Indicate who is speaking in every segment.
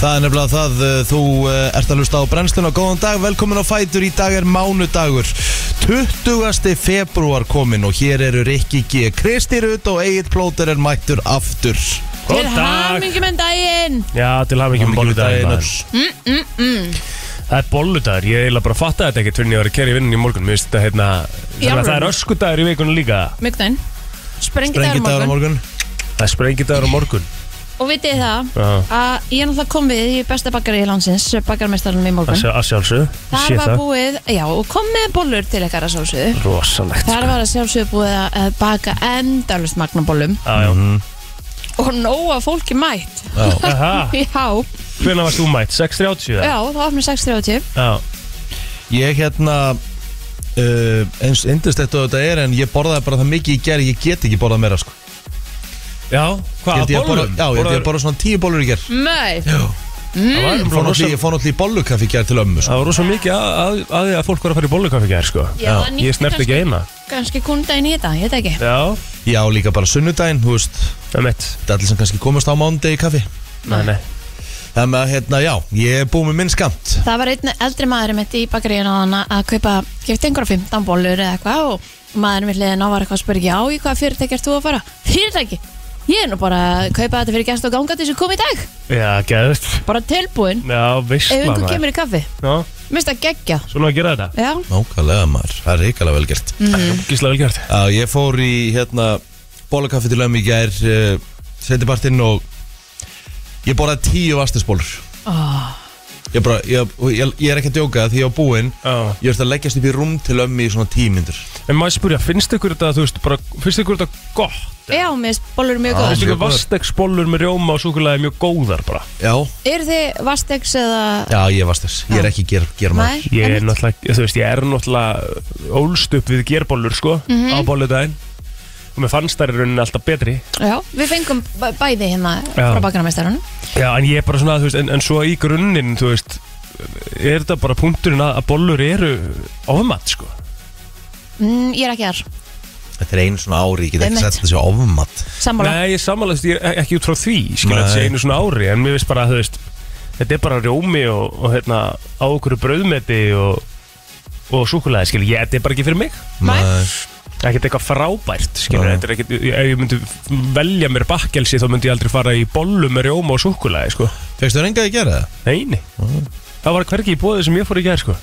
Speaker 1: Það er nefnilega það, eh, þú eh, ert að hlusta á brennsluna Góðan dag, velkomin á Fætur, í dag er mánudagur 20. februar komin og hér eru Rikki G. Kristi Rut og Egil Plóter er mættur aftur
Speaker 2: Góðan
Speaker 3: Til
Speaker 2: dag.
Speaker 3: hamingjum en daginn
Speaker 2: Já, til hafa ekki um bolludaginn maður. Það er bolludagur, ég eiginlega bara fattaði þetta ekkert fyrir en ég var að kerja í vinnunni í morgun Mér finnst þetta hérna, þannig að
Speaker 3: alvöru?
Speaker 2: það er öskudagur í vikunum líka
Speaker 3: Mjögdæn Sprengidagur
Speaker 1: Brengið dagur
Speaker 3: morgun
Speaker 1: morgun
Speaker 2: Það er sprengidagur á morgun
Speaker 3: Og vitið þið það
Speaker 2: Já.
Speaker 3: að ég er náttúrulega kom við í besta bakkari í landsins Bakkarmestarnum í morgun
Speaker 2: Það sjá, að sjálfsögðu,
Speaker 3: Þar
Speaker 2: sé
Speaker 3: var
Speaker 2: það
Speaker 3: búið, já, og kom með bollur til ykkar að sjálfsögðu
Speaker 2: Rosalegt sko.
Speaker 3: Þar var að sjálfsögðu búið að- að baka endalust magnabollum
Speaker 2: var
Speaker 3: Og nóga fólki mætt
Speaker 2: Aha.
Speaker 3: Já,
Speaker 2: Hvernig varst þú mætt? 6.30 eða?
Speaker 3: já, það opnir 6.30
Speaker 2: Já
Speaker 1: Ég hérna uh, eins indislegt og þetta er en ég borðaði bara það mikið í gerð ég get ekki borðað meira sko
Speaker 2: Já,
Speaker 1: Ég
Speaker 2: hvað,
Speaker 1: held
Speaker 2: að
Speaker 1: ég að borða-
Speaker 2: bollum?
Speaker 1: Já, ég held ég að borða svona tíu bollur í gerð
Speaker 3: Mæ,
Speaker 2: Það var
Speaker 1: Fór
Speaker 2: nefnilega
Speaker 1: náttúrulega- Ég
Speaker 2: rosa-
Speaker 1: fór náttúrulega í bollukaff í gerð til ömmu sko.
Speaker 2: Mm. það var rosa mikið að, að, að því að fólk var að fara í bollukaffi gær, sko
Speaker 3: Já, en
Speaker 2: Ég snert ekki eina
Speaker 3: kannski kundaginn í þetta, ég veit ekki
Speaker 2: Já,
Speaker 1: Já, líka bara sunnudaginn, þú veist
Speaker 2: það er mitt
Speaker 1: Þetta er allir sem kannski komast á mándegi kaffi
Speaker 2: Nei, nei
Speaker 1: Þannig að hérna, já, ég er búið með minn skamt
Speaker 3: Það var einn eldri maður mitt í bakaríun á hann að kaupa, gefti einhverja 15 bollur eða eitthvað og maðurinn við hliðin á var eitthvað að spyrja, já, í hvað fyrirtæki ert þú að fara? Fyrirtæki? Ég er nú bara að kaupa þetta fyrir gæst og gangandi sem kom í dag,
Speaker 2: Já, geðvist
Speaker 3: bara tilbúin
Speaker 2: Já,
Speaker 3: ef
Speaker 2: veistla
Speaker 3: einhver kemur í kaffi.
Speaker 2: Já,
Speaker 3: Mist að gegja,
Speaker 2: svona að gera þetta
Speaker 3: já,
Speaker 1: Nákvæmlega maður, það er reikalega velgert mm.
Speaker 2: Gísla vel gert
Speaker 1: Já, ég fór í, hérna, bollukaffi til ömmu í gerð uh, Settibartinn og Ég borðaði tíu vastisbólur
Speaker 3: oh,
Speaker 1: Ég bara, ég, ég, ég er ekki að djóka því ég var búinn
Speaker 2: Já.
Speaker 1: Ég veist að leggjast upp í rúm til ömmu í svona tímyndur
Speaker 2: En maður spyrja, finnst ykkur þetta, þú veist, bara, finnst ykkur þetta gott?
Speaker 3: já, mist bollur mjög
Speaker 1: Já.
Speaker 3: góð.
Speaker 2: Finnst
Speaker 1: mjög
Speaker 2: ykkur
Speaker 1: góðar.
Speaker 2: vastegsbollur með rjóma og súkulega mjög góðar bara?
Speaker 1: Já,
Speaker 3: Eru þið vastegs eða...
Speaker 1: já, ég er vastis Ég er ekki ger, germaður
Speaker 3: Nei,
Speaker 2: Ég er
Speaker 3: einmitt.
Speaker 2: náttúrulega, þú veist, ég er náttúrulega ólst upp við gerbollur, sko, á bolludaginn og mér fannst þær í rauninni alltaf betri
Speaker 3: Já, við fengum b- bæði hérna
Speaker 2: Já.
Speaker 3: frá bakararmeistarunum.
Speaker 2: Já, en ég er bara svona, þú veist, en, en svo í grunninn, þú veist er þetta bara punkturinn að, að bollur eru ofmat, sko
Speaker 3: Mm, ég er ekki þar,
Speaker 1: Þetta er einu svona ári, ég get ekki
Speaker 3: Einmitt.
Speaker 1: sett þessi ofmat
Speaker 3: sammála.
Speaker 2: Nei, ég samanlega, þú veist, ég- e, ekki út frá því skilja
Speaker 1: Nei.
Speaker 2: þetta sé einu svona ári, en mér veist bara, þú veist þetta er bara rjómi og, og hérna, á okkur brauðmeti og, og súkulega, skilja, ég, þetta er bara ekki fyrir mig
Speaker 3: Nei.
Speaker 2: ekkert eitthvað frábært skilur,
Speaker 1: Já.
Speaker 2: þetta er ekkert, ef ég myndi velja mér bakkelsi þá myndi ég aldrei fara í bollu með rjóma og súkulæði sko.
Speaker 1: Fegstu rengað í gerð það?
Speaker 2: nei, nei, það var hvergi í bóði sem ég fór í gær sko.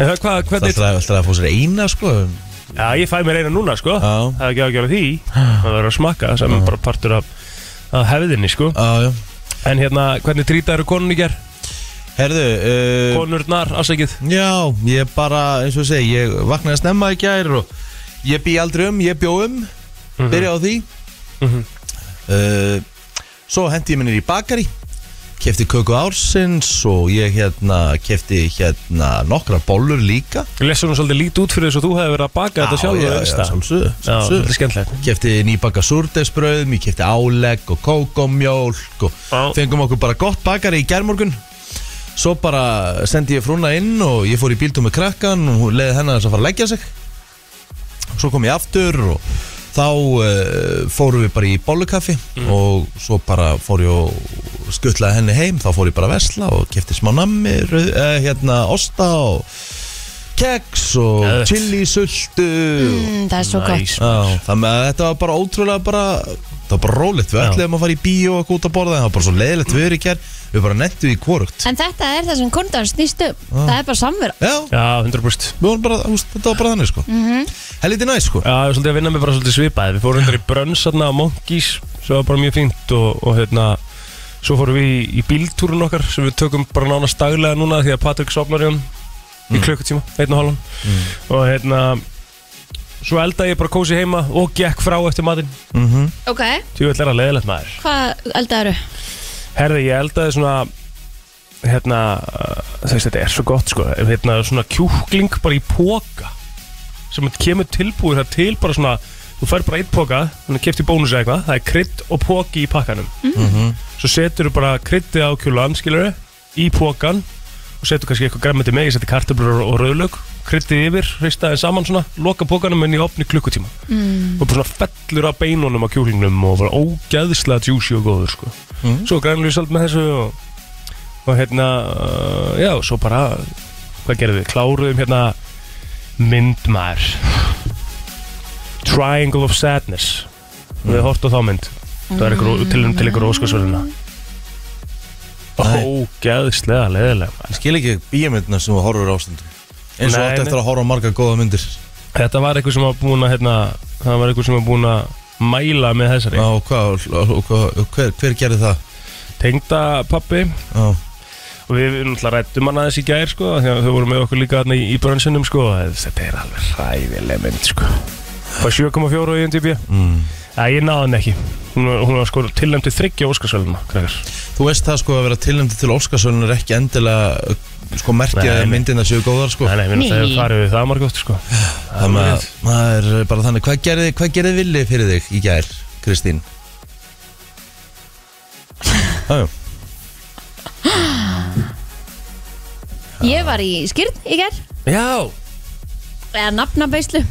Speaker 2: en það hvað,
Speaker 1: Það
Speaker 2: hvernig
Speaker 1: er alltaf að fá sér eina, sko
Speaker 2: já, ég fæ mér eina núna, sko
Speaker 1: Já.
Speaker 2: það er ekki að gera því, það verður að smakka sem er bara partur af, af hefðinni sko.
Speaker 1: Já, já
Speaker 2: en hérna, hvernig trýta eru konun í gær
Speaker 1: Eh, Herðu, uh,
Speaker 2: konurnar, afsækið
Speaker 1: Já, ég bara, eins og ég segi, ég vaknaði snemma í gær og ég bý aldrei um, ég bjó um,
Speaker 2: Mhm.
Speaker 1: byrja á því. uh, svo hendi ég minni í bakari, kefti köku ársins og ég hérna, kefti hérna nokkra bollur líka.
Speaker 2: lesur hún svolítið lít út fyrir þess að þú hefði verið að baka þetta sjálf
Speaker 1: já, já, sjálfsögðu,
Speaker 2: já, þetta
Speaker 1: sjálfsögðu.
Speaker 2: er skemmtilegt
Speaker 1: Kefti nýbaka súrdeisbröðum, ég kefti álegg og kókomjólk og
Speaker 2: Já.
Speaker 1: fengum okkur bara gott bakari í gærmorgun. Svo bara sendi ég frúna inn og ég fór í bíltúr með krakkan og hún leiði hennar þess að fara að leggja sig. Svo kom ég aftur og þá uh, fórum við bara í bollukaffi og svo bara fór ég og skuttlaði henni heim, þá fór ég bara að vesla og kefti smá nammi, rauð, uh, hérna, osta og keks og
Speaker 2: Geðvegt.
Speaker 1: chilisultu og
Speaker 3: Mm, það er svo
Speaker 2: Nice.
Speaker 1: Já, þannig að þetta var bara ótrúlega bara Það var bara rólegt, við
Speaker 2: Já.
Speaker 1: ætlaðum að fara í bíó og eitthvað út að borða en Það var bara svo leiðilegt við erum í kjær Við bara nettu í kvorugt
Speaker 3: gott. En þetta er það sem kundan snýst um. Það er bara samverð.
Speaker 1: Já,
Speaker 2: já, 100%
Speaker 1: við vorum bara, húst, þetta var bara þannig sko mm -hmm. Helviti næ sko
Speaker 2: Já, ég var svolítið að vinna mig bara svolítið svipað Við fórum undir í brönns þarna á Monkeys Svo var bara mjög fínt og, og hérna Svo fórum við í, í bíltúrun okkar Sem við tökum bara nánast daglega núna Því að Patrik sopnar í hann
Speaker 1: Mm.
Speaker 2: Í klukkutíma, einn og halvan Og hérna Svo eldaði ég bara kósi heima og gekk frá eftir matinn
Speaker 1: Mhm.
Speaker 3: Ok,
Speaker 2: Því við ætlar að leiðilegt maður
Speaker 3: hvað eldaðu?
Speaker 2: Herði, ég eldaði svona Hérna, uh, þú veist þetta er svo gott sko Hérna svona kjúkling bara í póka sem kemur tilbúið það til bara svona þú fær bara eitt póka, þannig að kefti bónus eða eitthvað það er krydd og póki í pakkanum svo setur þú bara kryddið á kjúlan skilur í pókan og og setur kannski eitthvað græmiti með, ég seti kartöflur og, og rauðlaug kryttið yfir, hrista þeim saman svona loka pókanum inn í opni klukkutíma mm. og bara svona fellur af beinunum á kjúlingnum og bara ógæðislega juicy og góður sko.
Speaker 1: Mm.
Speaker 2: svo grænlýsald með þessu og, og hérna uh, já, svo bara hvað gerðum við, kláruðum hérna myndmar Triangle of Sadness
Speaker 1: Mm.
Speaker 2: við hortum þá mynd það er ykkur, til, til ykkur óskarsverðina
Speaker 1: Nei.
Speaker 2: ógeðslega leðilega
Speaker 1: Ég skil ekki bíamindina sem þú horfur ástundum eins og
Speaker 2: Nei,
Speaker 1: átt
Speaker 2: nei.
Speaker 1: eftir að horfa á marga góða myndir
Speaker 2: Þetta var eitthvað sem var búin að hérna, það var eitthvað sem var búin að mæla með þessari
Speaker 1: Já, og hvað, og hvað, og hver, hver gerði það?
Speaker 2: Tengda pappi
Speaker 1: Já,
Speaker 2: og við við náttúrulega rættum hann aðeins í gær sko því að þau voru með okkur líka þarna í, í brönsunum sko þetta er alveg ræðileg mynd sko Bara 7,4 á IMDb
Speaker 1: mm.
Speaker 2: Æ, ég náði hann ekki Hún var, hún var sko tilnæmt til þryggja Óskarsvöluna krakkar
Speaker 1: Þú veist það sko að vera tilnæmdi til Óskarsson er ekki endilega sko merkja
Speaker 2: Nei,
Speaker 1: að
Speaker 2: nei.
Speaker 1: myndina séu góðar sko
Speaker 2: Nei, nei, við náttúrulega
Speaker 3: Ný.
Speaker 2: farið við það margótt sko
Speaker 1: Þannig að maður er bara þannig Hvað gerði, hvað gerði Villi fyrir þig í gær, Kristín? Jájú,
Speaker 3: Ég var í skýrn í gerð
Speaker 2: Já,
Speaker 3: eða nafnabeislu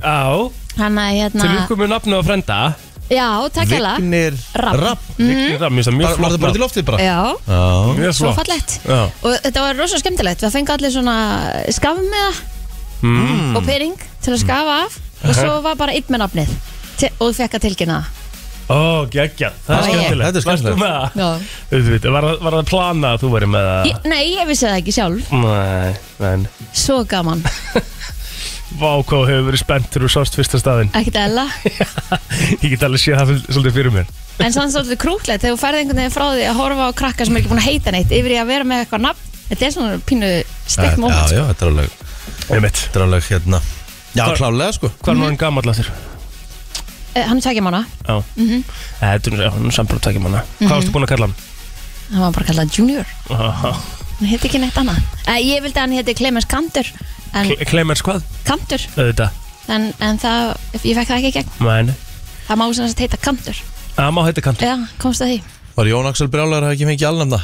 Speaker 2: á,
Speaker 3: Þannig að hérna
Speaker 2: til ykkur með nafnu og frenda
Speaker 3: Já, takkjala
Speaker 1: Vignir
Speaker 3: Rafn.
Speaker 1: Rapp
Speaker 2: mm. Það mér finnst það
Speaker 1: Var
Speaker 2: mjög
Speaker 1: það bara til
Speaker 2: nafn.
Speaker 1: loftið bara?
Speaker 3: Já,
Speaker 1: Já,
Speaker 2: Mjög
Speaker 3: svo
Speaker 2: flott
Speaker 3: fallegt
Speaker 2: Já.
Speaker 3: Og þetta var rosa skemmtilegt Við fengið allir svona skafum með það
Speaker 2: Mm.
Speaker 3: og pering til að skafa af og svo var bara einn með nafnið til, og þú fekk að tilkynna
Speaker 2: Ó, geggjað, það er
Speaker 3: Já,
Speaker 2: skemmtilegt
Speaker 1: þetta er skemmtilegt.
Speaker 2: Varstu með það?
Speaker 3: það
Speaker 2: Auðvitað, Var, það- var það planað að þú væri með það?
Speaker 3: ég, Nei, ég vissi það ekki sjálf
Speaker 2: Nei, nei
Speaker 3: Svo gaman,
Speaker 2: Vá, hvað þú hefur verið spennt þegar þú sást fyrsta staðinn
Speaker 3: ekkert eðla
Speaker 2: Ég get alveg séð það fyl- svolítið fyrir mér
Speaker 3: En samt svolítið krúklegt þegar þú færði einhvern veginn frá því að horfa á krakka sem er ekki búin að heita neitt yfir í að vera með eitthvað nafn Þetta er svona pínu
Speaker 1: já,
Speaker 3: steikt moment
Speaker 1: já, þetta er alveg
Speaker 2: Einmitt
Speaker 1: Þetta er alveg hérna Já,
Speaker 2: Hvar-
Speaker 1: klálega sko
Speaker 2: Hvað er hann gammal að þér?
Speaker 3: Eh, Hann er tveggja mána,
Speaker 2: Já
Speaker 1: Mhm.
Speaker 2: Þetta er hann sambrútt ekki manna Hvað varstu búin að kalla hann?
Speaker 3: hann var bara kallað Junior
Speaker 2: Aha.
Speaker 3: Hann heiti ekki neitt annað Eh, Ég vildi að hann heiti Clemens Kantur En,
Speaker 2: Cle- Clemens hvað?
Speaker 3: Kantur,
Speaker 2: Auðvitað
Speaker 3: en, en það, ég fekk það ekki í gegn
Speaker 2: Mæn
Speaker 3: Það má sem sagt heita Kantur
Speaker 2: Amma hætti kant
Speaker 3: Já, komst að því
Speaker 1: Var Jón Axel Brjálar að hafa ekki fengið alnefna?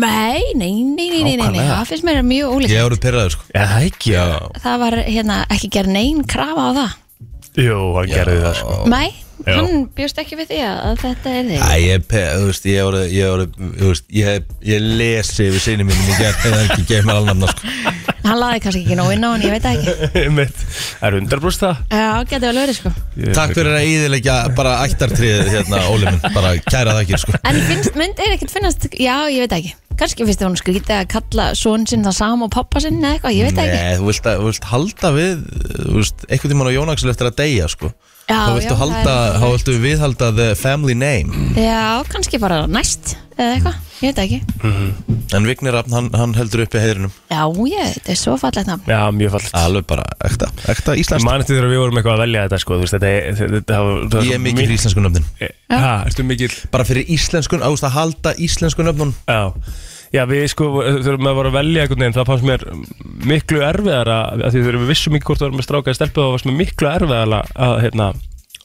Speaker 3: Nei, nei, nei, nei, nei, nei, nei.
Speaker 1: Nákvæmlega.
Speaker 3: það finnst mér mjög ólíkt
Speaker 1: Ég hefur pyrraður sko
Speaker 2: Já, það ekki
Speaker 1: Já,
Speaker 3: Það var hérna ekki gerð neinn krafa á það
Speaker 2: Jú, hann gerði það sko
Speaker 3: Nei,
Speaker 2: Já.
Speaker 3: hann bjóst ekki við því að að þetta er því
Speaker 1: Æ, ég er pe- þú veist, ég voru, ég voru, þú veist, ég, ég lesi yfir sinni mínum í gerð eða ekki geið mér alnafna, sko.
Speaker 3: Hann laði kannski ekki nóg inn á hann, ég veit það ekki
Speaker 2: Einmitt Það er undarbrúst það
Speaker 3: Já, getur vel verið sko
Speaker 2: Ég-
Speaker 1: Takk fyrir að íðilegja bara ættartriðið hérna, Óli minn, bara kæra þakkir, sko.
Speaker 3: En finnst, mynd er ekkert finnast, já, ég veit það ekki Kannski finnst þér hún skrítið að kalla son sinn það sama og pappa sinn eða eitthvað, ég veit það ekki
Speaker 1: Nei, þú vilt, að, þú vilt halda við, þú veist, einhvern tímann á Jón Axel eftir að deyja, sko.
Speaker 3: Já,
Speaker 1: þá viltu
Speaker 3: já,
Speaker 1: halda,
Speaker 3: það er-
Speaker 1: þá viltu viðhalda the family name.
Speaker 3: Já, kannski bara næst eða eitthvað, ég veit það ekki
Speaker 1: En Vignir Rafn, hann, hann heldur uppi heiðrinum.
Speaker 3: Já, ég, þetta er svo fallegt nafn
Speaker 2: Já, mjög fallit
Speaker 1: Alveg bara, ekta, ekta
Speaker 2: Ég
Speaker 1: íslenskt.
Speaker 2: man eftir þegar við vorum eitthvað að velja þetta sko, þú veist, þetta, er- þetta, þetta, þetta, þetta
Speaker 1: Ég er mikil í íslensku nöfnin.
Speaker 2: Já, ertu mikil
Speaker 1: Bara fyrir íslenskun, ást að halda íslensku nöfnun.
Speaker 2: Já, já við sko, þurfum að voru að velja einhvern veginn, það fannst mér miklu erfiðara að því þegar við vissum ekki hvort við vorum með stráka eða stelpu þá fannst mér miklu erfiðara að, hérna,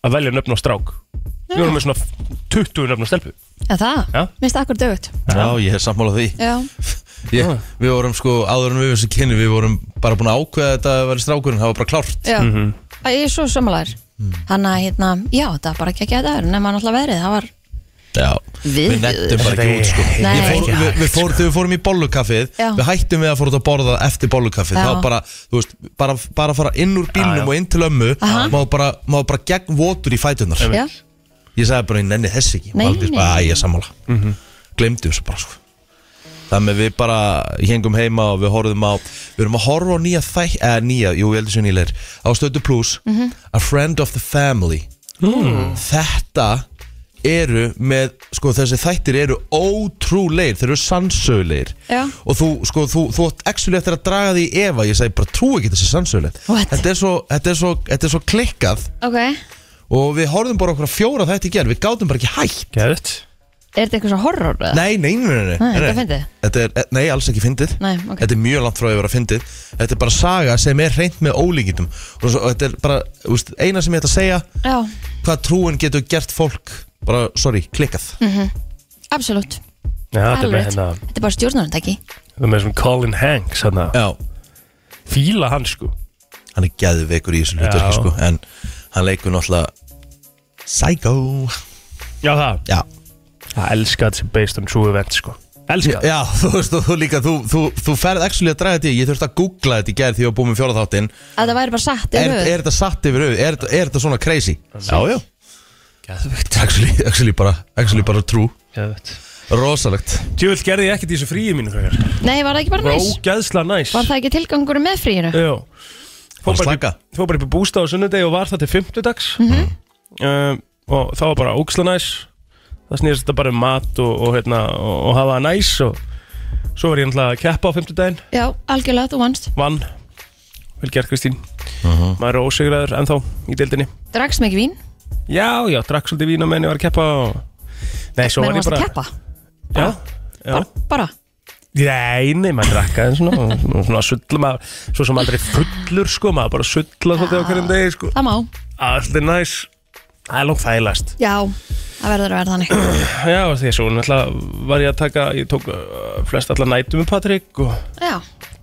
Speaker 2: að velja nöfn á strák Við vorum með svona 20 nöfn á stelpu
Speaker 3: Já, það,
Speaker 2: Já.
Speaker 3: minnst akkur dögut
Speaker 1: Já, ég er sammálað því.
Speaker 3: Já,
Speaker 1: ég, Við vorum sko, áður en við vissum kynni Við vorum bara búin að ákveða að þetta var strákurinn Það var bara klárt
Speaker 3: Já, mm
Speaker 2: Mhm.
Speaker 3: ég er svo sömulegar
Speaker 1: Mm.
Speaker 3: Þannig að hérna, já, það var bara ekki ekki að dagur Nefna náttúrulega veðrið, það var
Speaker 1: Já.
Speaker 3: Við-
Speaker 1: Við nettum bara ekki
Speaker 2: Þetta
Speaker 1: út sko
Speaker 2: er-
Speaker 1: Ég
Speaker 3: Nei.
Speaker 1: fór, við, við fór, Þegar við fórum í bollukaffið
Speaker 3: Já.
Speaker 1: Við hættum við að fórum út að borða eftir bollukaffið
Speaker 3: Já.
Speaker 1: Það var bara, þú veist, bara, bara að fara inn úr bílnum
Speaker 2: Já, já.
Speaker 1: og inn til ömmu
Speaker 3: Aha.
Speaker 1: Má bara, má bara gegn votur í fætunar
Speaker 2: Einmitt.
Speaker 3: Já,
Speaker 1: Ég sagði bara, ég nenni þess ekki
Speaker 3: Nei,
Speaker 1: Valdís
Speaker 3: nei.
Speaker 1: bara, "Æ, ég er sammála mm þessu bara sko Þannig að við bara hengum heima og við horfum á Við erum að horfa á nýja þætt eða nýja, jú, ég heldur sem nýleir Á stöðu plus
Speaker 3: Mhm.
Speaker 1: A Friend of the Family Þetta eru með, sko þessi þættir eru ótrúleir, þeir eru sannsöguleir
Speaker 3: Já.
Speaker 1: og þú, sko, þú, þú átt actually eftir að draga því í efa, ég segi bara trú ekki þessi sannsöguleir
Speaker 3: What?
Speaker 1: þetta er, svo, þetta, er svo, þetta er svo klikkað
Speaker 3: ok
Speaker 1: og við horfum bara okkur að fjóra þetta í gerð við gátum bara ekki hægt
Speaker 2: Gæðut
Speaker 3: Er þetta eitthvað svo horror? eða?
Speaker 1: Nei, nei, nei, nei,
Speaker 3: Nei, þetta er fyndið?
Speaker 1: Þetta er, e, nei, alls ekki fyndið
Speaker 3: Nei, ok.
Speaker 1: Þetta er mjög langt frá að vera fyndið Þetta er bara saga sem er reynd með ólíkitum og, svo, og þetta er bara, þú veist, eina sem ég ætla að segja
Speaker 3: Já, Mm.
Speaker 1: hvað trúin getur gert fólk bara, sorry, klikkað
Speaker 3: absolutt
Speaker 2: þetta er með
Speaker 3: Alveg,
Speaker 2: hérna
Speaker 3: þetta er bara stjórnarundaki
Speaker 2: Þetta er með svona Colin Hanks hérna
Speaker 1: Já,
Speaker 2: Fíla hann sko
Speaker 1: hann er geðveikur í þessu
Speaker 2: Já.
Speaker 1: hlutverki sko En hann leikur náttúrulega Psycho
Speaker 2: Já það
Speaker 1: Já,
Speaker 2: Það elska þetta sem based on true event sko Elska það
Speaker 1: já þú veist og þú líka Þú, þú, þú ferð actually að draga þetta í Ég þurfti að googla þetta í gerð því ég var búið með fjóra þáttinn
Speaker 3: að það væri bara
Speaker 1: er,
Speaker 3: satt yfir höfuð.
Speaker 1: er þetta satt yfir auð? Er, þetta- er þetta svona crazy? Já, já
Speaker 2: Gæðvögt
Speaker 1: Actually, actually, bara, actually bara true
Speaker 2: Gæðvögt
Speaker 1: Rosalegt
Speaker 2: Tjúvill gerði ég ekkert í þessu fríi mínu þegar
Speaker 3: nei, var það ekki bara
Speaker 2: Bara
Speaker 3: næs?
Speaker 2: ógæðsla næs
Speaker 3: var það ekki tilgangur með fríinu?
Speaker 2: Já
Speaker 1: Bara slaka.
Speaker 2: Fór bara upp í bústa á sunnudegi og var það til fimmtudags
Speaker 3: Mhm.
Speaker 2: um, Og það var bara ógæðsla næs Það snýðist þetta bara um mat og, og, hérna, og, og hafa það næs og svo var ég náttúrulega að keppa á fimmtudaginn
Speaker 3: já, algjörlega, þú vannst
Speaker 2: vann vel gert Kristín maður er ósigraður ennþá í deildinni
Speaker 3: dragst mikið vín,
Speaker 2: já, já, drakk svolítið vín á meðan ég var að keppa og... nei, svo var
Speaker 3: menn
Speaker 2: ég
Speaker 3: varst að
Speaker 2: bara
Speaker 3: keppa
Speaker 2: já, já.
Speaker 3: bara, bara.
Speaker 2: nei, nei, maður drakk aðeins svona, og svona, svona sull maður, svo sem aldrei fullur sko, maður bara sulla svolítið á hverjum degi sko,
Speaker 3: það má,
Speaker 2: allt er næs það er langt þægilegast
Speaker 3: já það verður að verða þannig
Speaker 2: já, því svo náttúrulega var ég að taka ég tók uh, flest allar nætum með Patrik og
Speaker 3: já,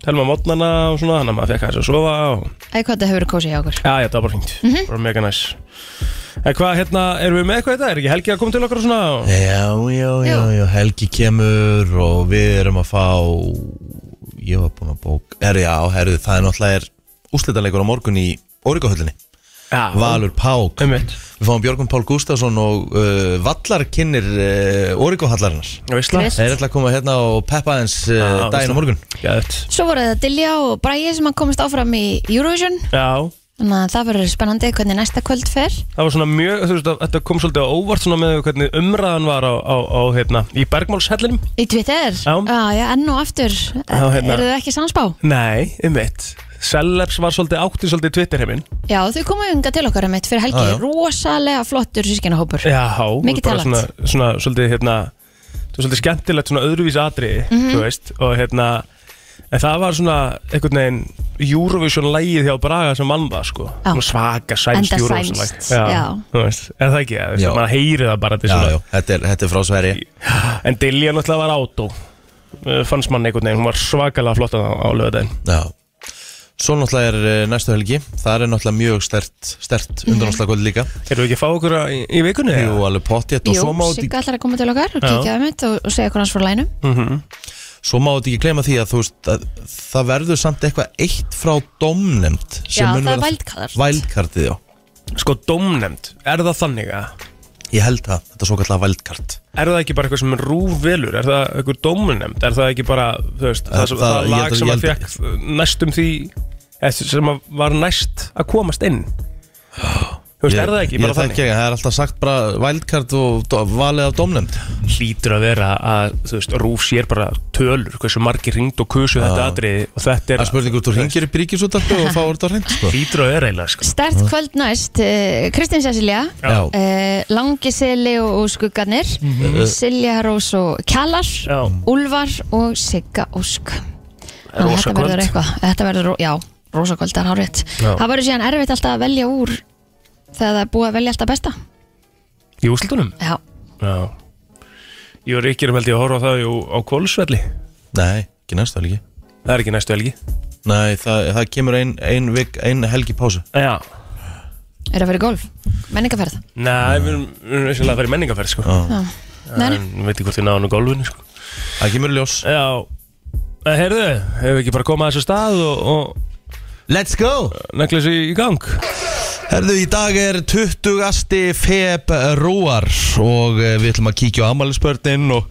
Speaker 2: telma mótnana og svona, þannig að maður fekk aðeins að sofa og
Speaker 3: eða hvað þetta hefur verið kósið hjá okkur
Speaker 2: Já, já, það var bara fínt, bara mega næs En hvað, hérna, erum við með eitthvað þetta? Er ekki Helgi að koma til okkar og svona? og-
Speaker 1: Já, já, já, já, Helgi kemur og við erum að fá ég var búin að bók er, já, herðu, það er náttúrulega er úslitaleikur á morgun í Órikahöllinni
Speaker 2: Já,
Speaker 1: Valur Pák
Speaker 2: Einmitt.
Speaker 1: Við fáum Björgum Pál Gustafsson og uh, Vallar kynir uh, Órikahallarinnar
Speaker 2: Já, veistla?
Speaker 3: Veist.
Speaker 1: Þeir er ætla að koma hérna og peppa aðeins uh,
Speaker 2: Já,
Speaker 1: daginn á
Speaker 2: veisla.
Speaker 1: morgun
Speaker 2: Já, þetta
Speaker 3: svo voru það Dilja og Bræi sem að komast áfram í Eurovision
Speaker 2: Já,
Speaker 3: þannig að það verður spennandi hvernig næsta kvöld fer
Speaker 2: það var svona mjög, þú veist, að- þetta kom svolítið á óvart svona með hvernig umræðan var á, á, á hérna, í bergmálshellinum
Speaker 3: í Twitter,
Speaker 2: Já.
Speaker 3: já, já, enn og aftur
Speaker 2: Já, hérna.
Speaker 3: eru þau ekki samspá?
Speaker 2: Nei, einmitt Celebs var svolítið átti svolítið Twitterheiminn
Speaker 3: já, þau komu unga til okkar um eitt fyrir helgi
Speaker 1: Já, já.
Speaker 3: rosalega flottur sískinahópur
Speaker 2: Já, og
Speaker 3: Mikið
Speaker 2: bara
Speaker 3: talent.
Speaker 2: svona, svona, svolítið, hérna þú veist, svolítið skemmtilegt svona öðruvís atriði,
Speaker 3: Mhm.
Speaker 2: þú veist og hérna, en það var svona einhvern veginn Eurovision lægið hjá Braga sem vann það, sko
Speaker 3: Já.
Speaker 2: Svona svaka sænst
Speaker 3: Enda
Speaker 2: Eurovision læg
Speaker 3: sænskt, já.
Speaker 2: þú veist, er það ekki, þú
Speaker 1: Já.
Speaker 2: veist, maður heyri það bara þetta er
Speaker 1: Já,
Speaker 2: svona-
Speaker 1: já, þetta er, þetta er frá Sverige
Speaker 2: en Dilja náttúrulega var átó uh, fannst mann einhvern veginn, hún var svakalega flott á, á lögadaginn
Speaker 1: Já Svo náttúrulega er eh, næstu helgi Það er náttúrulega mjög stert, stert
Speaker 3: Mhm.
Speaker 1: undanáttslagkvöld líka
Speaker 2: Erum við ekki að fá okkur að, í, í vikunni?
Speaker 1: Jú, alveg pottjett og
Speaker 3: Jú,
Speaker 1: svo má þetta
Speaker 3: Sigga ætlar að koma til okkar og kíkja um eitt og, og segja hvernig hans frá lænum
Speaker 2: Mm.
Speaker 1: svo má þetta ekki gleyma því að þú veist að það verður samt eitthvað eitt frá domnemnd sem
Speaker 3: Já,
Speaker 1: mun
Speaker 3: það er
Speaker 1: vera-
Speaker 3: vældkallast.
Speaker 1: vældkartið, já
Speaker 2: Sko, domnemnd, er það þannig að
Speaker 1: ég held það, þetta er svo kallega vældkart
Speaker 2: er það ekki bara eitthvað sem er rúfvelur er það eitthvað dómunemnd er það ekki bara þú veist, það, það,
Speaker 1: það-
Speaker 2: það,
Speaker 1: ég
Speaker 2: lag
Speaker 1: held-
Speaker 2: sem
Speaker 1: ég
Speaker 2: að
Speaker 1: held-
Speaker 2: fekk næstum því eða sem að var næst að komast inn þú veist, er það ekki
Speaker 1: ég,
Speaker 2: bara
Speaker 1: ég,
Speaker 2: þannig
Speaker 1: þekki ekki, það er alltaf sagt bara vældkart og do- valið af domnemnd
Speaker 2: hlýtur að vera að þú veist, rúf sér bara tölur hversu margir ringd og kusu þetta atriði og þetta
Speaker 1: það er
Speaker 2: er
Speaker 1: spurning hvort þú ringir í bríkisútarpi og fáur þetta á hreint sko.
Speaker 2: hlýtur að vera eiginlega sko.
Speaker 3: Stert kvöld næst, uh, Kristín Cecilia
Speaker 1: Já.
Speaker 3: uh, Langi Sili og, og Skuggarnir Silja Rós og Kjallar
Speaker 2: Mhm. Já.
Speaker 3: Úlfar og Sigga Ósk Þannig að
Speaker 2: Rosa
Speaker 3: Þetta verður
Speaker 2: kvöld.
Speaker 3: eitthvað Þetta verður, ro- já, rosakvöld er hárétt
Speaker 2: Já.
Speaker 3: Það verður síðan erfitt alltaf að velja úr þegar það er búið að velja alltaf besta
Speaker 2: í úslutunum
Speaker 3: Já,
Speaker 2: já ég var ekki um held ég að horfa á það í- á kólusvelli
Speaker 1: nei, ekki næstu helgi
Speaker 2: það er ekki næstu helgi
Speaker 1: nei, það, það kemur ein, ein, vik, ein helgi pásu
Speaker 2: já
Speaker 3: er að vera í golf Menningaferð
Speaker 2: Nei, við erum við erum vissulega að fara í menningarferð sko.
Speaker 3: Já, Nei, nei.
Speaker 2: En við veitum hvort þið náðum á gólfinu sko.
Speaker 1: það kemur í ljós
Speaker 2: Já En heyrðu, hefur ekki bara komað að þessu stað og, og
Speaker 1: let's go
Speaker 2: negla þessu í gang
Speaker 1: Herðu, í dag er 20. februar og eh, við ætlum að kíkja á amalinsbörnin og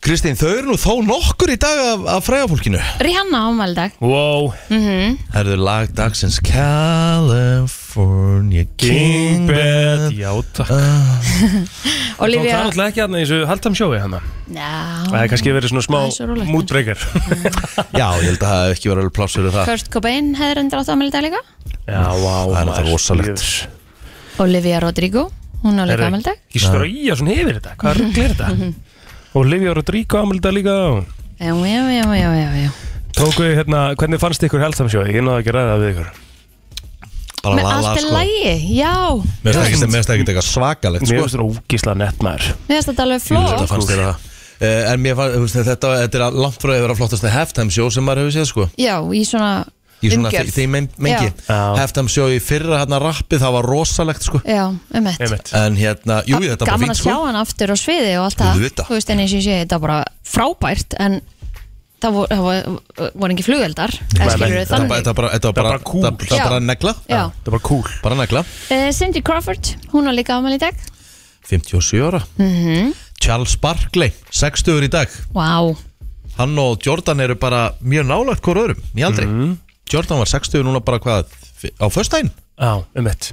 Speaker 1: Kristín, þau eru nú þó nokkur í dag af, af fræðafólkinu.
Speaker 3: Rihanna Mhm. ámældag
Speaker 2: Wow,
Speaker 1: Herðu, lag dagsins California King
Speaker 2: Kingbed
Speaker 1: Bed.
Speaker 2: Já, takk Tók Það er
Speaker 3: Olivia
Speaker 2: alltaf ekki aðna í þessu Haldtam sjói hana Það
Speaker 3: Já,
Speaker 2: hefði kannski verið svona
Speaker 3: Það er svo
Speaker 2: smá
Speaker 3: rólegt.
Speaker 2: mútbreykar
Speaker 1: Já, ég held að það hef ekki verið alveg pláss fyrir það.
Speaker 3: Kurt Cobain hefur endur átt ámældag líka
Speaker 2: Já, wow
Speaker 1: Það er alltaf rosalegt.
Speaker 3: Olivia Rodrigo, hún á líka ámældag
Speaker 2: Ekki strauja svona yfir þetta Hvað rugl er
Speaker 3: Mhm.
Speaker 2: þetta? Olivia Rodrigo ámelda líka
Speaker 3: Já, já, já, já, já, já.
Speaker 2: Tóku við hérna, hvernig fannst ykkur Haldtam sjói? Ég náðu ekki að ræða það við ykkur
Speaker 1: Bara
Speaker 3: Men
Speaker 1: lala,
Speaker 3: allt er
Speaker 1: sko.
Speaker 3: lægi, já
Speaker 1: Mér finnst ekki- mér finnst ekki eitthvað svakalegt,
Speaker 2: Mér
Speaker 1: sko.
Speaker 2: finnst það ógísla nett maður
Speaker 3: Mér finnst þetta alveg
Speaker 1: Ég held að
Speaker 3: flott
Speaker 1: fannst þér það. Eh, En mér var, þú veist, þetta, þetta er langt frá að vera flottasta halftime show sem maður hefur séð sko
Speaker 3: Já, í svona
Speaker 1: Í svona
Speaker 3: umgjörð.
Speaker 1: þe- þeim men- mengi
Speaker 3: Já.
Speaker 2: Já.
Speaker 1: Halftime show í fyrra hérna rappið það var rosalegt sko
Speaker 3: Já, um eitt
Speaker 2: einmitt
Speaker 1: En hérna, jú þetta var
Speaker 3: Gaman
Speaker 1: fínt
Speaker 3: að sjá
Speaker 1: sko
Speaker 3: hann aftur á sviði og allt það
Speaker 1: Auðvitað.
Speaker 3: Þú veist, en eins og ég sé, þetta var bara frábært En það voru, það voru, voru ekki flugeldar
Speaker 2: Nei,
Speaker 3: eða skilur
Speaker 2: nei,
Speaker 3: við
Speaker 1: Þetta bara-
Speaker 3: þannig
Speaker 1: þetta bara, þetta
Speaker 2: bara
Speaker 1: bara,
Speaker 2: cool.
Speaker 1: þetta þetta
Speaker 3: Já.
Speaker 1: bara negla
Speaker 3: Já,
Speaker 2: Það var cool
Speaker 1: Bara negla
Speaker 3: Eh, Cindy Crawford, hún á líka afmæli í dag
Speaker 1: 57 ára
Speaker 3: Mhm.
Speaker 1: Charles Barkley, 60 í dag
Speaker 3: Vá,
Speaker 1: Hann og Jordan eru bara mjög nálagt hvort öðrum í aldri Jordan var 60 núna bara hvað fi- á föstudaginn
Speaker 2: Já, einmitt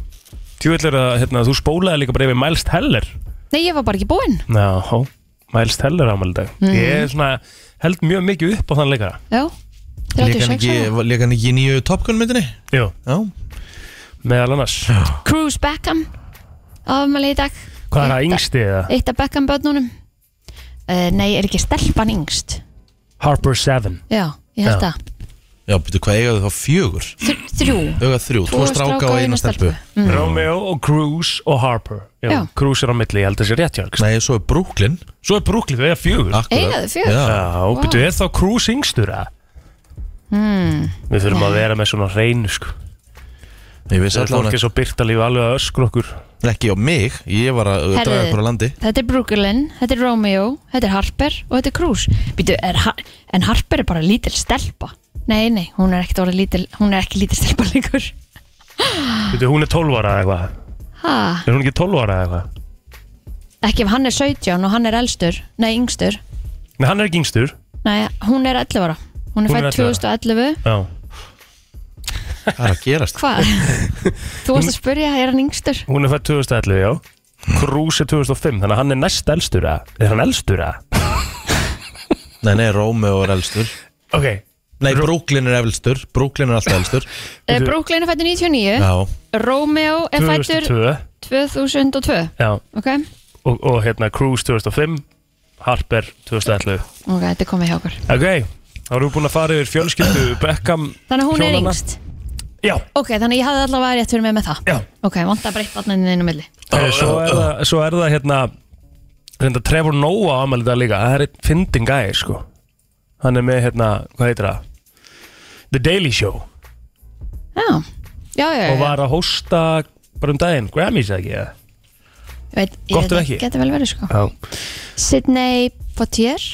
Speaker 2: Tjúvill er að hérna, þú spólaði líka bara yfir Mælst Heller
Speaker 3: nei ég var bara ekki búinn
Speaker 2: Já, Mælst Heller ámæli dag
Speaker 3: Mhm.
Speaker 2: Ég er svona, held mjög mikið upp á þann leikara
Speaker 3: Já,
Speaker 1: Lék hann
Speaker 3: 36
Speaker 1: ekki-
Speaker 3: ára
Speaker 1: lék hann ekki í nýju Top Gun myndinni
Speaker 2: Jú,
Speaker 1: Já,
Speaker 2: meðal annars
Speaker 3: Cruz Beckham afmæli í dag
Speaker 2: Hvað er það yngsti eða?
Speaker 3: Eitt af Beckham börnunum uh, Nei, er ekki stelpan yngst
Speaker 2: Harper 7
Speaker 3: Já, ég held
Speaker 2: Já.
Speaker 3: það
Speaker 1: já byrju, hvað eigaðu þá fjögur?
Speaker 3: Þr, Þrjú
Speaker 1: Auga þrjú, tvo stráka og eina stelpu
Speaker 2: Romeo og Cruz og Harper Jú,
Speaker 3: Mhm. Já.
Speaker 2: Cruz er á milli, ég held að sé rétt hjá Alex.
Speaker 1: Nei, svo er Brooklyn
Speaker 2: Svo er Brooklyn, þau er fjögur
Speaker 1: akkúrat.
Speaker 3: Eiga þau fjögur?
Speaker 1: Já,
Speaker 2: Já, wow. betur er þá Cruise yngstur að? Hmm. Við þurfum að vera með svona hreinu sko
Speaker 1: ég vissi
Speaker 2: Það er fólk
Speaker 1: allavega
Speaker 2: er svo byrtalíf alveg að öskur okkur
Speaker 1: ekki á mig Ég var að uh, draga
Speaker 3: Herðu.
Speaker 1: ykkur á landi
Speaker 3: Þetta er Brooklyn, þetta er Romeo, þetta er Harper og þetta er Cruz Býtu, er, Har- En Harper er bara lítil stelpa Nei, nei, hún er ekkert orðið lítil Hún er ekki lítil stelpa líkur
Speaker 2: Veitu, hún er 12 ára eða eitthvað
Speaker 3: ha,
Speaker 2: Er hún ekki 12 ára eða eitthvað?
Speaker 3: Ekki ef hann er 17 og hann er elstur Nei, yngstur
Speaker 2: Nei, hann er ekki yngstur
Speaker 3: Nei, hún er 11 ára Hún er
Speaker 2: Hún er
Speaker 3: fætt 2011
Speaker 2: Já
Speaker 1: Það er að gerast
Speaker 3: Hvað? Þú varst að spyrja, er hann yngstur?
Speaker 2: Hún er fætt 2011, já Cruise er 2005, þannig að hann er næst elstur að Er hann elstur að?
Speaker 1: Nei, nei, Romeo er elstur
Speaker 2: Ok
Speaker 1: Nei, Brooklyn er elstur Brooklyn er alltaf elstur
Speaker 3: Eh, Brooklyn er fættur 99
Speaker 1: Já,
Speaker 3: Romeo er fættur
Speaker 2: 2002
Speaker 3: 2002
Speaker 2: Já
Speaker 3: Ok,
Speaker 2: og, og hérna Cruise 2005 Harper 2011
Speaker 3: ok, þetta er komið hjá okkur
Speaker 2: Ok, þá erum við búin að fara yfir fjölskyldu Beckham
Speaker 3: Þannig að hún er
Speaker 2: hjónanna.
Speaker 3: yngst
Speaker 2: Já,
Speaker 3: Ok, þannig að ég hafði allavega rétt fyrir mig með það
Speaker 2: já
Speaker 3: Ok, vant að breytt barninni inn á milli
Speaker 2: Heyrðu, svo, er það, svo er það hérna reynda Trevor Noah ámæli þetta líka það er einn fyndin gæði sko hann er með hérna, hvað heitir það The Daily Show
Speaker 3: Já, já, já, já,
Speaker 2: og
Speaker 3: já.
Speaker 2: var að hósta bara um daginn, Grammys eða ekki eða?
Speaker 3: Ég veit, ég
Speaker 2: gott
Speaker 3: veit
Speaker 2: ef
Speaker 3: ekki
Speaker 2: ekki.
Speaker 3: Geti vel verið sko
Speaker 2: Já,
Speaker 3: Sydney Potier,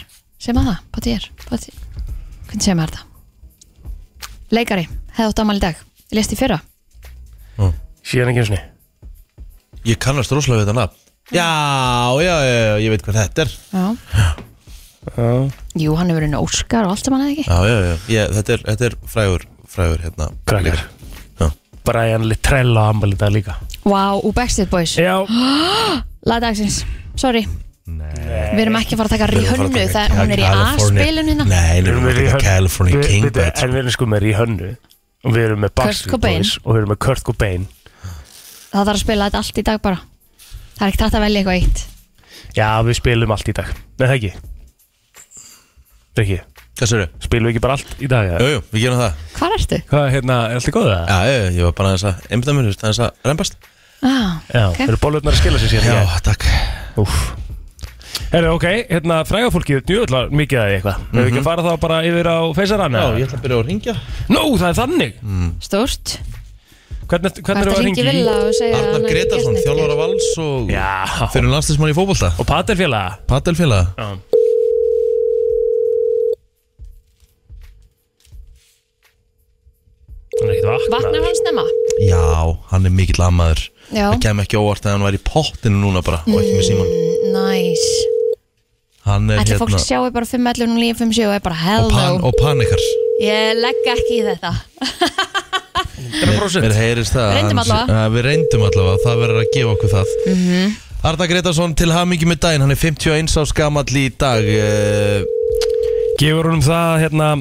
Speaker 3: sem að það, Potier, Potier. Hvernig sem er það? Leikari, hefði átt ámæli í dag Ég lest í fyrra
Speaker 2: síðan ekki eins og
Speaker 1: ég kannast rosalega við þetta nafn Já, já, já, já, ég veit hvað þetta er
Speaker 3: Já Jú, hann hefur verið Óskar og allt sem hann hefði ekki
Speaker 1: Já, já, já, ég, þetta, er, þetta er frægur, frægur hérna
Speaker 2: Krakkar.
Speaker 1: Já.
Speaker 2: Brian Littrella ámæli þetta líka
Speaker 3: Vá, wow, úr Backstreet Boys
Speaker 2: Já,
Speaker 3: Lagdagsins, sorry Við erum ekki að fara að taka
Speaker 1: Við erum að fara að
Speaker 3: rihönnu
Speaker 1: taka
Speaker 3: Það hún er í
Speaker 1: California-
Speaker 3: A-spilun hérna
Speaker 1: Nei, við erum að taka California
Speaker 2: við-
Speaker 1: King
Speaker 2: við-
Speaker 1: Bad
Speaker 2: En við erum sko með Rihönnu og við erum með Backstreet
Speaker 3: Cobain.
Speaker 2: Boys og við erum með Kurt Cobain
Speaker 3: Það þarf að spila þetta allt í dag bara Það er ekkert hægt að velja eitthvað eitt
Speaker 2: Já, við spilum allt í dag Nei, það ekki Rikki,
Speaker 1: Hvað sér þau?
Speaker 2: spilum við ekki bara allt í dag eða?
Speaker 1: Jú, jú, við gerum það
Speaker 3: Hvar ertu?
Speaker 2: Hvað, hérna, er allt í góðu það?
Speaker 1: Já, já, já, ég var bara aðeins að einbita mér, þú veist, aðeins að rempast
Speaker 3: Ah,
Speaker 2: Já,
Speaker 3: ok.
Speaker 2: eru bollurnar að skila sér
Speaker 1: Já,
Speaker 2: síðan?
Speaker 1: takk
Speaker 2: Úf Herru, ok, hérna, frægafólkið, djúvöldar mikið að því eitthvað mm Hefur ekki að fara þá bara yfir á feysarann?
Speaker 1: Já, ég ætla að byrja að ringja
Speaker 2: Nó, það er þannig
Speaker 3: Stórt
Speaker 2: Hvernig,
Speaker 3: Hvað
Speaker 2: hvernig erum við
Speaker 3: ertu að
Speaker 2: að
Speaker 3: ringi
Speaker 2: ringi?
Speaker 3: vilja og segja að hann
Speaker 1: Arnar
Speaker 3: hafi
Speaker 1: Gretarsson,
Speaker 3: gert
Speaker 1: þjálfara
Speaker 3: neitt?
Speaker 1: vals og
Speaker 2: Já,
Speaker 1: fyrir landslismann í fótbolta
Speaker 2: og paterfélaga
Speaker 1: Padelfélaga
Speaker 2: Já Hann er ekkert
Speaker 3: Vaknar
Speaker 2: vaknaður
Speaker 3: hann snemma?
Speaker 1: Já, hann er mikill amaður
Speaker 3: Já,
Speaker 1: Það kem ekki óvart að hann væri í pottinu núna bara og ekki með síman
Speaker 3: næs
Speaker 1: Hann er
Speaker 3: Ætli fólk
Speaker 1: hérna
Speaker 3: sjáu bara 5.11 og 9.57 og er bara
Speaker 1: og, pan,
Speaker 3: hello
Speaker 1: og panikar
Speaker 3: Ég legg ekki í þetta
Speaker 2: 100%
Speaker 1: Mér heyrist það
Speaker 3: Við reyndum
Speaker 1: hans-
Speaker 3: allavega. Mhm.
Speaker 1: að Við reyndum allavega, það verður að gefa okkur það mm Arda Gretarsson til hamingi með daginn Hann er 51 ás gamall í dag Eh,
Speaker 2: Gefur honum það hérna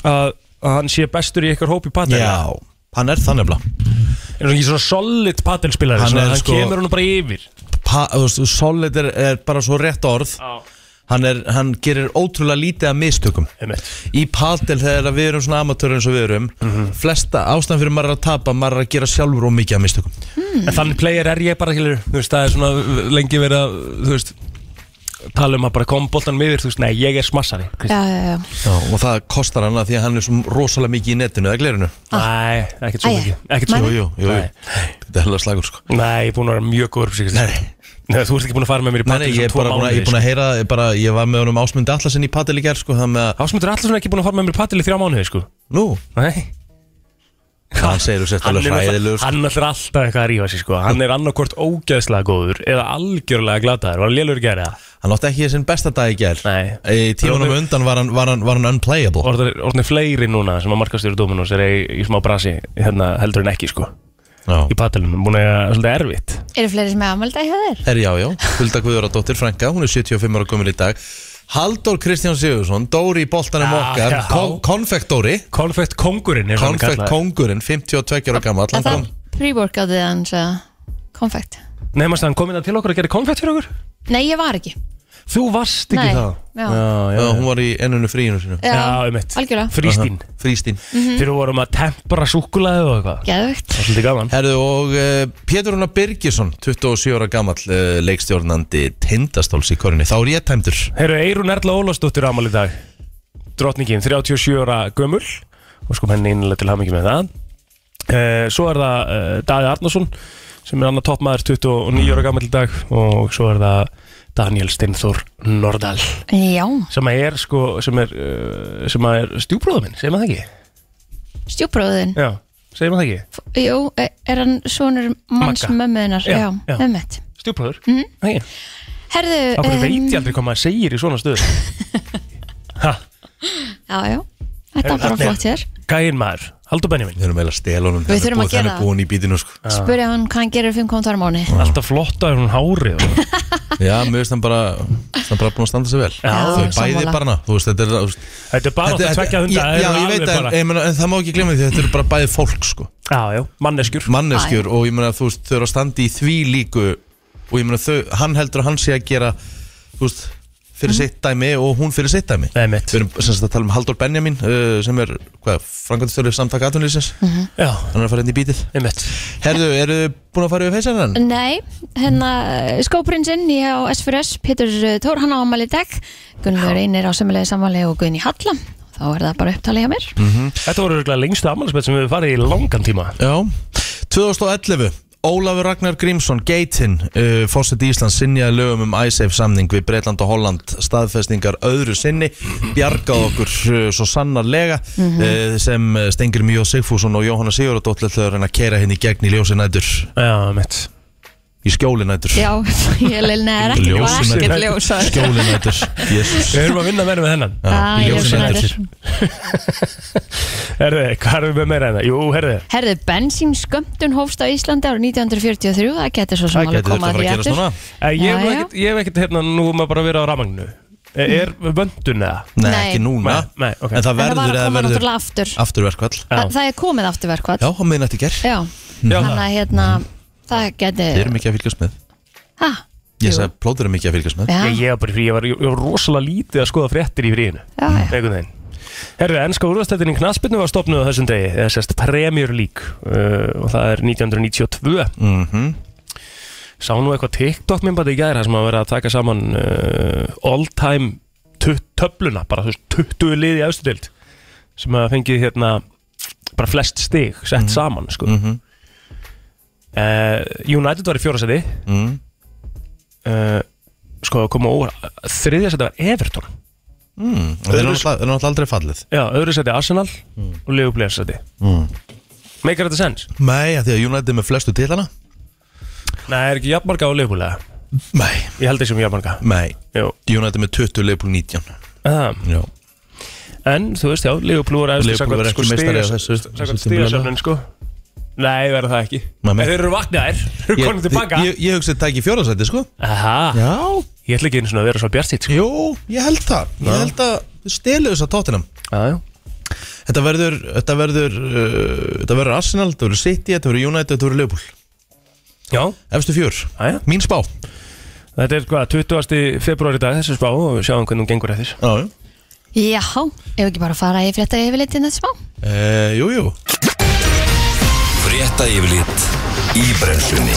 Speaker 2: að, að hann sé bestur í ykkar hóp í patel
Speaker 1: Já, hann er þannig blá
Speaker 2: Er hann ekki svona solid patelspilari
Speaker 1: Hann
Speaker 2: Hann,
Speaker 1: er
Speaker 2: hann
Speaker 1: sko-
Speaker 2: kemur honum bara yfir
Speaker 1: pa, þú veist, Solid er, er bara svo rétt orð hann, er, hann gerir ótrúlega lítið af mistökum
Speaker 2: Einmitt.
Speaker 1: Í padel þegar við erum svona amatörur eins og við erum Flesta ástæðan fyrir maður er að tapa Maður er að gera sjálfur og mikið af mistökum
Speaker 2: En þannig player er ég bara, skilur Þú veist, það er svona lengi verið að Þú veist tala um að bara kom boltan með þér, þú veist, nei, ég er smassari Kristján.
Speaker 3: já, já, já.
Speaker 1: Já, og það kostar hann að því að hann er svo rosalega mikið í netinu eða glerinu
Speaker 2: Nei, ekkert svo
Speaker 3: Æja.
Speaker 2: mikið, ekkert svo
Speaker 1: Jú,
Speaker 3: Nei.
Speaker 2: mikið
Speaker 1: jú, jú, jú.
Speaker 2: Nei.
Speaker 1: Þetta er hefðið slagur sko
Speaker 2: Nei, ég er búin að vera mjög góður fyrir sig
Speaker 1: Nei,
Speaker 2: Nei, þú ert ekki búin að fara með mér í
Speaker 1: nei, nei
Speaker 2: paddel
Speaker 1: ég er bara búin að, ég er búin að heyra ég, bara, ég var með honum ásmundi allasinn í padel í gerð sko Það með að,
Speaker 2: Ásmundur Allarsson er ekki búin að fara með mér í paddel í þrjá mánuði, sko
Speaker 1: nú,
Speaker 2: Nei
Speaker 1: hann segir þessi
Speaker 2: Hann
Speaker 1: alveg
Speaker 2: er,
Speaker 1: hræðilegur
Speaker 2: alltaf,
Speaker 1: sko.
Speaker 2: hann er alltaf eitthvað að rífa sig sko Hann er annarkvort ógeðslega góður Eða algjörlega glataður, var lélur gerði það
Speaker 1: Hann átti ekki sinn besta dag í gerð
Speaker 2: Nei.
Speaker 1: Í tímanum undan var hann, var hann, var hann unplayable
Speaker 2: Orðar- Orðnir fleiri núna sem að markastjóri Dominos er í, í smá brasi hérna, heldur en ekki sko
Speaker 1: Já,
Speaker 2: Í paddalunum, búin að eiga svolítið erfitt
Speaker 3: Eru fleiri sem er afmælda í hjá þér?
Speaker 1: er já, já, Hulda Guðuradóttir Franka, hún er 75 ára gömul í dag Halldór Kristján Sigurðsson, Dóri í boltanum
Speaker 2: Já,
Speaker 1: okkar
Speaker 2: já.
Speaker 1: kon Konfektdóri,
Speaker 2: Konfekt kongurinn er hann
Speaker 1: konfekt
Speaker 2: kallaður.
Speaker 1: kongurinn 52 ára gammal,
Speaker 3: Er
Speaker 1: hann kom
Speaker 3: það pre-workoutið hans að konfekt?
Speaker 2: Nei, mannst að hann kom inn að til okkur að gera konfekt fyrir okkur
Speaker 3: Nei, ég var ekki
Speaker 2: Þú varst ekki
Speaker 3: Nei,
Speaker 2: það
Speaker 3: já.
Speaker 2: já,
Speaker 1: Já, hún var í ennunu fríinu sinu
Speaker 3: Já,
Speaker 2: Já, einmitt.
Speaker 3: algjörlega. Mhm.
Speaker 2: Frístín
Speaker 1: Frístín
Speaker 2: Þegar við vorum að tempra súkulaði og eitthvað
Speaker 3: Geðvögt
Speaker 2: Það er svolítið gaman
Speaker 1: Herðu og uh, Pétur Rúnar Birgisson 27 ára gammal uh, leikstjórnandi tindastóls í korinni, þá er ég tæmdur
Speaker 2: Herru, Eirun Erla Ólafsdóttir ámali í dag Drottningin, 37 ára gömul Og sko henni innlega til hamingi með það uh, Svo er það uh, Daði Arnason Sem er annar toppmaður 29 ára gammal í dag Og svo er það Daniel Steinþór Nordal
Speaker 3: Já,
Speaker 2: Sem að er sko Sem er, uh, sem að er stjúbróða minn, segir maður það ekki?
Speaker 3: stjúbróðin
Speaker 2: Já, segir maður það ekki?
Speaker 3: F- Jú, e- er hann svonur manns
Speaker 2: Magga.
Speaker 3: mömmuðinar?
Speaker 2: Já,
Speaker 3: Já,
Speaker 2: já.
Speaker 3: mömmett
Speaker 2: Stjúbróður? Mm -hmm.
Speaker 3: Herðu
Speaker 2: Það
Speaker 3: em,
Speaker 2: veit ég aldrei hvað maður segir í svona stöðu Ha,
Speaker 3: Já, já,
Speaker 2: Herðu,
Speaker 3: þetta er bara
Speaker 2: þarna er-
Speaker 3: flott hér
Speaker 2: gæinn maður, Haldur Benjamin
Speaker 1: Við erum eiginlega að stela honum
Speaker 3: Við þurfum að gera
Speaker 1: Þannig
Speaker 3: það.
Speaker 1: búin í bítinu sko
Speaker 3: Spurja hann hvað hann gerir 5 kontar mánu
Speaker 2: Alltaf flottaður hún hárið og-
Speaker 1: Já, mér finnst hann bara, finnst hann bara búin að standa sig vel
Speaker 2: Já,
Speaker 1: Þau bæði
Speaker 3: sammála.
Speaker 1: bara hana, þú veist, þetta er þú veist,
Speaker 2: Þetta er bara átt að tvekja hunda
Speaker 1: já,
Speaker 2: þeir
Speaker 1: já,
Speaker 2: eru
Speaker 1: ég
Speaker 2: alveg
Speaker 1: veit að,
Speaker 2: bara-
Speaker 1: en, en, en það má ekki glemja því Þetta eru bara bæði fólk sko
Speaker 2: Já, já, manneskjur
Speaker 1: Manneskjur og ég meina þú veist, þau eru að standa í því líku Og ég meina þau, hann heldur að hann sé að gera Þú veist, fyrir sitt dæmi og hún fyrir sitt dæmi
Speaker 2: Nei, mitt
Speaker 1: Við erum sem sagt að tala um Haldur Benjamin uh, sem er, hvað, frangatistjóri samtaka atvinnlýsins
Speaker 2: Mhm. Já,
Speaker 1: Hann er að fara inn í bítið
Speaker 2: einmitt
Speaker 1: Herðu, eru þið búin að fara yfir feysanan?
Speaker 3: Nei, hérna skóprinsinn í á S4S Pétur eh, Þór, hann á ammali í dag Gunnlaugur Einir á semulegi sammali og Guðni Halla Þá er það bara upptalið hjá mér
Speaker 1: Mm.
Speaker 2: Þetta voru örgulega lengstu afmælisbett sem við hefur farið í langan tíma
Speaker 1: Já 2011 Ólafur Ragnar Grímsson, Geitin, uh, Fawcett Íslands, sinjaði lögum um ISAF samning við Breitland og Holland, staðfestingar öðru sinni, bjargað okkur uh, svo sannarlega mm
Speaker 3: Mhm.
Speaker 1: sem eh, Stengir Mjó Sigfússon og Jóhanna Sigurðardóttir ætlaðu að reyna að keira henni gegn í ljósinætur,
Speaker 2: Já, einmitt
Speaker 1: í skjólinætur
Speaker 3: Já, ég leil neðar ekki, það var
Speaker 1: Ljósin
Speaker 3: ekkert
Speaker 2: er-
Speaker 3: ljós þar.
Speaker 1: Skjólinætur, jésus
Speaker 2: Við erum að vinna meira með hennan
Speaker 3: Ah,
Speaker 1: í
Speaker 3: í
Speaker 1: ljósin
Speaker 3: ljósin
Speaker 1: nætur.
Speaker 3: nætur.
Speaker 2: Herðu, hvað erum við með meira hennan? Jú, herðu
Speaker 3: Herðu, bensínskömmtun hófst á Íslandi árið 1943, það getur svo sem
Speaker 1: Það
Speaker 3: alveg
Speaker 1: getur þetta
Speaker 3: komað
Speaker 1: að fara að gerast núna
Speaker 2: Eh, Ég hef
Speaker 3: Já,
Speaker 2: nú
Speaker 3: já.
Speaker 2: ekkert, ég hef ekkert hérna nú maður bara verið á rafmagnu Eh, Er vöndun eða?
Speaker 1: Nei,
Speaker 3: Nei.
Speaker 1: ekki núna
Speaker 2: Nei, nei, ok.
Speaker 1: En það
Speaker 3: En það var
Speaker 1: verður
Speaker 3: að
Speaker 1: eða
Speaker 3: koma
Speaker 1: verður
Speaker 3: náttúrulega aftur
Speaker 1: afturverkvall
Speaker 2: Já.
Speaker 3: Þa, Það er komið aftur
Speaker 1: Já,
Speaker 3: verkvall
Speaker 1: á miðnætti ger
Speaker 3: Já,
Speaker 2: Já,
Speaker 3: þannig að hérna, það
Speaker 1: Við
Speaker 3: getur
Speaker 1: erum ekki að fylgjast með
Speaker 3: Ha,
Speaker 1: Ég
Speaker 3: Jú.
Speaker 1: sagði plóður er mikið að fylgjast með
Speaker 3: já,
Speaker 2: Ég,
Speaker 3: já,
Speaker 2: ég var bara í frí, ég var, ég var rosalega lítið að skoða fréttir í fríinu
Speaker 3: já
Speaker 2: einhvern veginn Herru, ennska úrvastættin í knaspinu var stopnuð á þessum degi, eða sérst Premier League uh, og það er 1992
Speaker 1: mm
Speaker 2: Sá nú eitthvað TikTok minnbæti í gæri þar sem að vera að taka saman uh, all time tu- töfluna, bara þú veist 20 lið í austudild sem að fengið hérna bara flest stig sett saman sko. mm
Speaker 1: Mhm.
Speaker 2: United var í fjóra seti
Speaker 1: mm.
Speaker 2: uh, sko koma óvar þriðja seti var Everton
Speaker 1: mm. Það er
Speaker 2: Öðru-
Speaker 1: náttúrulega aldrei fallið
Speaker 2: Já, öðru seti Arsenal og Liverpool í efsta seti
Speaker 1: Mm.
Speaker 2: Make it sense?
Speaker 1: Nei, af því að United er með flestu titlana
Speaker 2: Nei, er ekki jafnmarga á leifbúlega?
Speaker 1: Nei,
Speaker 2: Ég held þessum jafnmarga
Speaker 1: nei
Speaker 2: Jú
Speaker 1: United er með 20 leifbúl 19
Speaker 2: Aha.
Speaker 1: Já,
Speaker 2: En þú veist, já, Leifbúl var sko, eðstu
Speaker 1: Liverpool var ekki meistari á þessu- þessu
Speaker 2: Sækvæmt
Speaker 1: tímabili.
Speaker 2: stíðasöfnun, sko Nei, verða það ekki
Speaker 1: Nei, nei.
Speaker 2: En Þeir eru vaknaðir, þeir eru konum
Speaker 1: ég,
Speaker 2: tilbaka
Speaker 1: ég, ég hugsi að taka í fjórðarsæti, sko
Speaker 2: Aha,
Speaker 1: Já,
Speaker 2: ég ætla ekki einu svona að vera svo bjartýtt sko.
Speaker 1: jú, ég held það Ég held að við stelu þess að tóttinam
Speaker 2: Já, já
Speaker 1: Þetta verður, þetta verður uh, Þetta verður Arsenal, þetta verður City, þetta verður United, þetta verður leifbúl
Speaker 2: Já,
Speaker 1: Efstu fjör,
Speaker 2: aðja
Speaker 1: mín spá
Speaker 2: Þetta er hvað, 20. februar í dag þessu spá og við sjáum hvernig hún gengur eftir
Speaker 1: Já, já
Speaker 3: Já, ef ekki bara fara í frétta yfirleitin þetta smá
Speaker 1: Uh, jú, jú
Speaker 4: Frétta yfirlit í brennslunni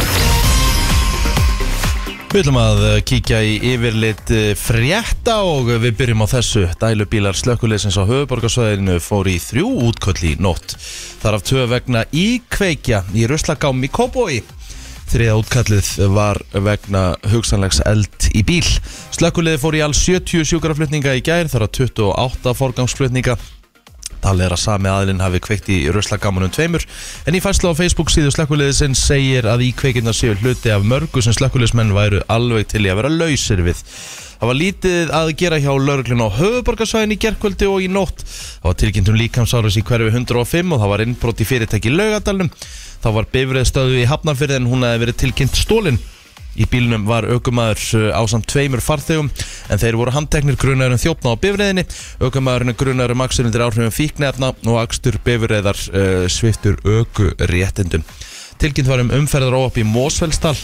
Speaker 1: Við ætlum að eh, kíkja í yfirlit eh, frétta og eh, við byrjum á þessu. Dælubílar slökkuleysins á höfuborgarsvæðinu fór í þrjú útköll í nótt. Þar af tvö vegna íkveikja í ruslagám í Kóbói. Þriða útkallið var vegna hugsanlegs eld í bíl. Slökkuleið fór í alls 70 sjúkraflutninga í gær, þar af 28 forgangsflutninga Talið er að sami aðlinn hafi kveikt í ruslagamunum tveimur en í fæslu á Facebook síðu slökkuleiðisinn segir að íkveikinna séu hluti af mörgu sem slökkuleiðismenn væru alveg til í að vera lausir við. Það var lítið að gera hjá lauruglun á höfuborgarsvæðin í gerkvöldi og í nótt. Það var tilkynntum líkamsáris í hverfi 105 og það var innbrot í fyrirtæki í laugadalnum. Það var bifrið stöðu í hafnafyrði en hún hafi verið tilkynnt stólinn. Í bílnum var aukumæður ásamt tveimur farþegum en þeir voru handteknir grunarum þjófna á bifriðinni. Aukumæðurinn grunarum akstur um undir áhrifum fíknefna og akstur bifriðar uh, sviftur aukuréttindum. Tilkynnt var um umferðar óop í Mósfellsdal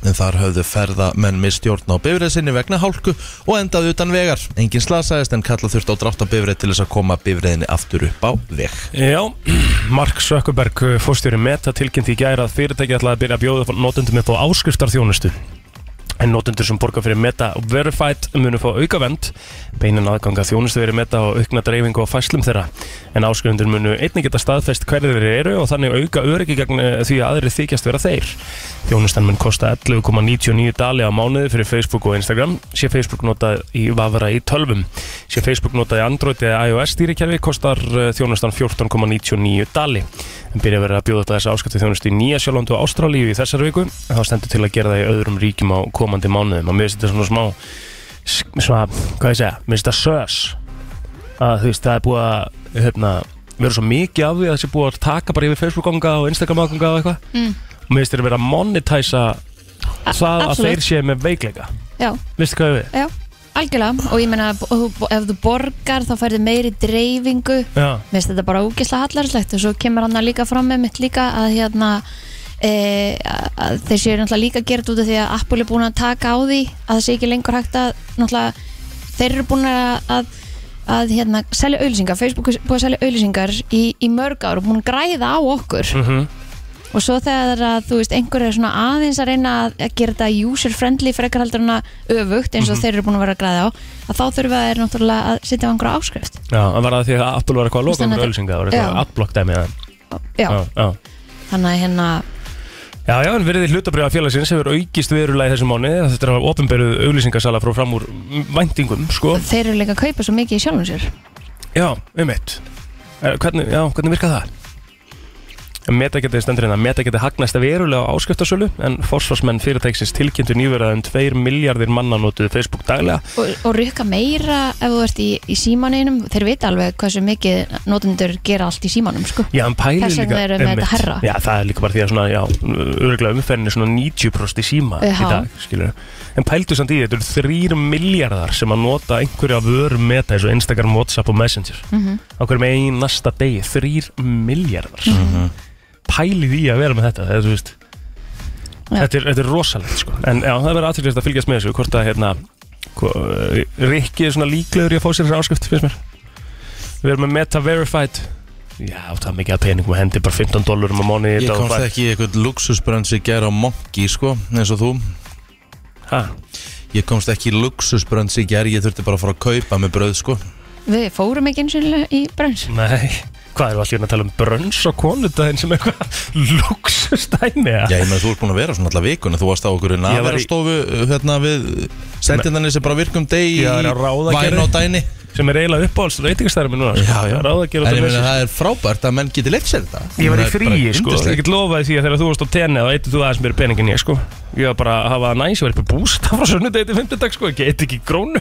Speaker 1: en þar höfðu ferðamenn mistjórn á bifrið sinni vegna hálku og endaði utan vegar. Engin slasaðist en kalla þurft á drátt á bifrið til þess að koma bifriðinni aftur upp á veg.
Speaker 2: Já, Mark Sökkuberg fórstjóri Meta tilkynnti í gæra að fyrirtæki ætlaði að byrja að bjóða notendum upp á áskriftarþjónustu en notendur sem borga fyrir Meta Verified munu fá auka vend beinan aðganga þjónustu verið Meta og aukna dreifingu á fæslum þeirra en áskrifundur munu einnig geta staðfest hverðir þeir eru og þannig auka öryggi gegn eh, því að aðri þykjast vera þeir Þjónustan mun kosta 11,99 dali á mánuði fyrir Facebook og Instagram sé Facebook notað í vafra í tölvum sé Facebook notað í Android eða iOS stýrikerfi kostar eh, þjónustan 14,99 dali en byrja verið að bjóða upp á þessa áskapti þjónustu í Nýja Sjálfland og Ástralíu í þessar viku en þá stendur til að gera það í öðrum ríkjum á komandi mánuðum og mér finnst þetta svona smá sk- svona, hvað ég segja, mér finnst þetta sös að þú veist, það er búið að hérna, vera svo mikið af því að það sé búið að taka bara yfir Facebook-anga og Instagram-anga og eitthvað
Speaker 3: Mm.
Speaker 2: og mér finnst þetta vera að monetæsa það að
Speaker 3: absolutt.
Speaker 2: þeir séu með veikleika
Speaker 3: Já,
Speaker 2: veistu hvað ég við?
Speaker 3: já, algjörlega og ég meina b- þú- b- ef þú borgar þá færðu meiri dreifingu
Speaker 2: Já,
Speaker 3: Mér finnst þetta bara ógislega hallarslegt og svo kemur hann líka fram með mitt líka að hérna e, að þeir séu náttúrulega líka gert út af því að Apple er búin að taka á því að það sé ekki lengur hægt að náttúrulega þeir eru búin að, að, að hérna, selja auðlýsingar, Facebook er búin að selja auðlýsingar í, í mörg ár og búin að græða á okkur
Speaker 2: mhm,
Speaker 3: og svo þegar að þú veist einhver er svona aðeins að reyna að að gera þetta user friendly frekar heldur en að öfugt eins og
Speaker 1: Mhm.
Speaker 3: þeir eru búin að vera að græða á að þá þurfa þeir náttúrulega að sitja á einhverja áskrift
Speaker 2: já, það var það því að Apple var eitthvað að
Speaker 3: Veistu
Speaker 2: loka um
Speaker 3: þannig að-
Speaker 2: ölsinga, það var eitthvað
Speaker 3: Já.
Speaker 2: adblock dæmi eða-
Speaker 3: já,
Speaker 2: já, já.
Speaker 3: þannig að hérna
Speaker 2: Já, já, en verðið hlutabriða félagsins hefur aukist verulega í þessum mánu þetta er ofinberið auglýsingasala frá fram úr mm, væntingum, sko
Speaker 3: þeir eru líka að kaupa svo mikið í sjálfum sér
Speaker 2: Já, um eitt hvernig, Já, hvernig virka það? Meta getið stendur hérna Meta getið hagnast verulega á áskiptasölu en forsvarsmenn fyrirtæksins tilkynntu nýverða um 2 miljardir manna notuðu Facebook daglega
Speaker 3: og, og rukka meira ef þú ert í, í símaninum þeir vita alveg hversu mikið notendur gera allt í símanum sko.
Speaker 2: Já, en pælir
Speaker 3: Þess vegna
Speaker 2: líka
Speaker 3: eru með
Speaker 2: einmitt.
Speaker 3: þetta hærra.
Speaker 2: Já, það er líka bara því að svona, já, örgulega umferðin er svona 90% í síma
Speaker 3: Já.
Speaker 2: í dag, skilur En pældu samt í því, þetta eru 3 miljardar sem að nota einhverja vörum Meta eins og Instagram, Whatsapp og Messenger
Speaker 3: mm -hmm.
Speaker 2: á hverjum einasta degi 3 miljardar mm
Speaker 3: Mhm.
Speaker 2: pælið í að vera með þetta þegar þú veist
Speaker 3: Já.
Speaker 2: þetta er, þetta er rosalegt sko en já, það verður aðtrygglist að fylgjast með þessu hvort að hérna hvo- eh, Rikki er svona líklegur í að fá sér þessar áskrift finnst mér við erum með Meta Verified já, það er mikið að peningum að hendi bara 15 dólarum á mánu
Speaker 1: Ég komst ekki í eitthvað luxusbrönds í gær á Monkey sko, eins og þú. Ég komst ekki í luxusbrönds í gerð, ég þurfti bara að fara að kaupa með bröð sko
Speaker 3: við fórum ekki eins og í brönns
Speaker 2: nei Hvað erum við allir að tala um brönns og konudaginn sem eitthvað luxustæmi? eða?
Speaker 1: Já, ég með þú ert búin að vera svona alla vikuna, þú varst á okkur
Speaker 2: Ég var í-
Speaker 1: naverastofu í... hérna við sendindanir sem bara virkum deg í
Speaker 2: Já, það er á ráðagerði.
Speaker 1: væn og dæni
Speaker 2: Sem er eiginlega uppáhalds reytingastæmi núna. sko. Ráðagerð og
Speaker 1: En ég
Speaker 2: Delicious.
Speaker 1: meina það er frábært að menn geti leitt sér þetta
Speaker 2: Ég var
Speaker 1: Það er
Speaker 2: í
Speaker 1: bara
Speaker 2: fríi sko,
Speaker 1: yndislegt.
Speaker 2: ég get lofaði því að þegar þú varst á tenni þá eitthvað þú aðeins meira pening en ég sko Ég var bara að hafa það næs, ég var upp í bústa frá sunnudegi til fymtudag sko, ég get ekki krónu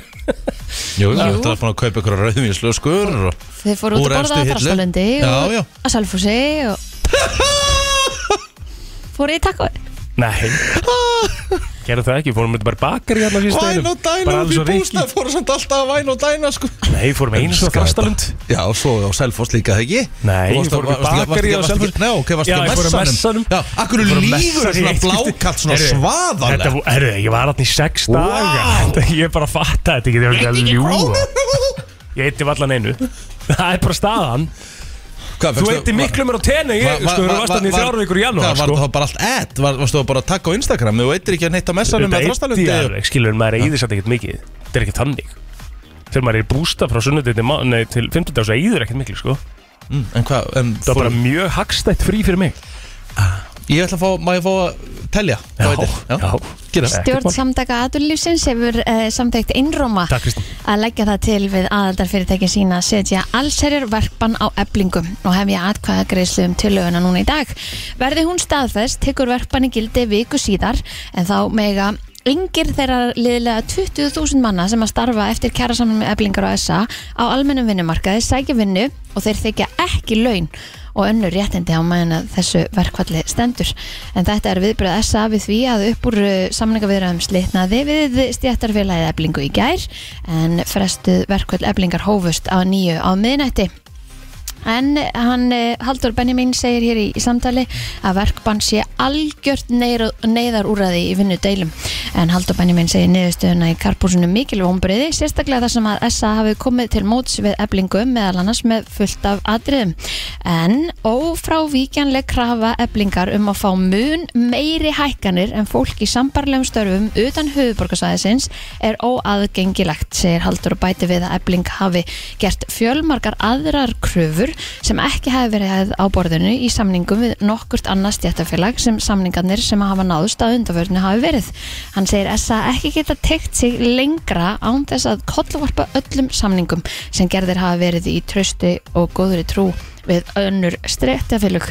Speaker 1: Jú, þú
Speaker 3: Jú.
Speaker 1: ert að fara að kaupa ykkur rauðvinslöskur og...
Speaker 3: þeir fóru út
Speaker 1: Úr
Speaker 3: að
Speaker 1: efstu
Speaker 3: borða að
Speaker 1: hillu.
Speaker 3: þrastalöndi
Speaker 1: Já, já.
Speaker 3: og að salfúsi og fóru í takkói
Speaker 2: Nei Gerðu það ekki, fórum við bara bakar í hérna síðan
Speaker 1: Væn og dæna upp í bústa fóru samt alltaf að væn og dæna sko
Speaker 2: Nei, fórum einu svo
Speaker 1: Elska
Speaker 2: þrastalund
Speaker 1: Já, og svo á Selfoss líka, það ekki?
Speaker 2: Nei,
Speaker 1: Þú varst
Speaker 2: fórum í
Speaker 1: varst- varst-
Speaker 2: bakarí á
Speaker 1: varst- varst-
Speaker 2: Selfoss.
Speaker 1: Nei, ok, varst
Speaker 2: Já,
Speaker 1: ekki
Speaker 2: ég fór á
Speaker 1: að messanum
Speaker 2: messanum.
Speaker 1: Já, akkur
Speaker 2: Ég fór á
Speaker 1: lífur
Speaker 2: messanum í
Speaker 1: svona
Speaker 2: eitt skipti.
Speaker 1: blákalt, svona
Speaker 2: Heyrðu, Þetta,
Speaker 1: svaðalega
Speaker 2: vo- herru, ég var hann í sex
Speaker 1: Vá.
Speaker 2: daga Ég bara fatta þetta, ég get ekki að ljúa
Speaker 1: krónu
Speaker 2: Ég eitti vallan einu Það er bara staðan
Speaker 1: Hvað,
Speaker 2: Þú
Speaker 1: fékkstu-
Speaker 2: veitir
Speaker 1: va-
Speaker 2: miklu mér á tenni Ég
Speaker 1: va-
Speaker 2: sko
Speaker 1: va-
Speaker 2: eru
Speaker 1: va-
Speaker 2: vastan í
Speaker 1: var-
Speaker 2: þrjára vikur í janúar
Speaker 1: Hvað, var
Speaker 2: sko
Speaker 1: það bara allt ad? Var, varstu það bara að taka á Instagram? Þú veitir ekki að neitt að messa
Speaker 2: Þetta
Speaker 1: með
Speaker 2: eyddi
Speaker 1: þrastalundi?
Speaker 2: alveg, Skilur, maður eyðir samt ekkert mikið Þetta er ekkert þannig Þegar maður er í bústa frá sunnudegi Nei, til 50 dags Það eyðir ekkert miklu sko
Speaker 1: Mm, en hvað, en
Speaker 2: Það er
Speaker 1: fór-
Speaker 2: bara mjög hagstætt frí fyrir mig
Speaker 1: Ég ætla að fá, má ég fá að telja?
Speaker 2: Já,
Speaker 1: Hvað heitir?
Speaker 2: já.
Speaker 1: Gera það.
Speaker 2: Ekkert
Speaker 3: Stjórn
Speaker 2: mál.
Speaker 3: samtaka aðurlífsins hefur uh, samtækt innróma
Speaker 2: Takk Kristinn
Speaker 3: að leggja það til við aðaldarfyrirtækin sína að setja allserjar verkbann á eflingu og hefja atkvæða greiðslu um tillöguna núna í dag. Verði hún staðfest tekur verkbanni gildi viku síðar en þá mega yngir þeirra liðlega 20.000 manna sem að starfa eftir kjærasamnum eflingar og SA á almennum vinnumarkaði sækja vinnu og þeir þykja ekki laun og önnur réttindi á meðan að þessu verkvalli stendur. En þetta er viðbröð SA við því að upp úr uh, samningaviðræðum slitnaði við stjættarfélagið eblingu í gær en frestuð verkvall eblingar hófust á nýju á miðnætti. En hann, eh, Halldór Benjamin segir hér í, í samtali að verkbann sé algjört neyru- neyðarúræði í vinnu deilum. En Halldór Benjamin segir niðurstöðuna í karpúsinu mikil vombriði, sérstaklega þar sem að SA hafi komið til móts við eblingu meðal annars með fullt af atriðum. En ófrávíkjanleg krafa eblingar um að fá mun meiri hækkanir en fólk í sambarlegum störfum utan höfuborgarsæðisins er óaðgengilegt, segir Haldur og bæti við að ebling hafi gert fjölmargar aðrar kröfur sem ekki hafi verið á borðinu í samningum við nokkurt annað stjættafélag sem samningarnir sem hafa náðust að undaförnu hafi verið. Hann segir SA ekki geta tekt sig lengra án þess að kollvarpa öllum samningum sem gerðir hafi verið í trösti og góðri trú við önnur streyttafélug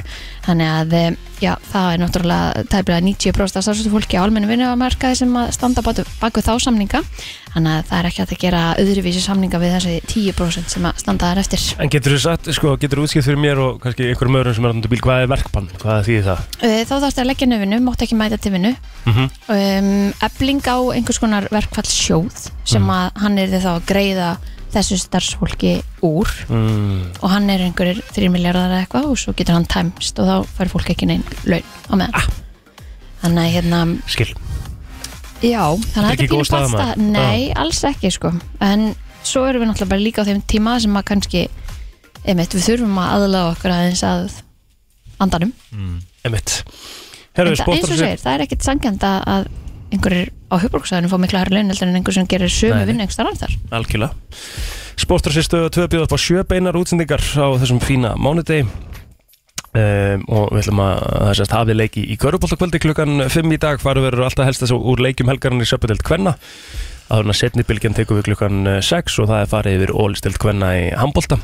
Speaker 3: þannig að eh, já, það er náttúrulega tæpilega 90% af starfsöldu fólki á almennu vinnumarkaði sem að standa bak við- bak við þá samninga þannig að það er ekki hægt að gera öðruvísi samninga við þessi 10% sem að standa þar eftir
Speaker 2: En getur þú sagt, sko, getur þú útskipt fyrir mér og kannski einhverjum öðrum sem er andur bíl, hvað er verkbann? Hvað þýðir það?
Speaker 3: Eh, þá þarfst að leggja nöfinu, mátt ekki mæta til vinnu
Speaker 2: Mm -hmm.
Speaker 3: um, ebling á einhvers konar verkfallssjóð sem
Speaker 2: Mhm.
Speaker 3: að hann er þá að greiða þessu starfsfólki úr
Speaker 2: mm,
Speaker 3: og hann er einhverjir 3 miljardar eða eitthvað og svo getur hann tæmst og þá fær fólk ekki neinn laun á meðan
Speaker 2: Ah.
Speaker 3: þannig að hérna,
Speaker 2: skil
Speaker 3: já þannig að
Speaker 2: Þetta er
Speaker 3: þetta
Speaker 2: ekki
Speaker 3: er pínu
Speaker 2: góð staða,
Speaker 3: pasta
Speaker 2: maður.
Speaker 3: nei, alls ekki sko en svo erum við náttúrulega bara líka á þeim tíma sem að kannski, einmitt, við þurfum að aðlaga okkur aðeins að andanum,
Speaker 2: Eh.
Speaker 1: Mm.
Speaker 2: Emitt Herru,
Speaker 3: en það, eins og
Speaker 2: spottar
Speaker 3: þú segir, það er ekkit sangjand að, að einhverjir á höfbruksæðinu fá mikla hærri laun heldur en einhver sem gerir sömu
Speaker 2: Nei, nei.
Speaker 3: vinnu einhverjum starf þar
Speaker 2: Algjörlega Spottar sér stöðu að tvö bjóða upp á sjö beinar útsendingar á þessum fína mánudegi um, og við ætlum að það sést hafið leiki í Köruboltakvöldi klukkan 5 í dag faru verður alltaf helst þessu úr leikjum helgarinn í Söpudeld Kvenna áður en að setni bylgjan tekur við klukkan eh, 6 og það er farið yfir Ólistild Kvenna í Hambolta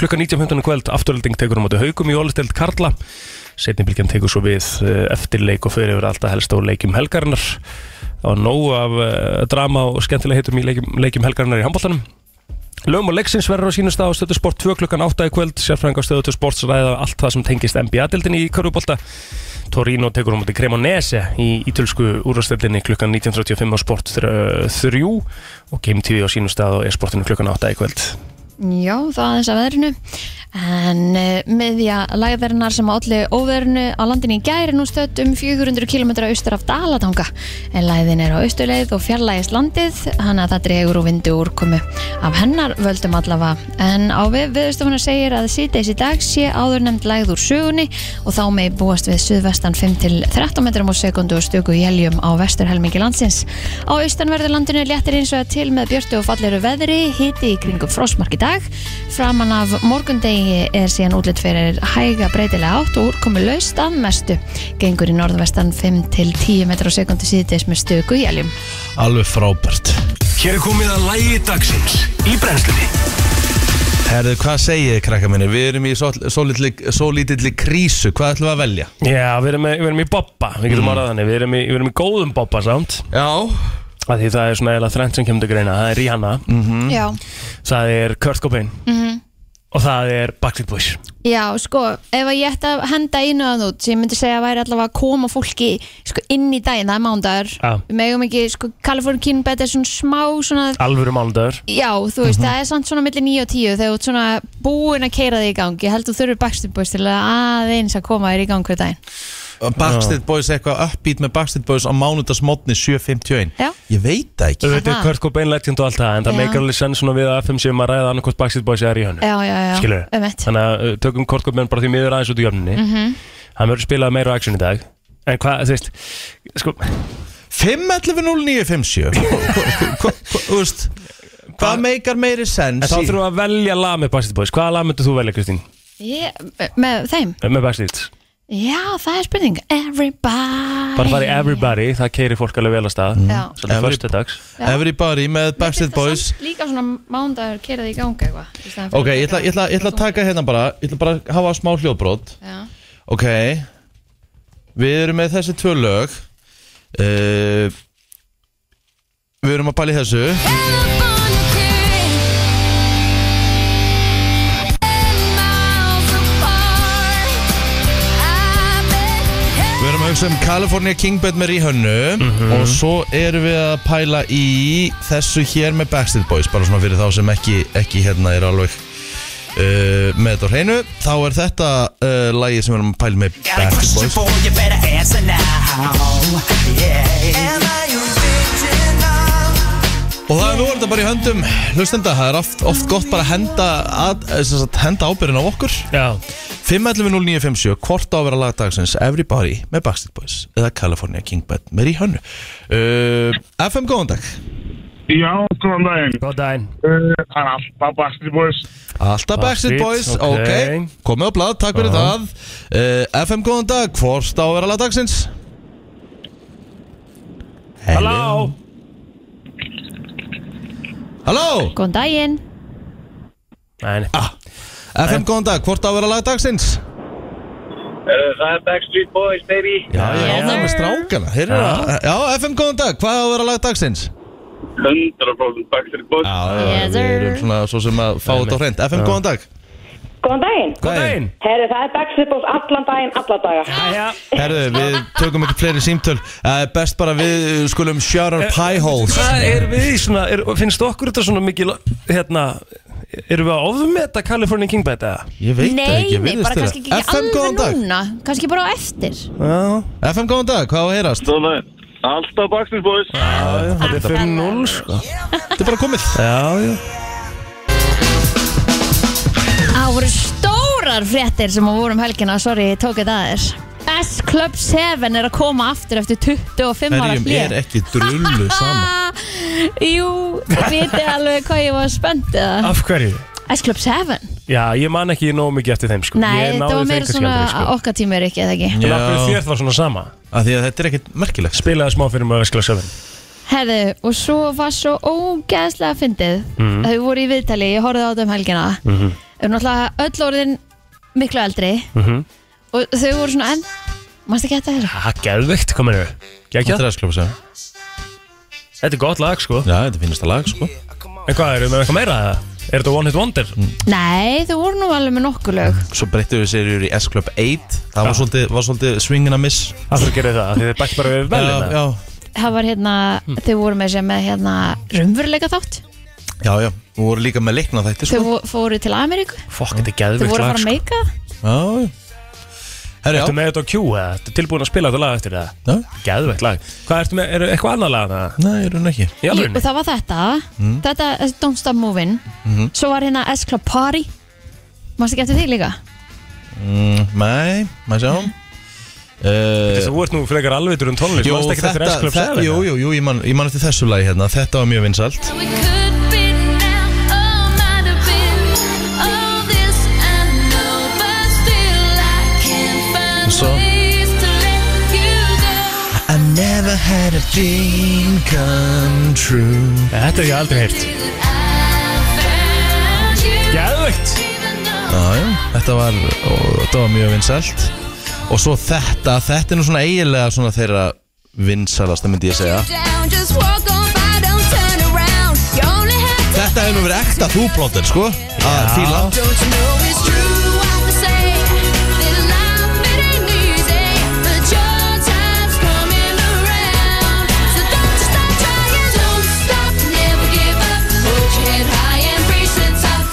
Speaker 2: klukkan 19.15 í kvöld afturölding tekur á móti haugum í Ólistild Karla setni bylgjan tekur svo við eh, eftir leik og fyrir yfir alltaf helst á leikjum helgarinnar það var nóg af uh, drama og skemmtilega heitum í leikjum, leikjum helgarinnar í handbóltanum Lögum og leiksins verður á sínum stað á stöðu sport 2 klukkan 8 í kvöld, sérfræðing á stöðu 2 sports ræða allt það sem tengist NBA-dildinni í körfubólta Torino tekur á móti Cremonese í ítölsku úrvastildinni klukkan 19.35 á sport 3 og Game TV á sínum stað á e-sportinu klukkan 8 í kvöld
Speaker 3: Já, það aðeins að veðrinu en uh, miðja læðarinnar sem átli óveðrinu á landinni í gæri nú stött um 400 km austur af Dalatanga en læðin er á austurleið og fjarlægist landið hann að það dregur og vindu úrkomi af hennar völdum allavega en á við viðstofuna segir að síðdeis í dag sé áður nefnd læð úr sögunni og þá megi búast við suðvestan 5 til 13 metrum á sekundu og stöku jæljum á vesturhelmingi landsins. Á austanverðu landinu léttir eins og til með björtu og falleru veðri, hiti í kringum frostmark í dag. Framan af morgundegi er síðan útlitt fyrir hæga breytilega átt og úrkomi laust að mestu. Gengur í norðvestan 5 til 10 metrum á sekundu síðdegis með stöku jæljum.
Speaker 1: Alveg frábært.
Speaker 2: Hér er komið að lægi dagsins í brennslunni
Speaker 1: Herðu, hvað segið þið, krakka minni? Við erum í svolítilli krísu. Hvað ætlum við að velja?
Speaker 2: Já, við erum, með- við erum í bobba, við getum mm. orðað þannig, við erum, í, við erum í góðum bobba samt
Speaker 1: Já.
Speaker 2: að því það er svona eiginlega þrennt sem kemur til greina það er Rihanna,
Speaker 3: Já.
Speaker 2: það er Kurt Cobain
Speaker 3: Mhm.
Speaker 2: og það er Backstreet Boys
Speaker 3: Já, sko, ef að ég ætti að henda einu að út sem ég myndi segja að væri allavega að koma fólki sko, inn í daginn, það er mándagur
Speaker 2: Já.
Speaker 3: við megum ekki, sko, Kalifornikinn þetta er svona smá, svona,
Speaker 2: alvöru mánudagur
Speaker 3: já, þú
Speaker 2: Mhm.
Speaker 3: veist, það er samt svona milli 9 og 10 þegar þú ert svona búin að keira þig í gang ég held þú þurfur backstreet boys til að aðeins að koma þér í gang hver daginn
Speaker 1: Uh, Backstreet Boys eitthvað uppbít með Backstreet Boys á mánudagsmotni 7.51
Speaker 3: Já.
Speaker 1: Ég veit það
Speaker 2: Þú
Speaker 1: ekki
Speaker 2: veit,
Speaker 3: Aha.
Speaker 2: Kurt Cobain legend og allt það En það
Speaker 3: Já.
Speaker 2: meikar alveg senn svona við að FM séum að ræða annarkvæmt Backstreet Boys eða Ríhönnu
Speaker 3: já, já, Um já,
Speaker 2: Skilurðu?
Speaker 3: einmitt. Mhm.
Speaker 2: Þannig að uh, tökum Kurt Cobain bara því miður aðeins út í jöfninni Hann verður spilað meira á action í dag En hvað, þú veist Sko,
Speaker 1: 5.11.09.57 Þú veist Hvað meikar meiri sens
Speaker 2: en þá þurfum við að velja lag með Backstreet Boys Hvaða lag myndir þú velja, Kristín?
Speaker 3: Ég, með þeim
Speaker 2: Eh, Með Backstreet
Speaker 3: já, það er spurning everybody
Speaker 2: Bara fara í Everybody, það keiri fólk alveg vel að stað
Speaker 3: Mm. Já.
Speaker 2: Svolítið
Speaker 1: Every-
Speaker 2: föstudags
Speaker 1: Everybody með Backstreet Boys
Speaker 3: líka svona mándagur kerað í gangi eitthvað í staðinn fyrir
Speaker 1: Ok, ég ætla, ég, ætla, ég ætla að taka hérna bara Ég ætla bara að hafa smá hljóðbrot
Speaker 3: Já.
Speaker 1: Ok Við erum með þessi tvö lög uh, Við erum að pæla í þessu Við erum að hugsa um California Kingbed með Ríhönnu Og svo erum við að pæla í Þessu hér með Backstreet Boys Bara svona fyrir þá sem ekki, ekki hérna er alveg uh, Með þetta á hreinu Þá er þetta uh, lagið sem við erum að pæla með
Speaker 4: Got a question
Speaker 1: Backstreet Boys
Speaker 4: for you, better answer now. Yeah. Am I your victim?
Speaker 1: Og það er við vorum þetta bara í höndum Hlustenda, það er oft, oft gott bara að henda að, að, að Henda ábyrðin á okkur
Speaker 2: Já,
Speaker 1: 5.11.09.57 Hvort á að vera lagdagsins Everybody með Backstreet Boys Eða California Kingbed með Ríhönnu uh, FM, góðan dag
Speaker 5: Já, góðan daginn.
Speaker 2: góð daginn
Speaker 5: Uh, Það er alltaf Backstreet Boys.
Speaker 1: Alltaf Backstreet
Speaker 2: Backstreet,
Speaker 1: Boys, ok,
Speaker 2: ok.
Speaker 1: Komið á blad, takk fyrir það uh, FM, góðan dag, hvort á að vera lagdagsins?
Speaker 2: Halló
Speaker 1: Halló,
Speaker 3: góðan daginn
Speaker 2: Nei, nei.
Speaker 1: FM, góðan dag, hvort á að vera lagdagsins?
Speaker 6: Það er Backstreet Boys, baby
Speaker 1: Já, ég
Speaker 2: Já.
Speaker 1: er ánægð með strákana Þeir eru að- Já, FM, góðan dag, hvað á að vera lagdagsins?
Speaker 6: 100% Backstreet Boys
Speaker 1: Já,
Speaker 3: Yes,
Speaker 1: við
Speaker 3: sir.
Speaker 1: erum svona svo sem að fá þetta á hreint FM, góðan dag
Speaker 7: Góðan daginn.
Speaker 2: Góð daginn
Speaker 7: Herri, það er Backstreet Boys allan daginn, alla daga.
Speaker 2: Æja
Speaker 1: Herðu, við tökum ekki fleiri símtöl uh, Best bara við uh, skulum shut our pie holes
Speaker 3: Eh,
Speaker 2: Hvað er við í svona, er, finnst okkur þetta svona mikið, hérna, erum við að ofmeta California King Bad eða?
Speaker 1: Ég veit það
Speaker 3: nei,
Speaker 1: ekki, ég
Speaker 3: nei,
Speaker 1: virðist
Speaker 3: bara
Speaker 1: þeirra.
Speaker 3: kannski ekki
Speaker 1: FM, góðan
Speaker 3: alveg
Speaker 1: dag
Speaker 3: núna kannski bara á eftir
Speaker 2: Já,
Speaker 1: FM, góðan dag, hvað á að heyrast?
Speaker 6: Alltaf Backstreet Boys
Speaker 2: þetta er 5-0 sko.
Speaker 1: Þetta er bara komið
Speaker 2: Já, já.
Speaker 3: það voru stórar fréttir sem að voru um helgina sorry, ég tók þetta aðeins S Club 7 er að koma aftur eftir 25 ára
Speaker 1: Herjum
Speaker 3: hlé
Speaker 1: er ekki drullu saman
Speaker 3: Ah,
Speaker 2: e-
Speaker 3: Jú, vitið alveg hvað ég var spennt eða?
Speaker 2: Af hverju?
Speaker 3: S Club 7
Speaker 2: Já, ég man ekki nóg mikið eftir þeim sko.
Speaker 3: Nei,
Speaker 2: Ég náði
Speaker 3: það var
Speaker 2: þeim
Speaker 3: meira
Speaker 2: kannski
Speaker 3: svona
Speaker 2: aldrei, sko.
Speaker 3: okkar tíma er ekki, eða ekki
Speaker 2: En af hverju
Speaker 1: Já,
Speaker 2: þér það var svona sama?
Speaker 1: af því að þetta er ekkert merkilegt sko.
Speaker 2: Bilaði smá fyrir maður veskla sjöfn
Speaker 3: Herðu, og svo var svo ógeðslega fyndið Þau voru í viðtali, ég horfði á þetta um helgina Þau voru náttúrulega öll orðin miklu eldri
Speaker 2: Mhm.
Speaker 3: Og þau voru svona enn Manstu ekki þetta þeirra?
Speaker 2: Það geðveikt, hvað mennur við? Gekja?
Speaker 1: Þetta er að sklupa segja
Speaker 2: Þetta er gott lag sko
Speaker 1: Já, þetta finnst að lag, sko
Speaker 2: En hvað, erum við með eitthvað meira eða? Er þetta One Hit Wonder?
Speaker 3: Nei, þau voru nú alveg með nokkur lög
Speaker 1: Svo breyttu við serjur í S-Club 8 Það var
Speaker 2: Já.
Speaker 1: svolítið, var svolítið swingin að miss
Speaker 2: Af hverju gerir það? Af Því þið bætt bara við velina
Speaker 1: já,
Speaker 3: Það var hérna, þau voru með sem með hérna Rumveruleika þátt
Speaker 1: já, já Þú voru líka með leikna þætti,
Speaker 3: Þau
Speaker 1: sko
Speaker 3: vo- fóru til Ameríku
Speaker 2: Fokk, þetta er
Speaker 3: Þau
Speaker 2: geðveikt
Speaker 3: voru
Speaker 2: lag
Speaker 3: að fara að
Speaker 2: sko
Speaker 3: meika það.
Speaker 1: Já, já Herri,
Speaker 2: Ertu
Speaker 1: já
Speaker 2: með þetta á Q eða? Ertu tilbúin að spila þetta lag eftir það?
Speaker 1: Já.
Speaker 2: Gæðvegt lag Hvað ertu með, er eitthvað annað lag það?
Speaker 1: Nei, er hún ekki
Speaker 2: Í
Speaker 3: Jú,
Speaker 2: alveg
Speaker 3: og það var þetta
Speaker 1: Mhm.
Speaker 3: Þetta, þessi Don't Stop Movin Svo var hérna S Club Party Mástu ekki eftir því líka?
Speaker 1: Mm, Nei, maður sjá uh,
Speaker 2: Þú ert nú frekar alveitur um tónlist
Speaker 1: Jú,
Speaker 2: Manstu ekki þetta
Speaker 1: þetta,
Speaker 2: S-Club
Speaker 1: þe-
Speaker 2: 7
Speaker 1: jú, jú, jú, ég man, ég man eftir þessu lagi hérna Þetta var mjög vinsalt Svo. I never had a dream come true
Speaker 2: Nei, Þetta hef ég aldrei heyrt Gæðvegt
Speaker 1: Já, já, þetta var, ó, þetta var mjög vinsalt Og svo þetta, þetta er nú svona eiginlega svona þeirra vinsalasta myndi ég segja Þetta hefur nú verið ekta þúbrotir, sko Að fíla
Speaker 4: Don't you know it's true?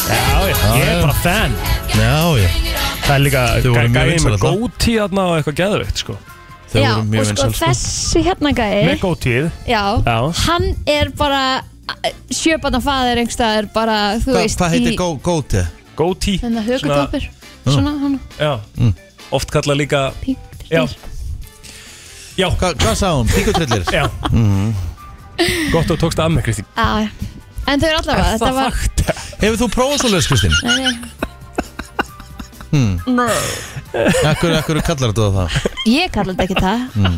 Speaker 2: Já, já, ég er bara fan
Speaker 1: Já, já
Speaker 2: Það er líka
Speaker 1: Þau voru mjög
Speaker 2: gæðið
Speaker 1: vinsæl
Speaker 2: með
Speaker 1: þarna.
Speaker 2: góti aðna og eitthvað gæðvegt sko
Speaker 1: Þau
Speaker 3: Já,
Speaker 1: voru mjög
Speaker 3: og sko
Speaker 1: vinsæl, sko.
Speaker 3: þessi hérna gæi
Speaker 2: Með gótið
Speaker 3: Já,
Speaker 2: Já.
Speaker 3: hann er bara sjöbarnafaðir einhverstaðar bara, þú
Speaker 1: Hva,
Speaker 3: veist
Speaker 1: Hvað heitir gó, góti?
Speaker 2: Góti
Speaker 3: Þannig að högutópur Svona, hann
Speaker 2: Já
Speaker 1: Mm.
Speaker 2: Oft kallað líka
Speaker 3: píntur
Speaker 2: Já.
Speaker 3: dýr.
Speaker 2: Já,
Speaker 1: Hva, hvað sá hún? Píkutrillir?
Speaker 2: já
Speaker 1: Mm-hmm.
Speaker 2: Gott og tókst að mig, Kristi
Speaker 3: Já, já En þau eru allavega, þetta var
Speaker 2: fakt
Speaker 1: Hefur þú prófað svo leis, Kristín?
Speaker 3: Nei, nei.
Speaker 1: Akkur, akkur kallar þetta það?
Speaker 3: Ég kalla þetta ekki það
Speaker 1: Mm.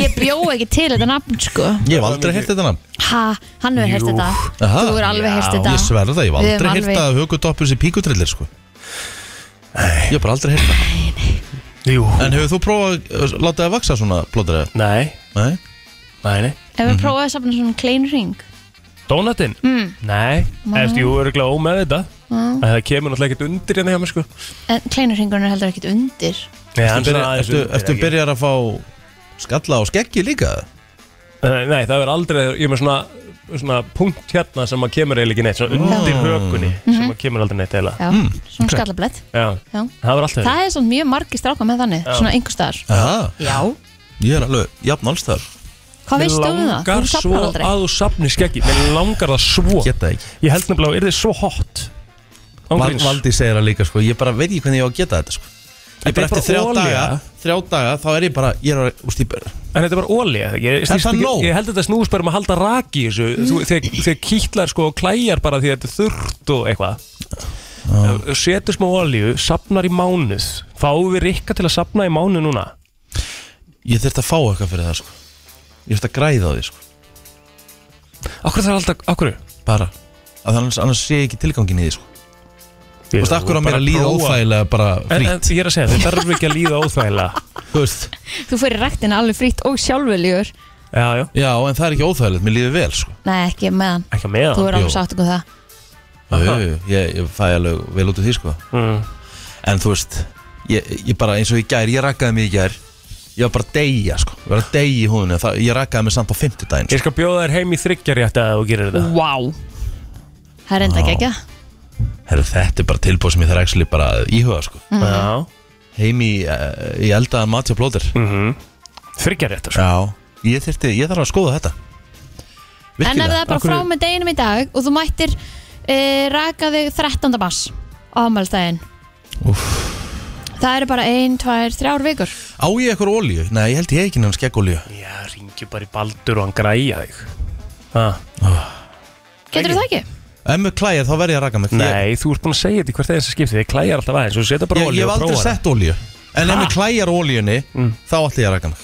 Speaker 3: Ég bjó ekki til þetta nafn sko
Speaker 1: Ég hef aldrei heyrt þetta nafn
Speaker 3: Ha, hann hefur
Speaker 2: Jú.
Speaker 3: heyrt þetta
Speaker 1: Aha.
Speaker 3: Þú hefur alveg heyrt
Speaker 1: Ég
Speaker 3: þetta
Speaker 1: sverða, ég hef
Speaker 3: Við
Speaker 1: aldrei
Speaker 3: höfum
Speaker 1: heyrt
Speaker 3: alveg-
Speaker 1: að högutoppur sé píkutrillir, sko Ég hef bara aldrei heyrt það
Speaker 2: Jú
Speaker 1: En hefur þú prófað að láta það vaksa svona blóttir eða?
Speaker 2: Nei,
Speaker 1: Nei?
Speaker 2: nei, nei
Speaker 3: Ef
Speaker 1: Mhm.
Speaker 3: við prófaði að safna svona klein ring
Speaker 2: Donatinn? Mm. Nei, eftir jú öruglega ómeð þetta mm. Það kemur náttúrulega ekkert undir hérna hjá mér sko
Speaker 3: En kleinur ringurinn eh, er heldur ekkit undir
Speaker 2: Nei, hann
Speaker 1: Ertu,
Speaker 2: er
Speaker 1: byrja,
Speaker 2: aðeins
Speaker 1: ertu,
Speaker 2: undir,
Speaker 1: ertu
Speaker 2: ekki?
Speaker 1: byrjar að fá skalla á skeggi líka?
Speaker 2: Nei, Eh, Nei, það er aldrei, ég er með svona, svona punkt hérna sem að kemur eiginlega ekki neitt Svona
Speaker 1: Mm.
Speaker 2: undir hökunni
Speaker 3: Mhm.
Speaker 2: sem að kemur aldrei neitt eila
Speaker 3: Já, svona skallablett
Speaker 2: Já,
Speaker 3: Já.
Speaker 2: það var alltaf
Speaker 3: Það er svona mjög margir stráka með þannig, svona einhver staðar
Speaker 1: Aha,
Speaker 3: Já
Speaker 1: ég er alveg jafn alls þar
Speaker 3: Hvað veistu um
Speaker 2: Mér
Speaker 3: það? Þú
Speaker 2: langar svo
Speaker 3: safnar aldrei
Speaker 2: að þú safni skeggi Mér langar það svo
Speaker 1: Geta ekki
Speaker 2: Ég held nefnilega að það er svo hot
Speaker 1: Val,
Speaker 2: Ángríns
Speaker 1: Valdi segir það líka sko, ég bara veit ekki hvernig ég á að geta þetta sko Ég
Speaker 2: Þetta
Speaker 1: bara
Speaker 2: er
Speaker 1: eftir
Speaker 2: bara
Speaker 1: þrjá
Speaker 2: olía.
Speaker 1: daga, þrjá daga, þá er ég bara, ég er að, úst, ég bara
Speaker 2: En þetta er bara ólí ég, ég,
Speaker 1: Er það
Speaker 2: ég,
Speaker 1: nóg? Mm.
Speaker 2: ég held að þetta snúðs bara um að halda raki í þessu Þú- Þegar þegar kýtlar sko og klæjar bara því að þetta er þurrt og eitthvað Ef þú Setur smá olíu, safnar í mánuð Fáum við rikka til að safna í mánuð núna
Speaker 1: Ég þurft að fá eitthvað fyrir það sko Ég þurft að græða á því sko,
Speaker 2: Akkur það er alltaf, akkur
Speaker 1: bara Af Þannig annars, annars sé ég ekki tilgangin í því sko Þú veist, akkur á mér að líða óþægilega bara
Speaker 2: En,
Speaker 1: frí
Speaker 2: en ég er að segja, þið þarf ekki að líða óþægilega
Speaker 1: Þú veist,
Speaker 3: Þú fyrir rættina alveg frýtt og sjálfurlegur
Speaker 2: Já, já,
Speaker 1: já, en það er ekki óþægilegt, mér líður vel sko
Speaker 3: Nei, ekki meðan
Speaker 2: ekki með
Speaker 3: Þú
Speaker 2: það
Speaker 3: er
Speaker 1: jú.
Speaker 3: alveg sagt okkur um það
Speaker 1: Jú, jú, jú, ég, ég fæ alveg vel út úr því sko
Speaker 2: Mm.
Speaker 1: En þú veist, ég, ég bara eins og í gær, ég rakkaði mig í gær Ég var bara að deyja sko, ég var að deyja í húðinu það, Ég rakkaði mig samt á fimmtudaginn sko.
Speaker 2: Ég skal bjóða þér heim í þryggjarjætt að þú gerir þetta
Speaker 3: Vá Það er enda ekki ekki
Speaker 1: Herru, þetta er bara tilbúið sem ég þarf actually bara að íhuga sko.
Speaker 3: Mm.
Speaker 2: Já,
Speaker 1: Heim í, uh, í eldaðan matja blóðir
Speaker 2: þryggjarjætt Mm, sko.
Speaker 1: Já Ég, þyrfti, ég þarf að skoða þetta
Speaker 3: En ef það er bara
Speaker 2: af hverju-
Speaker 3: frá með deginum í dag og þú mættir uh, raka þig 13. mars á ámælstæðin Það eru bara ein, tvær, þrjár vikur
Speaker 1: Á ég eitthvað olíu? Nei, ég held ég ekki nefn skeggolíu
Speaker 2: Já, ringju bara í Baldur og hann græja þig Ha,
Speaker 3: Getur það ekki?
Speaker 1: Ef með klæjar þá verð ég að raka mig
Speaker 2: Nei, þú ert búin að segja þetta í hvert eða þessi skipti Þið klæjar alltaf aðeins, þú setja
Speaker 1: Ég,
Speaker 2: bara
Speaker 1: ég,
Speaker 2: olíu
Speaker 1: ég hef
Speaker 2: og Mm.
Speaker 1: aldrei
Speaker 2: prófa
Speaker 1: sett olíu En ef með klæjar olíunni Þá ætla ég að raka mig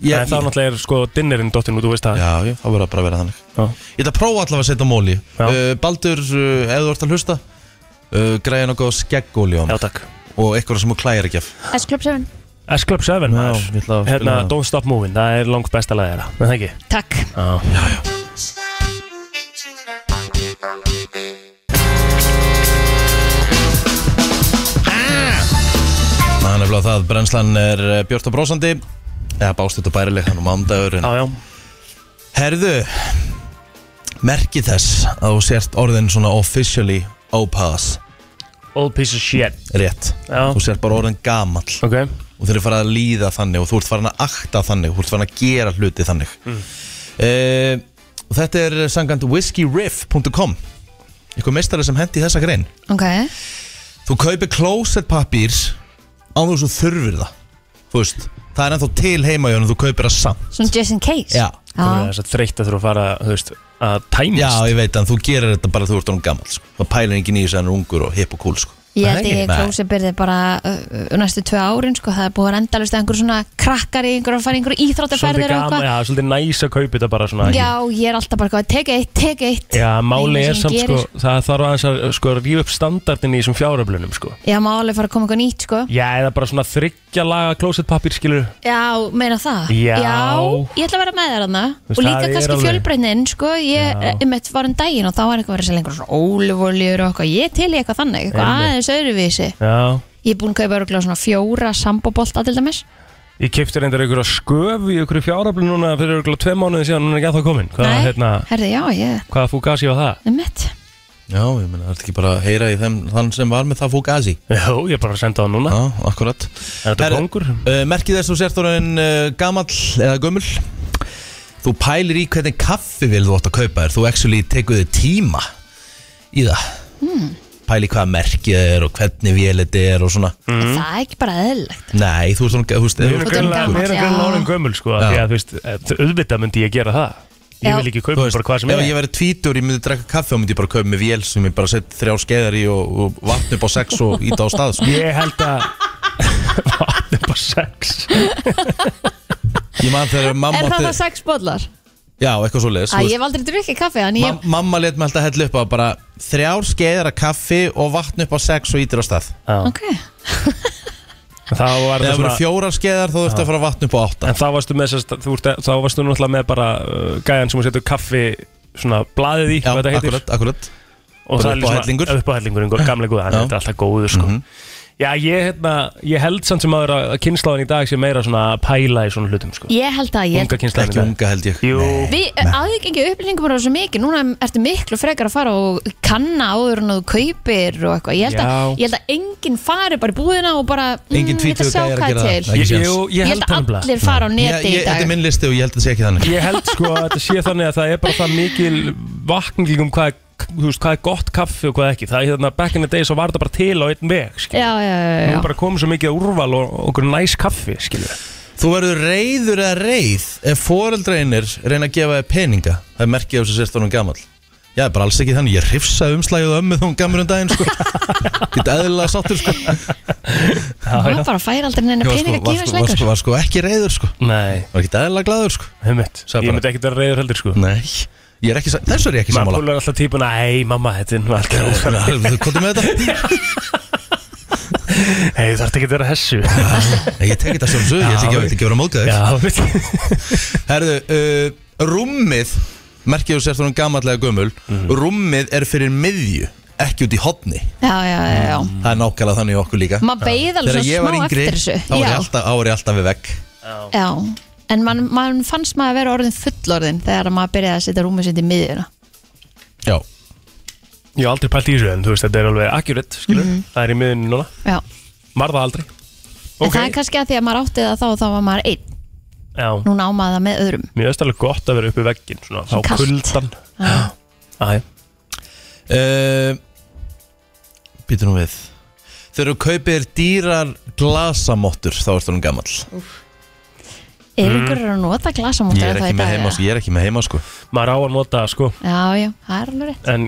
Speaker 1: ég,
Speaker 2: En þá
Speaker 1: ég,
Speaker 2: náttúrulega er sko dinnerinn dottirinn og þú veist það
Speaker 1: Já, já, þá verður það bara að vera þannig
Speaker 2: Já.
Speaker 1: Ég ætla að prófa allavega að setja móli
Speaker 2: Já.
Speaker 1: uh, Baldur, uh, ef þú ert að hlusta uh, Græja nokkuð skeggóli á
Speaker 2: Já,
Speaker 1: mig
Speaker 2: takk
Speaker 1: Og eitthvað sem þú klæjar ekki af
Speaker 3: S-Club 7
Speaker 2: S-Club 7, maður.
Speaker 1: ég ætla að
Speaker 2: hérna,
Speaker 1: spila það.
Speaker 2: Don't Stop Moving, það er langt besta lagið þeirra, en það ekki?
Speaker 3: Takk
Speaker 2: Já,
Speaker 1: Það er nefnilega það, brennslan er eh, björt og brósandi Eða bástuð og bærileg hann um ándagur en...
Speaker 2: já, já.
Speaker 1: Herðu Merki þess að þú sért orðin svona officially opass
Speaker 2: Old piece of shit
Speaker 1: Rétt
Speaker 2: Já.
Speaker 1: Þú sért bara orðin gamall
Speaker 2: Ok,
Speaker 1: og þeir eru farið að líða þannig og þú ert farin að akta þannig og þú ert farin að gera hluti þannig mm. og þetta er sangant whiskeyriff.com eitthvað meistari sem hendi þessa grein
Speaker 3: Ok
Speaker 1: þú kaupir closetpapír á þú svo þurfir það þú veist, það er ennþá til heima hjá en þú kaupir það samt
Speaker 3: Svona just in case
Speaker 1: Já.
Speaker 2: það er
Speaker 3: Já,
Speaker 2: þess að þreytt að þurfa að fara, þú veist, að
Speaker 1: Já,
Speaker 2: tæmist
Speaker 1: ég veit en þú gerir þetta bara þú ert orðin gammal sko. það pælir engin í þess að hann er ungur og hipp og cool sko.
Speaker 3: Ég
Speaker 1: Það er
Speaker 3: held ég
Speaker 1: ekki- Nei.
Speaker 3: klósi byrði bara uh, uh, næstu tvö árin sko, það er búið að enda alveg einhver svona krakkar í einhver að fara í einhver
Speaker 2: Svolítið
Speaker 3: íþróttaferðir og
Speaker 2: gaman,
Speaker 3: eitthvað.
Speaker 2: já, svolítið næs að kaupa þetta bara svona
Speaker 3: um Já, ég er alltaf bara eitthvað, tek eitt, tek eitt
Speaker 2: Já, máli
Speaker 3: Eina
Speaker 2: er
Speaker 3: sem
Speaker 2: samt sko,
Speaker 3: gerir.
Speaker 2: það þarf aðeins að sko rífa upp standardin í þessum fjáröflunum sko
Speaker 3: Já, má alveg fara að koma eitthvað nýtt sko
Speaker 2: Já, eða bara svona þryggja laga klósettpapír skilur
Speaker 3: Já, meina það
Speaker 2: Já.
Speaker 3: ég ætla að vera með þér hana
Speaker 2: Veist,
Speaker 3: Og
Speaker 2: það
Speaker 3: líka
Speaker 2: er
Speaker 3: kannski
Speaker 2: alveg-
Speaker 3: fjölbreynin, sko Ég,
Speaker 2: Já.
Speaker 3: um eitt var um daginn og þá var eitthvað verið að selja einhver svona ólífóljur og eitthvað Ég er til í eitthvað þannig, eitthvað
Speaker 2: Einmitt.
Speaker 3: aðeins öðruvísi
Speaker 2: Já,
Speaker 3: Ég er búin að kaupa örgulega svona fjóra sambobolta til dæmis
Speaker 2: ég kefti reyndar einhverja sköf í einhverju fjáröflun núna fyrir einhverja tvei mánuði síðan, núna er ekki að það komin Hvað,
Speaker 3: Nei,
Speaker 2: hérna,
Speaker 3: herði, já, ég,
Speaker 2: hvaða fúkasi var það?
Speaker 3: um eitt
Speaker 1: Já, ég meina, það er ekki bara að heyra í þeim, þann sem var með það fók aðsi
Speaker 2: Já, ég er bara að senda það núna
Speaker 1: Já, akkurat
Speaker 2: Er þetta
Speaker 1: Herra,
Speaker 2: kongur?
Speaker 1: Uh, merkið þess að þú sért orðin uh, gamall eða gömul Þú pælir í hvernig kaffivil þú átt að kaupa þér Þú actually tekur þig tíma í það mm. Pæli hvaða merkið það er og hvernig vél þetta er og svona
Speaker 2: Mm.
Speaker 3: Það er ekki bara eðlilegt
Speaker 1: Nei, þú ert svona, þú veist,
Speaker 2: Við
Speaker 1: þú
Speaker 2: erum
Speaker 1: ert-
Speaker 2: greinlega-
Speaker 3: gamall,
Speaker 2: við erum
Speaker 3: já.
Speaker 2: greinlega orðin gömul sko af
Speaker 1: Já.
Speaker 2: Því að þú veist, eh, auðvitað myndi ég gera það Ég
Speaker 3: Já.
Speaker 2: vil ekki
Speaker 1: þú
Speaker 2: kaupa bara hvað sem
Speaker 1: ef
Speaker 2: er
Speaker 1: ég væri tvítur, ég myndi drekka kaffi og myndi ég bara kaupa með vél sem ég bara sett þrjá skeiðar í og, og vatn upp á sex og íta á stað sko.
Speaker 2: Ég held að Vatn upp á sex
Speaker 1: Ég man þegar mamma
Speaker 3: Er það
Speaker 1: átti-
Speaker 3: það sex bollar?
Speaker 1: Já, eitthvað svo leiðis
Speaker 3: Æ, ég hef aldrei drukkið kaffi en
Speaker 1: Ma
Speaker 3: ég,
Speaker 1: mamma let mig alltaf hella upp á bara þrjár skeiðar af kaffi og vatn upp á sex og ítir á stað
Speaker 2: Já.
Speaker 3: ok
Speaker 2: Þá var
Speaker 1: Ef það
Speaker 2: það
Speaker 1: voru
Speaker 2: svona
Speaker 1: fjórar skeiðar þá þurftu að fara að vatn upp á átta
Speaker 2: En þá varstu með sérst, þú ert, þá varstu náttúrulega með bara uh, gæjan sem hún setur kaffi svona blaðið í,
Speaker 1: Já,
Speaker 2: hvað þetta heitir
Speaker 1: akkurat, akkurat
Speaker 2: og
Speaker 1: bara
Speaker 2: það er
Speaker 1: upp á
Speaker 2: svona-
Speaker 1: hellingur.
Speaker 2: upp á hellingur, einhver gamlega góða,
Speaker 1: Já.
Speaker 2: hann
Speaker 1: Mhm.
Speaker 2: er þetta alltaf góður sko. Já, ég, hérna, ég held samt sem aður að kynnslaðan í dag sé meira svona að pæla í svona hlutum sko.
Speaker 3: Ég held að ég
Speaker 2: Unga kynnslaðan í
Speaker 1: Ekki
Speaker 2: dag
Speaker 1: unga held ég
Speaker 2: Jú,
Speaker 3: Við eh, aðgengi upplýningum bara svo mikið Núna ertu miklu frekar að fara og kanna áður en þú kaupir og eitthvað Ég held að,
Speaker 2: Já.
Speaker 3: ég held að enginn fari bara í búðina og bara mm,
Speaker 1: Engin
Speaker 3: ég ætla
Speaker 1: tvítugur
Speaker 3: sjá
Speaker 1: gæjar að
Speaker 3: hvað er
Speaker 1: gera það.
Speaker 3: til.
Speaker 1: Nei.
Speaker 2: ég,
Speaker 1: ekki
Speaker 2: jú,
Speaker 1: séns.
Speaker 2: ég held
Speaker 3: Ég held að
Speaker 2: það nefnilega
Speaker 3: allir fara á
Speaker 1: Ég-
Speaker 3: neti
Speaker 1: ég-
Speaker 3: í
Speaker 1: Þetta er
Speaker 3: dag
Speaker 1: minn listi og ég held að það sé ekki þannig
Speaker 2: Ég held sko að þetta sé þannig að það er bara það mikil vakning um hvað, er- þú veist, hvað er gott kaffi og hvað ekki Það er hérna back in the day svo var þetta bara til á einn veg skilur.
Speaker 3: Já, já, já,
Speaker 2: Nú
Speaker 3: já.
Speaker 2: er bara komið svo mikið úrval og og okkur næs kaffi skilur.
Speaker 1: Þú verður reyður eða reyð ef foreldrainir reyna að gefa þér peninga það er merkið af þess að sérst honum gamall Já, bara alls ekki þannig, ég rifsa umslægið á ömmu þá hún gamur um daginn sko Þetta eðlilega sáttur sko
Speaker 3: Það bara færi aldrei neina
Speaker 1: Ég var
Speaker 3: pening
Speaker 1: sko, var,
Speaker 3: að
Speaker 1: sko,
Speaker 3: gefa
Speaker 1: var,
Speaker 3: slengur
Speaker 1: sko, var sko ekki reyður sko
Speaker 2: Nei,
Speaker 1: Var ekki eðlilega glaður sko
Speaker 2: heimitt
Speaker 1: Sagði
Speaker 2: Ég
Speaker 1: bara-
Speaker 2: myndi ekkert vera reyður heldur sko
Speaker 1: Nei, ég er ekki, sa- þessu er ég Mm, ekki
Speaker 2: Maður
Speaker 1: sammála
Speaker 2: púlar alltaf típuna, hei mamma, þetta er nú alltaf
Speaker 1: Hvað er með þetta?
Speaker 2: Hei, þú þarf ekki að vera hessu
Speaker 1: Nei, Ég tek þetta sem sög, ég ætla ekki- ég ætla ekki að vera mótið
Speaker 2: Já,
Speaker 1: þér
Speaker 2: veit
Speaker 1: Herðu, uh, rúmmið Merkið þú sérst honum gamallega gömul Rúmmið er fyrir miðju Ekki út í hotni
Speaker 3: Já, já, já, já
Speaker 1: Það er nákvæmlega þannig í okkur líka
Speaker 3: Maður beið alveg
Speaker 1: Mm. Þegar ég
Speaker 3: svona
Speaker 1: var
Speaker 3: smá
Speaker 1: yngri,
Speaker 3: eftir þessu
Speaker 1: þá var ég alltaf, ári alltaf við vekk
Speaker 3: Já, já En mann man fannst maður að vera orðin fullorðin þegar maður byrjaði að setja rúmið sitt í miðjuna
Speaker 1: Já,
Speaker 2: Ég hef aldrei pælt í þessu, en þú veist, þetta er alveg accurate, skilur
Speaker 3: Mhm.
Speaker 2: Það er í miðunni núna,
Speaker 3: Já,
Speaker 2: var það aldrei
Speaker 3: en það er kannski að því að maður átti það þá og þá var maður einn,
Speaker 2: Já,
Speaker 3: núna ámaði það með öðrum
Speaker 2: mér veist alveg gott að vera uppi í vegginn, svona, á
Speaker 3: Kalt.
Speaker 2: kuldan Æ,
Speaker 1: uh, Býtu nú við Þegar þú kaupir þér dýrar glasamottur Þá ertu hún gamall
Speaker 3: Er ykkur að nota
Speaker 1: Mm.
Speaker 3: glasamóttur
Speaker 1: Ég er ekki með heima, sko, ég er ekki með heima sko.
Speaker 2: maður á að nota, það, sko
Speaker 3: Já, já, það er alveg rétt
Speaker 2: En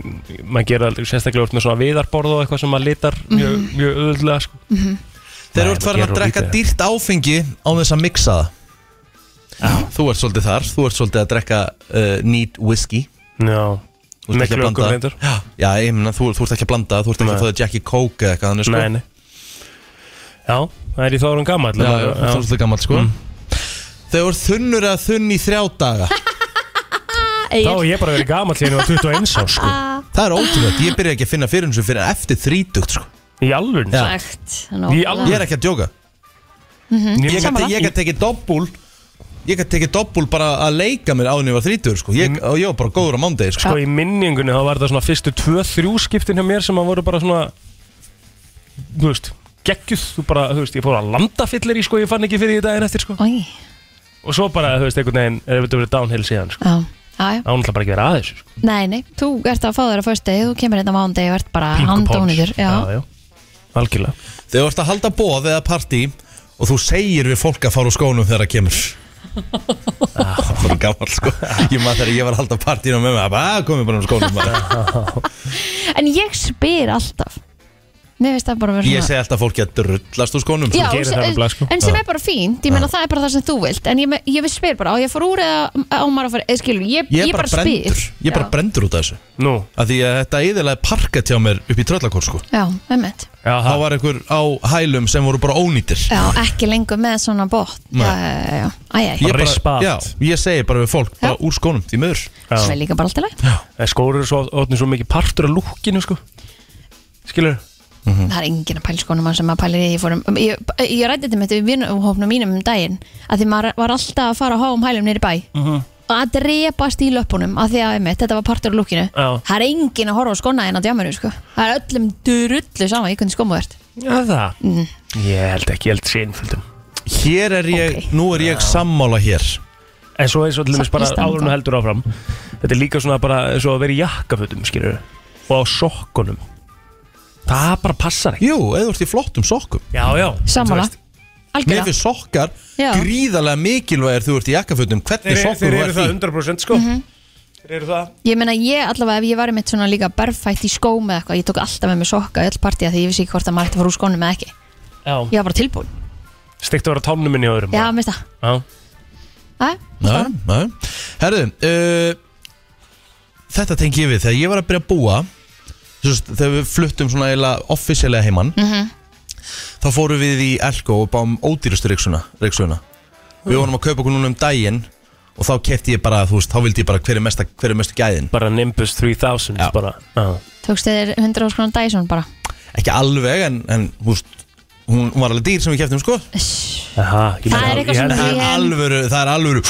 Speaker 2: maður gerir aldrei sérstaklega úr með svona viðarborð og eitthvað sem maður litar mjög, mjög auðvöldlega, sko
Speaker 1: Þegar
Speaker 2: Nei,
Speaker 1: þú ert
Speaker 2: maður
Speaker 1: farin
Speaker 2: gerir
Speaker 1: að
Speaker 2: of
Speaker 1: drekka
Speaker 2: lítið.
Speaker 1: dýrt áfengi Á þess að mixa það Þú ert svolítið þar, þú ert svolítið að drekka uh, neat whisky
Speaker 2: Já,
Speaker 1: Þú ert ekki
Speaker 2: miklu
Speaker 1: að
Speaker 2: okkur
Speaker 1: blanda
Speaker 2: reyndur
Speaker 1: Já, Já, ég meina, þú, þú ert ekki að blanda Þú ert ekki
Speaker 2: Nei.
Speaker 1: að fóða Jackie Coke eða eitthvað þannig, sko.
Speaker 2: Nei, nei Já, það er í þórun gammal
Speaker 1: Já, já, þú ert svolítið gamall sko Þegar þú ert þunnur að þunn í þrjá daga
Speaker 2: Þá hef ég bara verið gammal þegar ég var 21 á sko
Speaker 1: Það er ótrúlega, ég byrja ekki að finna fyrir þessu fyrir eftir þrítugt sko.
Speaker 2: Í alvöru
Speaker 1: Já.
Speaker 3: Sagt,
Speaker 2: Í alvöru.
Speaker 1: Ég er ekki að djóka Ég
Speaker 2: Ég,
Speaker 1: gat- ég gat tekið doppul Ég gat tekið doppul bara að leika mér áðun ég var þrítur sko. ég, og ég var bara góður á mándegi sko.
Speaker 2: sko í minningunni þá var það svona fyrstu 2-3 skiptin hjá mér sem að voru bara svona Þú veist, geggjuð Þú bara, þú veist, ég fór að landa fyllir í sko Ég fann ekki fyrir í daginn eftir sko
Speaker 3: Í,
Speaker 2: Og svo bara, þú veist, einhvern veginn, eða þetta verið downhill síðan sko
Speaker 3: já, já, já
Speaker 2: Ánlega bara ekki verið aðeins sko.
Speaker 3: Nei, nei, þú ert að fá þér að fyrstu Þú kemur hérna mándegi og ert bara
Speaker 2: Pinku
Speaker 3: handóniður
Speaker 2: Punch.
Speaker 3: Já,
Speaker 2: já, já, algjörlega
Speaker 1: Þegar þú ert að halda bóð eða partí og þú segir við fólk að fara úr skónum þegar það kemur Ah, Það var gammal sko Ég maður þegar ég var að halda partíinu með mig að komið bara úr skónum bara.
Speaker 3: en ég spyr alltaf Mér finnst það bara að vera
Speaker 1: Ég segi alltaf fólki að drullast úr skónum sko.
Speaker 3: Já,
Speaker 2: gerir
Speaker 3: sem-
Speaker 2: það nefnilega, sko.
Speaker 3: en sem er bara fínt Ég meina það er bara það sem þú vilt En ég, me- ég spyr bara, á ég að fara úr eða á maður að fara eða skilur, ég,
Speaker 1: Ég er bara
Speaker 3: spyr
Speaker 1: brendur Ég er bara
Speaker 3: Já.
Speaker 1: brendur út af þessu
Speaker 2: Nú,
Speaker 1: að Því að þetta eðilega parkett hjá mér upp í tröllakór sko.
Speaker 3: Já, einmitt
Speaker 2: já,
Speaker 1: Þá
Speaker 2: það var
Speaker 1: var einhver á hælum sem voru bara ónýtir
Speaker 3: Já, ekki lengur með svona bótt Já, já, já, æ, æ,
Speaker 1: Ég,
Speaker 2: Bara rispa
Speaker 1: bara,
Speaker 2: allt.
Speaker 1: já, ég segi bara við fólk bara úr skónum, því miður
Speaker 3: sem er líka bara alltaf leið
Speaker 2: Skóru er svo, orðnir svo mikið partur af lúkinu sko Skilur,
Speaker 1: Mhm.
Speaker 3: það er enginn að pæla í skónum hans sem að pæla í því ég,
Speaker 8: um-
Speaker 3: fórum, ég,
Speaker 8: um
Speaker 1: Mhm.
Speaker 3: ég rætti þetta með þetta við vinnhófnum mínum um daginn að því maður var alltaf að fara á háum hælum nýri bæ
Speaker 8: að drepast í löpunum af því að einmitt, þetta var partur úr lúkinu
Speaker 2: Já.
Speaker 8: það er engin að horfa á skona en á djáminu sko. það er öllum durullu sama í hvernig skomu þú ert
Speaker 2: Já, það Ég held ekki, ég held sínfjöldum
Speaker 1: Hér er ég,
Speaker 8: Ok.
Speaker 1: nú er ég sammála hér
Speaker 2: En svo eins og til dæmis bara
Speaker 8: Samnist
Speaker 2: áður
Speaker 8: þangað.
Speaker 2: en þú heldur áfram Þetta er líka svona bara eins og að vera í jakkafötum, skilur Og á sokkunum Það bara passar ekki
Speaker 1: Jú, eða þú ert í flottum sokkum
Speaker 2: Já, já
Speaker 8: Sammála.
Speaker 2: Þú veist,
Speaker 1: Mér
Speaker 8: algjörða
Speaker 1: finnst sokkar
Speaker 8: Já.
Speaker 1: gríðarlega mikilvægir þú ert í jakkafutum Hvernig
Speaker 2: Þeir,
Speaker 1: sokkur
Speaker 2: þeir
Speaker 1: þú
Speaker 2: eru
Speaker 1: ert
Speaker 2: það
Speaker 1: í
Speaker 2: 100% sko Þeir eru það
Speaker 8: ég meina ég allavega ef ég var einmitt svona líka berfætt í skóm eða eitthvað ég tók alltaf með mig sokka í öll partí af því ég vissi ekki hvort að maður ætti að fara úr skónum eða ekki
Speaker 2: Já
Speaker 8: ég var bara tilbúin
Speaker 2: Steikt að vera tánum minni á öðrum
Speaker 8: já
Speaker 2: bara.
Speaker 8: minnst það
Speaker 2: já.
Speaker 8: Æ,
Speaker 1: Næ, næ Herðu, uh, þetta tengi ég við Þegar ég var að byrja að búa þú veist, Þegar við fluttum svona eila offisílega heiman
Speaker 8: Mhm.
Speaker 1: Þá fórum við í Elko og báum ódýrustu reiksuna, reiksuna. Við vorum að kaupa okkur núna um daginn Og þá kefti ég bara, þú veist, þá vildi ég bara hver er mesta, hver er mesta gæðin
Speaker 2: Bara Nimbus 3000
Speaker 1: Já.
Speaker 2: bara Já
Speaker 8: tókst þér 100 skrónan Dyson bara
Speaker 1: Ekki alveg, en, en þú veist, hún, hún var alveg dýr sem við keftum, sko
Speaker 2: Aha, ég
Speaker 8: Það
Speaker 2: meina-
Speaker 8: er eitthvað
Speaker 2: ég
Speaker 8: sem
Speaker 2: held-
Speaker 1: Það er
Speaker 8: En-
Speaker 1: alvöru, það er alvöru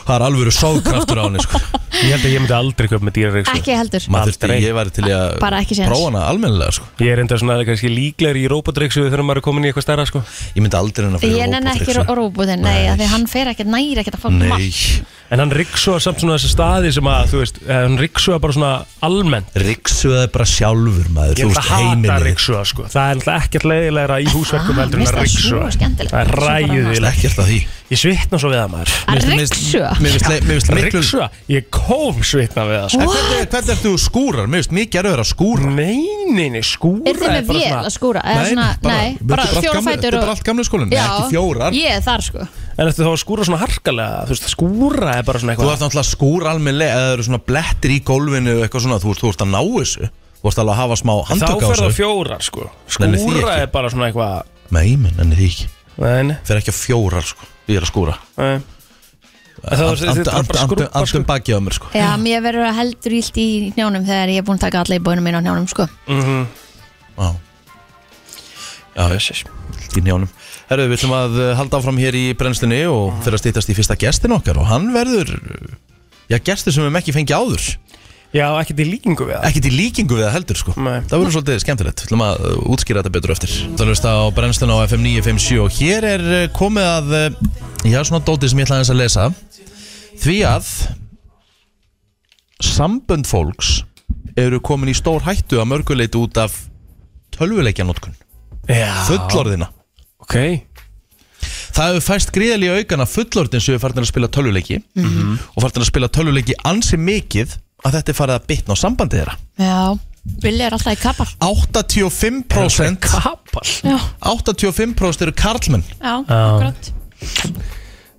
Speaker 1: Það er alvöru sóðkraftur á henni sko.
Speaker 2: Ég held að ég myndi aldrei köpa með dýrareikstu
Speaker 8: ekki heldur
Speaker 1: Maður þurfti,
Speaker 2: Aldrei.
Speaker 1: ég væri til í að
Speaker 8: Bara ekki séns.
Speaker 1: prófa hana almennilega sko.
Speaker 2: Ég er enda svona kannski líklegur í robotreiksu þegar maður er komin í eitthvað stærra sko
Speaker 1: Ég myndi aldrei henni að fyrir
Speaker 8: ég nenni ekki ró- róbótinn nei, af því hann fer ekkert næri ekkert að fá
Speaker 1: Nei,
Speaker 8: mark
Speaker 2: En hann riksóða samt svona þessi staði sem að, þú veist, eh, hann riksóða bara svona almennt
Speaker 1: riksuða bara sjálfur maður
Speaker 2: Ég
Speaker 1: Þú
Speaker 2: ætla
Speaker 1: veist
Speaker 2: að hata
Speaker 1: heimilið þitt.
Speaker 2: riksóða sko Það er náttúrulega ekkert leiðilegra í húsverkum
Speaker 8: Ah,
Speaker 2: heldur en
Speaker 8: mér
Speaker 2: að
Speaker 8: finnst það svo
Speaker 2: riksóða
Speaker 8: skemmtilegt.
Speaker 2: Það er
Speaker 1: Það er
Speaker 2: ræðilegt
Speaker 1: ekkert að því
Speaker 2: Ég svitna svo við það maður
Speaker 8: að
Speaker 1: Mér finnst-
Speaker 8: riksu
Speaker 1: Mér finnst- mér finnst miklu
Speaker 2: Riksóða, ég kom svitna við það sko
Speaker 1: En Hvernig hvernig ert þú skúrar? Mér finnst mikið erfið að skúra
Speaker 2: Meininni, skúra
Speaker 8: Er þið með vél að skúra? Nei, svona, nei, bara,
Speaker 1: þetta er allt
Speaker 8: fjóra
Speaker 1: gamli-
Speaker 8: fætur
Speaker 1: Þetta er
Speaker 8: og...
Speaker 1: allt gamlega skólinn, ekki fjórar
Speaker 8: Ég er þar sko
Speaker 2: En eftir þá að skúra svona harkalega Þú veist, skúra er bara svona
Speaker 1: Þú
Speaker 2: eitthvað
Speaker 1: ert náttúrulega skúr almennilega eða það eru svona blettir í gólfinu og eitthvað svona, þú ert, þú ert að ná þessu Þú ert alveg að hafa smá
Speaker 2: Þá
Speaker 1: handtök á
Speaker 2: fer það
Speaker 1: þessu
Speaker 2: fjórar sko
Speaker 1: Nenni því
Speaker 2: Skúra
Speaker 1: ekki.
Speaker 2: er bara svona eitthvað
Speaker 1: Nei, menn, en því ekki
Speaker 2: Nei, nei,
Speaker 1: Fer ekki að fjórar, sko, ég er að skúra
Speaker 2: nei En þá-
Speaker 1: Ant-
Speaker 2: þetta
Speaker 1: ant-
Speaker 2: er
Speaker 1: ant-
Speaker 2: bara
Speaker 1: ant-
Speaker 2: skrúbba, sko.
Speaker 1: Andum bakið á mér, sko
Speaker 8: Já, mér verður að heldur ílt í njánum þegar ég er búin að taka alla í bóinu mín á njánum sko
Speaker 1: Já, já, þessi Í njánum Herru, við ætlum að uh, halda áfram hér í brennslunni og fyrir að stýttast í fyrsta gestin okkar og hann verður, uh, já, gestur sem við hefum ekki fengið áður
Speaker 2: Já, ekkert í líkingu við það
Speaker 1: ekkert í líkingu við það heldur sko
Speaker 2: Nei.
Speaker 1: Það verður svolítið skemmtilegt, við ætlum að uh, útskýra þetta betur eftir Það löst á brennslun á FM 957 og hér er uh, komið að uh, Já, svona dótið sem ég ætlaði aðeins að lesa Því að Sambönd fólks eru komin í stór hættu að mörguleit út af tölvuleikjanótkun
Speaker 2: Já,
Speaker 1: Fullorðina
Speaker 2: ok
Speaker 1: Það hefur fæst gríðalíu aukana fullorðin sem hefur farin að spila tölvuleiki og farin að spila tölvuleiki ansi mikið að þetta er farið að bitna á sambandi þeirra
Speaker 8: Já, Billy er alltaf í kappar
Speaker 1: 85%
Speaker 2: Kapal
Speaker 8: Já,
Speaker 1: 85% eru karlmenn
Speaker 3: sko.
Speaker 8: já, akkurat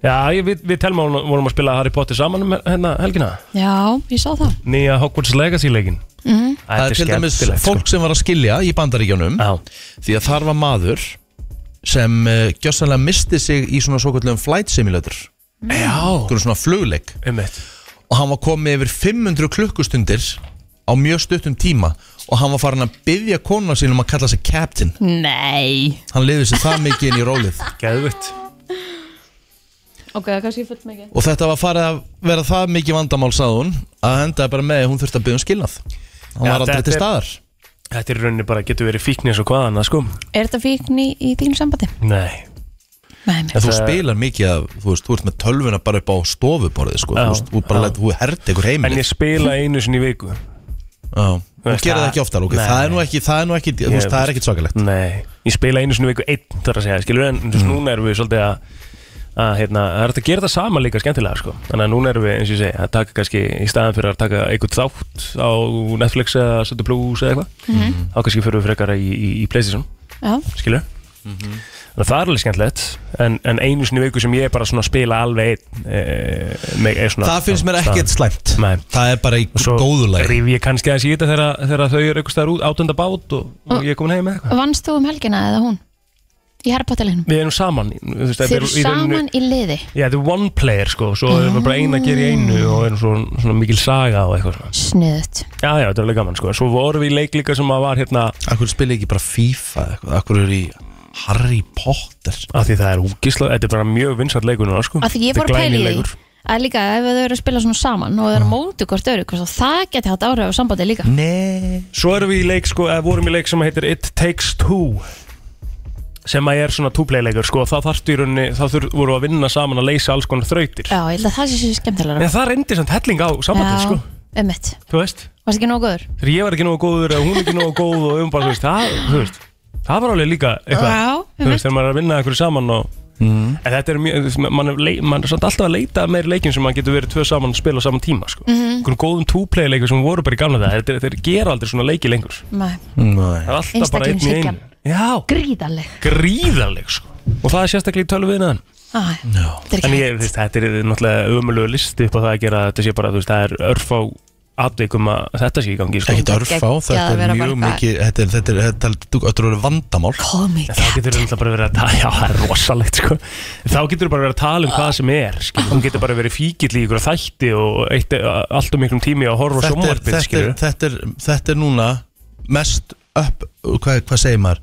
Speaker 2: Já, ég, við, við telma vorum að spila Harry Potter saman um hérna helgina
Speaker 8: Já, ég sá það
Speaker 2: Nýja Hogwarts Legacy leikin mm.
Speaker 1: Það er til dæmis fólk sem var að skilja í bandaríkjónum
Speaker 2: sko. Já,
Speaker 1: Því að þar var maður sem uh, gjössanlega misti sig í svona svo kallum flight simulator
Speaker 2: já,
Speaker 1: Hvernig svona flugleik
Speaker 2: einmitt
Speaker 1: Og hann var komið yfir 500 klukkustundir á mjög stuttum tíma Og hann var farin að byggja konuna sín um að kalla sig captain
Speaker 8: Nei
Speaker 1: Hann liði sig það mikið inn í rólið
Speaker 2: Geðvitt
Speaker 8: Ok, það er kannski full mikið
Speaker 1: Og þetta var farið að vera það mikið vandamál sáðun Að það endaði bara með að hún þurfti að byggja um skilnað Hann
Speaker 2: Já,
Speaker 1: var aldrei
Speaker 2: þetta
Speaker 1: til
Speaker 2: er-
Speaker 1: staðar
Speaker 2: Þetta er í rauninni bara, getur verið fíknir svo hvaðan það sko
Speaker 8: Er þetta fíkn í, í þínu sambandi?
Speaker 2: Nei
Speaker 8: Nei, mér
Speaker 1: En þú
Speaker 2: Það-
Speaker 1: spilar mikið af, þú veist, þú ert með tölvuna bara upp á stofuborðið, sko,
Speaker 2: Já,
Speaker 1: þú veist, þú bara
Speaker 2: já.
Speaker 1: lætt, þú herdi ykkur
Speaker 2: En
Speaker 1: heimilið.
Speaker 2: ég spila einu sinni í viku
Speaker 1: Já, þú
Speaker 2: veist,
Speaker 1: gerir það
Speaker 2: það-
Speaker 1: ekki ofta, ok,
Speaker 2: Nei.
Speaker 1: það er nú ekki, það er nú ekki, þú
Speaker 2: Ég
Speaker 1: veist, það er ekkit svakalegt.
Speaker 2: Nei, ég spila einu sinni í viku einn þar að segja, skilur en mm. núna erum við svolítið að að hérna, það er hægt að gera það sama líka skemmtilega sko. þannig að núna erum við, eins og ég segi, að taka kannski í staðan fyrir að taka einhvern þátt á Netflix eða Sötu Plus eða eitthvað
Speaker 1: Mhm.
Speaker 2: þá kannski fyrir við frekar í, í, í Playstation
Speaker 8: Já,
Speaker 2: skilur
Speaker 1: Mhm.
Speaker 2: þannig að það er alveg skemmtilegt en, en einu sinni í viku sem ég er bara svona að spila alveg einn e, með, e, svona,
Speaker 1: Það finnst mér ekkert slæmt,
Speaker 2: Nei.
Speaker 1: það er bara í
Speaker 2: svo
Speaker 1: góðulegi.
Speaker 2: rif ég kannski að síta þegar, þegar þau eru einhvers staðar út átönda bát og, og ég er komin heim með eitthvað
Speaker 8: vannst þú um helgina eða hún? Í herrbáttaleginu
Speaker 2: við erum saman í- þú veist,
Speaker 8: Þeir
Speaker 2: við
Speaker 8: eru
Speaker 2: erum í rauninni-
Speaker 8: saman í liði
Speaker 2: Já, þetta er one player sko, svo erum við bara eina að gera í einu og erum svo, svona mikil saga og eitthvað svona.
Speaker 8: Sniðut
Speaker 2: Já, já, þetta er alveg gaman sko, svo vorum við í leik líka sem að var hérna,
Speaker 1: Akkur spila ekki bara FIFA eða eitthvað, akkur eru í Harry Potter.
Speaker 2: af því það er úgisla, þetta er bara mjög vinsat leikur núna sko.
Speaker 8: Af því ég
Speaker 2: Þetta er
Speaker 8: fór að pæli
Speaker 2: glænýr
Speaker 8: því
Speaker 2: leikur.
Speaker 8: að líka ef þau eru að spila svona saman og þau
Speaker 2: Mm.
Speaker 8: eru móti hvort öru hvort það geti hatt áhrif á sambandi líka
Speaker 1: Nei
Speaker 2: Svo erum við í leik, sko, eða vorum í leik sem heitir It Takes Two sem að er svona túpleileikur, sko, það þarftu í rauninni, það þurf, voru að vinna saman að leysa alls konar þrautir.
Speaker 8: Já, ég held að það sé sér skemmtilega
Speaker 2: En það reyndi samt helling á sambandið, sko,
Speaker 8: einmitt,
Speaker 2: þú veist.
Speaker 8: varst ekki nógu góður
Speaker 2: Þegar ég var ekki nógu góður eða hún ekki nógu góð og við varum bara, þú veist, það, þú veist, það var alveg líka eitthvað.
Speaker 8: Já,
Speaker 2: þú veist, þegar maður er að vinna einhverju saman og en þetta er mjög, mann er, lei- mann er samt alltaf að leita að meiri leikin sem maður getur verið tvö saman að spila á saman tíma, sko mm
Speaker 8: Mhm.
Speaker 2: góðum two-play leikur sem voru bara í gamla það þetta, þetta gera aldrei svona leiki lengur
Speaker 8: Nei,
Speaker 2: það er alltaf bara einn í
Speaker 8: Einstaklingshyggjan.
Speaker 2: einu já,
Speaker 8: gríðarleg
Speaker 2: gríðarleg, sko og það er sérstaklega í tölvu viðnaðan
Speaker 8: Æ, þetta er
Speaker 2: Mm. en
Speaker 8: ekki
Speaker 2: ég, þú veist, þetta er náttúrulega ömulegu listi upp á það að gera að þetta sé bara, þú veist, það er örf á atvikum að þetta sé í gangi, sko
Speaker 1: Ekki dörf á,
Speaker 8: Geggjað að
Speaker 1: þetta er
Speaker 8: vera
Speaker 1: mjög
Speaker 8: bara-
Speaker 1: mikið Þetta er, þetta er, þetta er, þetta er vandamál
Speaker 8: komik
Speaker 2: En þá getur þú bara verið að tala, já það er rosalegt sko Þá getur þú bara verið að tala um hvað sem er skilur. Þú getur bara verið fíkill í ykkur þætti og eitt, allt um miklum tími að horfa á
Speaker 1: þetta er,
Speaker 2: sjónvarpið
Speaker 1: þetta, er,
Speaker 2: skilur
Speaker 1: þetta, er, þetta er núna mest upp, hvað, hvað segir maður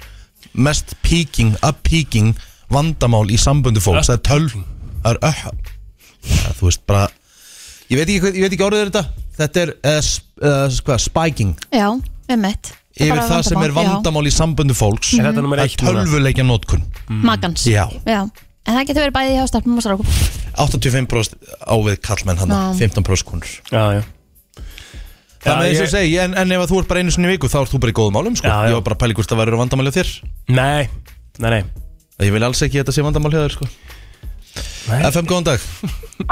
Speaker 1: mest peaking, up peaking vandamál í sambundu fólks það er tölv, það er öh það, þú veist bara ég veit ekki, hvað- ég veit ekki orðið er þetta þetta er uh, uh, hvað, spiking
Speaker 8: Já, einmitt Það er
Speaker 1: yfir
Speaker 8: bara
Speaker 1: það sem er
Speaker 8: vandamál,
Speaker 1: vandamál í sambundu fólks
Speaker 2: Er þetta nummer
Speaker 1: það
Speaker 2: eitt
Speaker 1: er
Speaker 2: núna?
Speaker 1: tölvuleikja notkun
Speaker 2: Mm.
Speaker 8: já. Magans
Speaker 1: Já.
Speaker 8: En það getur verið bæði hjá stafnum og strákum
Speaker 1: 85% á við kallmenn hann
Speaker 8: Já.
Speaker 1: 15% konur
Speaker 2: Já, já
Speaker 1: Þannig að eins
Speaker 2: Já,
Speaker 1: og
Speaker 2: ég-
Speaker 1: ég segi, en, en ef að þú ert bara einu sinni í viku þá ert þú bara í góðum málum sko.
Speaker 2: Já, já.
Speaker 1: Ég var bara að pæli hvort það verður vandamáli á þér
Speaker 2: Nei, nei, nei
Speaker 1: Ég vil alls ekki að þetta sé vandamál hjá þér sko
Speaker 2: Nei.
Speaker 1: FM, góðan dag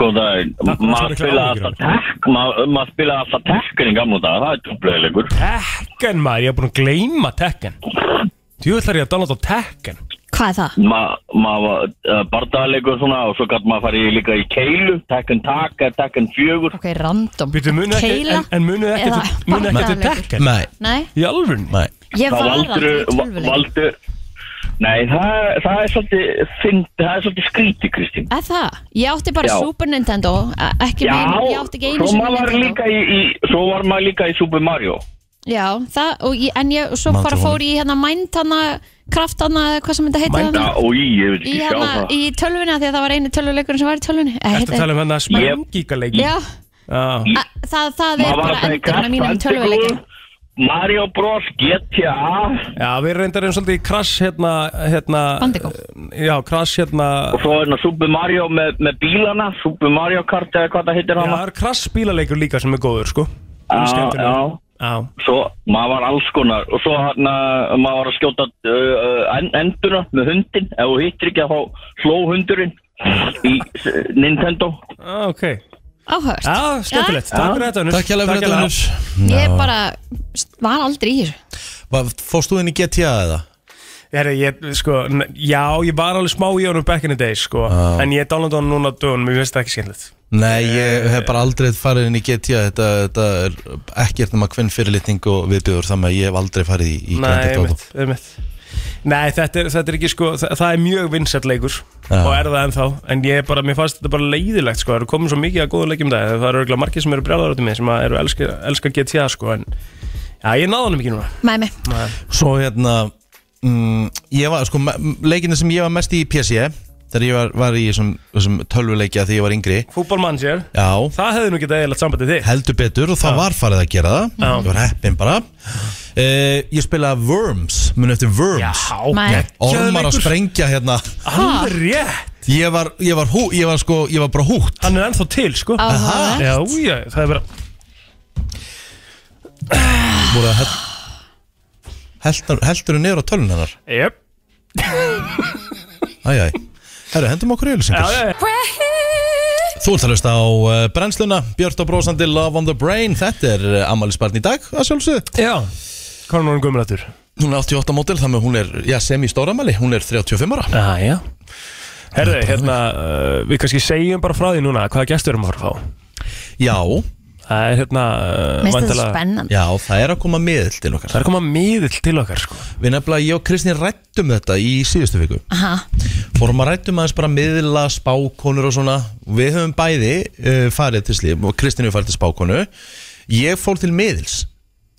Speaker 9: Góð daginn,
Speaker 2: Takk fyrir
Speaker 9: maður
Speaker 2: mikla
Speaker 9: spilaði
Speaker 2: áhyggjur.
Speaker 9: alltaf tekk, maður maður spilaði alltaf tekkin í gamla dag, það er tjóplegleikur.
Speaker 2: Tekken maður, ég er búin að gleyma Tekken Þú ætlar ég að downloada Tekken
Speaker 8: Hvað er það?
Speaker 9: Maður var uh, bardaðleikur svona og svo gæti maður farið í líka í keilu, tekkin taka, tekkin fjögur.
Speaker 8: Ok, random
Speaker 2: Býtu, munið ekki,
Speaker 8: Keila
Speaker 2: en, en munið ekki,
Speaker 8: eða
Speaker 2: til- munið ekki til
Speaker 8: bardaðarleikur?
Speaker 2: Tekken
Speaker 1: Nei,
Speaker 8: Nei,
Speaker 2: Í alvörni
Speaker 1: nei
Speaker 8: ég
Speaker 9: Þá
Speaker 8: var aldrei
Speaker 9: valdur,
Speaker 8: í tölvuleik
Speaker 9: valdur, nei það, það er svolítið, fynd, það er svolítið skríti Kristín.
Speaker 8: Er það? Ég átti bara
Speaker 9: Já.
Speaker 8: Super Nintendo e- Ekki meina, ég átti ekki einu
Speaker 9: svo
Speaker 8: sinni
Speaker 9: maður var
Speaker 8: Nintendo.
Speaker 9: líka í, í, svo var maður líka í Super Mario.
Speaker 8: Já, það, og ég, en ég, og svo
Speaker 1: Man
Speaker 8: bara
Speaker 1: til
Speaker 8: fór ég í hérna Mind hana, kraft hana, eða hvað sem þetta heiti
Speaker 2: Mind-
Speaker 9: Já,
Speaker 8: hana
Speaker 9: og í, ég veit
Speaker 8: Í
Speaker 9: ekki sjá
Speaker 8: hana,
Speaker 9: það.
Speaker 8: í tölvunni, af því að það var einu tölvuleikurinn sem var í tölvunni Eh,
Speaker 2: Ertu
Speaker 8: heita-
Speaker 2: að tala um hennar
Speaker 9: Ég-
Speaker 2: spengíkaleiki?
Speaker 8: Já,
Speaker 2: Já,
Speaker 8: a- það, það er
Speaker 9: Maður var
Speaker 8: bara
Speaker 9: alltaf í
Speaker 8: endurinn á mínum
Speaker 9: Crash
Speaker 8: tölvuleikin
Speaker 9: Bandicoot, Mario Bros, GTA,
Speaker 2: Já, við reyndar erum svolítið í krass hérna, hérna
Speaker 8: Bandico.
Speaker 2: Já, krass hérna
Speaker 9: og svo er það Super Mario með, með bílana, Super Mario Kart eða hvað það heitir
Speaker 2: Já,
Speaker 9: hana.
Speaker 2: það er krass bílaleikur líka sem er góður, sko
Speaker 9: Já, já.
Speaker 2: já
Speaker 9: Svo maður var alls konar og svo hann maður var að skjóta uh, uh, en- enduna með hundin ef þú hittir ekki að fá hló hundurinn í uh, Nintendo.
Speaker 2: Já, ok
Speaker 8: Áhört
Speaker 2: Já, skemmtilegt, takk fyrir þetta, Unnur
Speaker 1: Takk hjá fyrir þetta Unnur.
Speaker 8: Ég bara st- var aldrei í þessu
Speaker 1: Hvað, Fórst þú inn í GTA eða?
Speaker 2: Herri, ég, sko, n- já, ég var alveg smá í honum back in the days, sko En ég downloada hann núna á dögunum, ég veist það ekki skemmtilegt
Speaker 1: Nei, ég hef bara aldrei farið inn í GTA Þetta, þetta er ekkert nema hvern fyrirlitning og viðbjöður Þannig að ég hef aldrei farið í, í Grand
Speaker 2: Nei,
Speaker 1: Theft Auto.
Speaker 2: einmitt, einmitt Nei, þetta er, þetta er ekki sko, það, það er mjög vinsett leikur
Speaker 1: Já.
Speaker 2: og er það ennþá, en ég er bara, mér fannst þetta bara leiðilegt sko, það eru komin svo mikið að góða leikjum það það eru örgulega margir sem eru brjálar út í mig sem að eru elska, elska GTA sko, en já, ég náði hann ekki núna
Speaker 8: Mæmi,
Speaker 1: Svo hérna mm, Ég var, sko, leikinu sem ég var mest í í PC Þegar ég var, var í þessum, þessum tölvuleikja þegar ég var yngri
Speaker 2: Fútbolmann sér,
Speaker 1: Já,
Speaker 2: það hefði nú getað eiginlega sambandið þig
Speaker 1: heldur betur og það var farið að gera það
Speaker 2: Já.
Speaker 1: Ég var heppin bara uh, Ég spilaði Worms, mun eftir Worms
Speaker 8: Nei.
Speaker 2: Já,
Speaker 1: Ormar að sprengja hérna
Speaker 2: Hann er rétt,
Speaker 1: Ég var, ég var, hú, ég var, sko, ég var bara húgt
Speaker 2: hann er ennþá til sko
Speaker 8: áhört
Speaker 2: Já, já, það er bara
Speaker 1: Voru að hel- Heldur, heldur niður á tölun hennar
Speaker 2: Jöp,
Speaker 1: Æjæ Herru, hendum okkur
Speaker 2: já,
Speaker 1: yfirlýsingar
Speaker 2: já, já
Speaker 1: Þú ert að hlusta á uh, brennsluna Björn og brósandi Love on the Brain Þetta er uh, ammælisbarn í dag, að sjálfsögðu
Speaker 2: Já, hvað er núna gömulættur?
Speaker 1: Hún er 88 mótil, þannig að hún er já, sem í stóramæli Hún er 35 ára
Speaker 2: Já, já Herðu, hérna, uh, við kannski segjum bara frá því núna hvaða gestur erum að fara að fá
Speaker 1: Já,
Speaker 2: Það er hérna uh,
Speaker 8: Mér finnst þetta
Speaker 2: væntanlega-
Speaker 8: spennandi
Speaker 1: já, það er að koma miðl til okkar
Speaker 2: Það er að koma miðill til okkar sko
Speaker 1: Við nefnilega, ég og Kristín rættum þetta í síðustu viku
Speaker 8: Aha.
Speaker 1: Fórum að rættum aðeins bara miðla, spákonur og svona Við höfum bæði uh, farið til slíf og Kristín hefur farið til spákonu Ég fór til miðils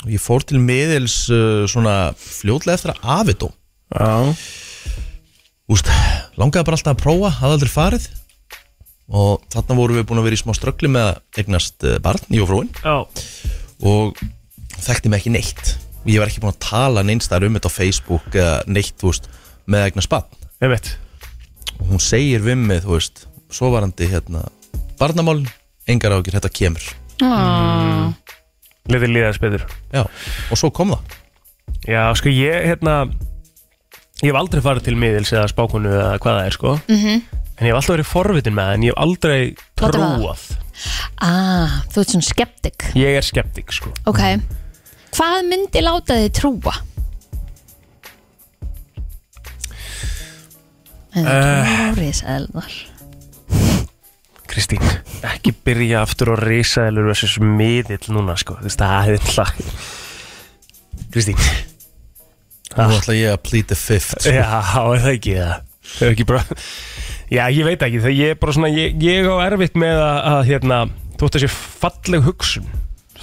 Speaker 1: Og Ég fór til miðils uh, svona fljótlega eftir að afidó
Speaker 2: Já
Speaker 1: Úst, langaði bara alltaf að prófa, hafði aldrei farið og þarna vorum við búin að vera í smá ströggli með að eignast eh, barn í ofróin
Speaker 2: Já,
Speaker 1: og þekkti mig ekki neitt ég var ekki búin að tala neins þar um þetta á Facebook eða neitt þú veist, með að eignast barn
Speaker 2: einmitt
Speaker 1: og hún segir við mig þú veist, svovarandi hérna barnamál, engar ákjör, þetta kemur
Speaker 2: Liði líðaðis betur
Speaker 1: já, og svo kom það
Speaker 2: Já, sko, ég, hérna Ég hef aldrei farið til miðils eða spákonu eða hvað það er, sko -hmm.
Speaker 8: Mhm.
Speaker 2: En ég hef alltaf verið forvitin með það En ég hef aldrei
Speaker 8: Láttu vaða.
Speaker 2: trúað
Speaker 8: Ah, þú ert svona skeptik
Speaker 2: Ég er skeptik, sko
Speaker 8: Ok Hvað myndi láta þið trúa? En
Speaker 1: Eh.
Speaker 8: það uh, trúris elvar
Speaker 2: Kristín, ekki byrja aftur að risa eða þessu smiðill núna sko Þú veist, það er hlað Kristín
Speaker 1: og nú ætla ég að plead the fifth
Speaker 2: Já, er það ekki það Hefur ekki bara Já, ég veit ekki, það ég er bara svona Ég, ég á erfitt með að, að hérna Þótt að sé falleg hugsun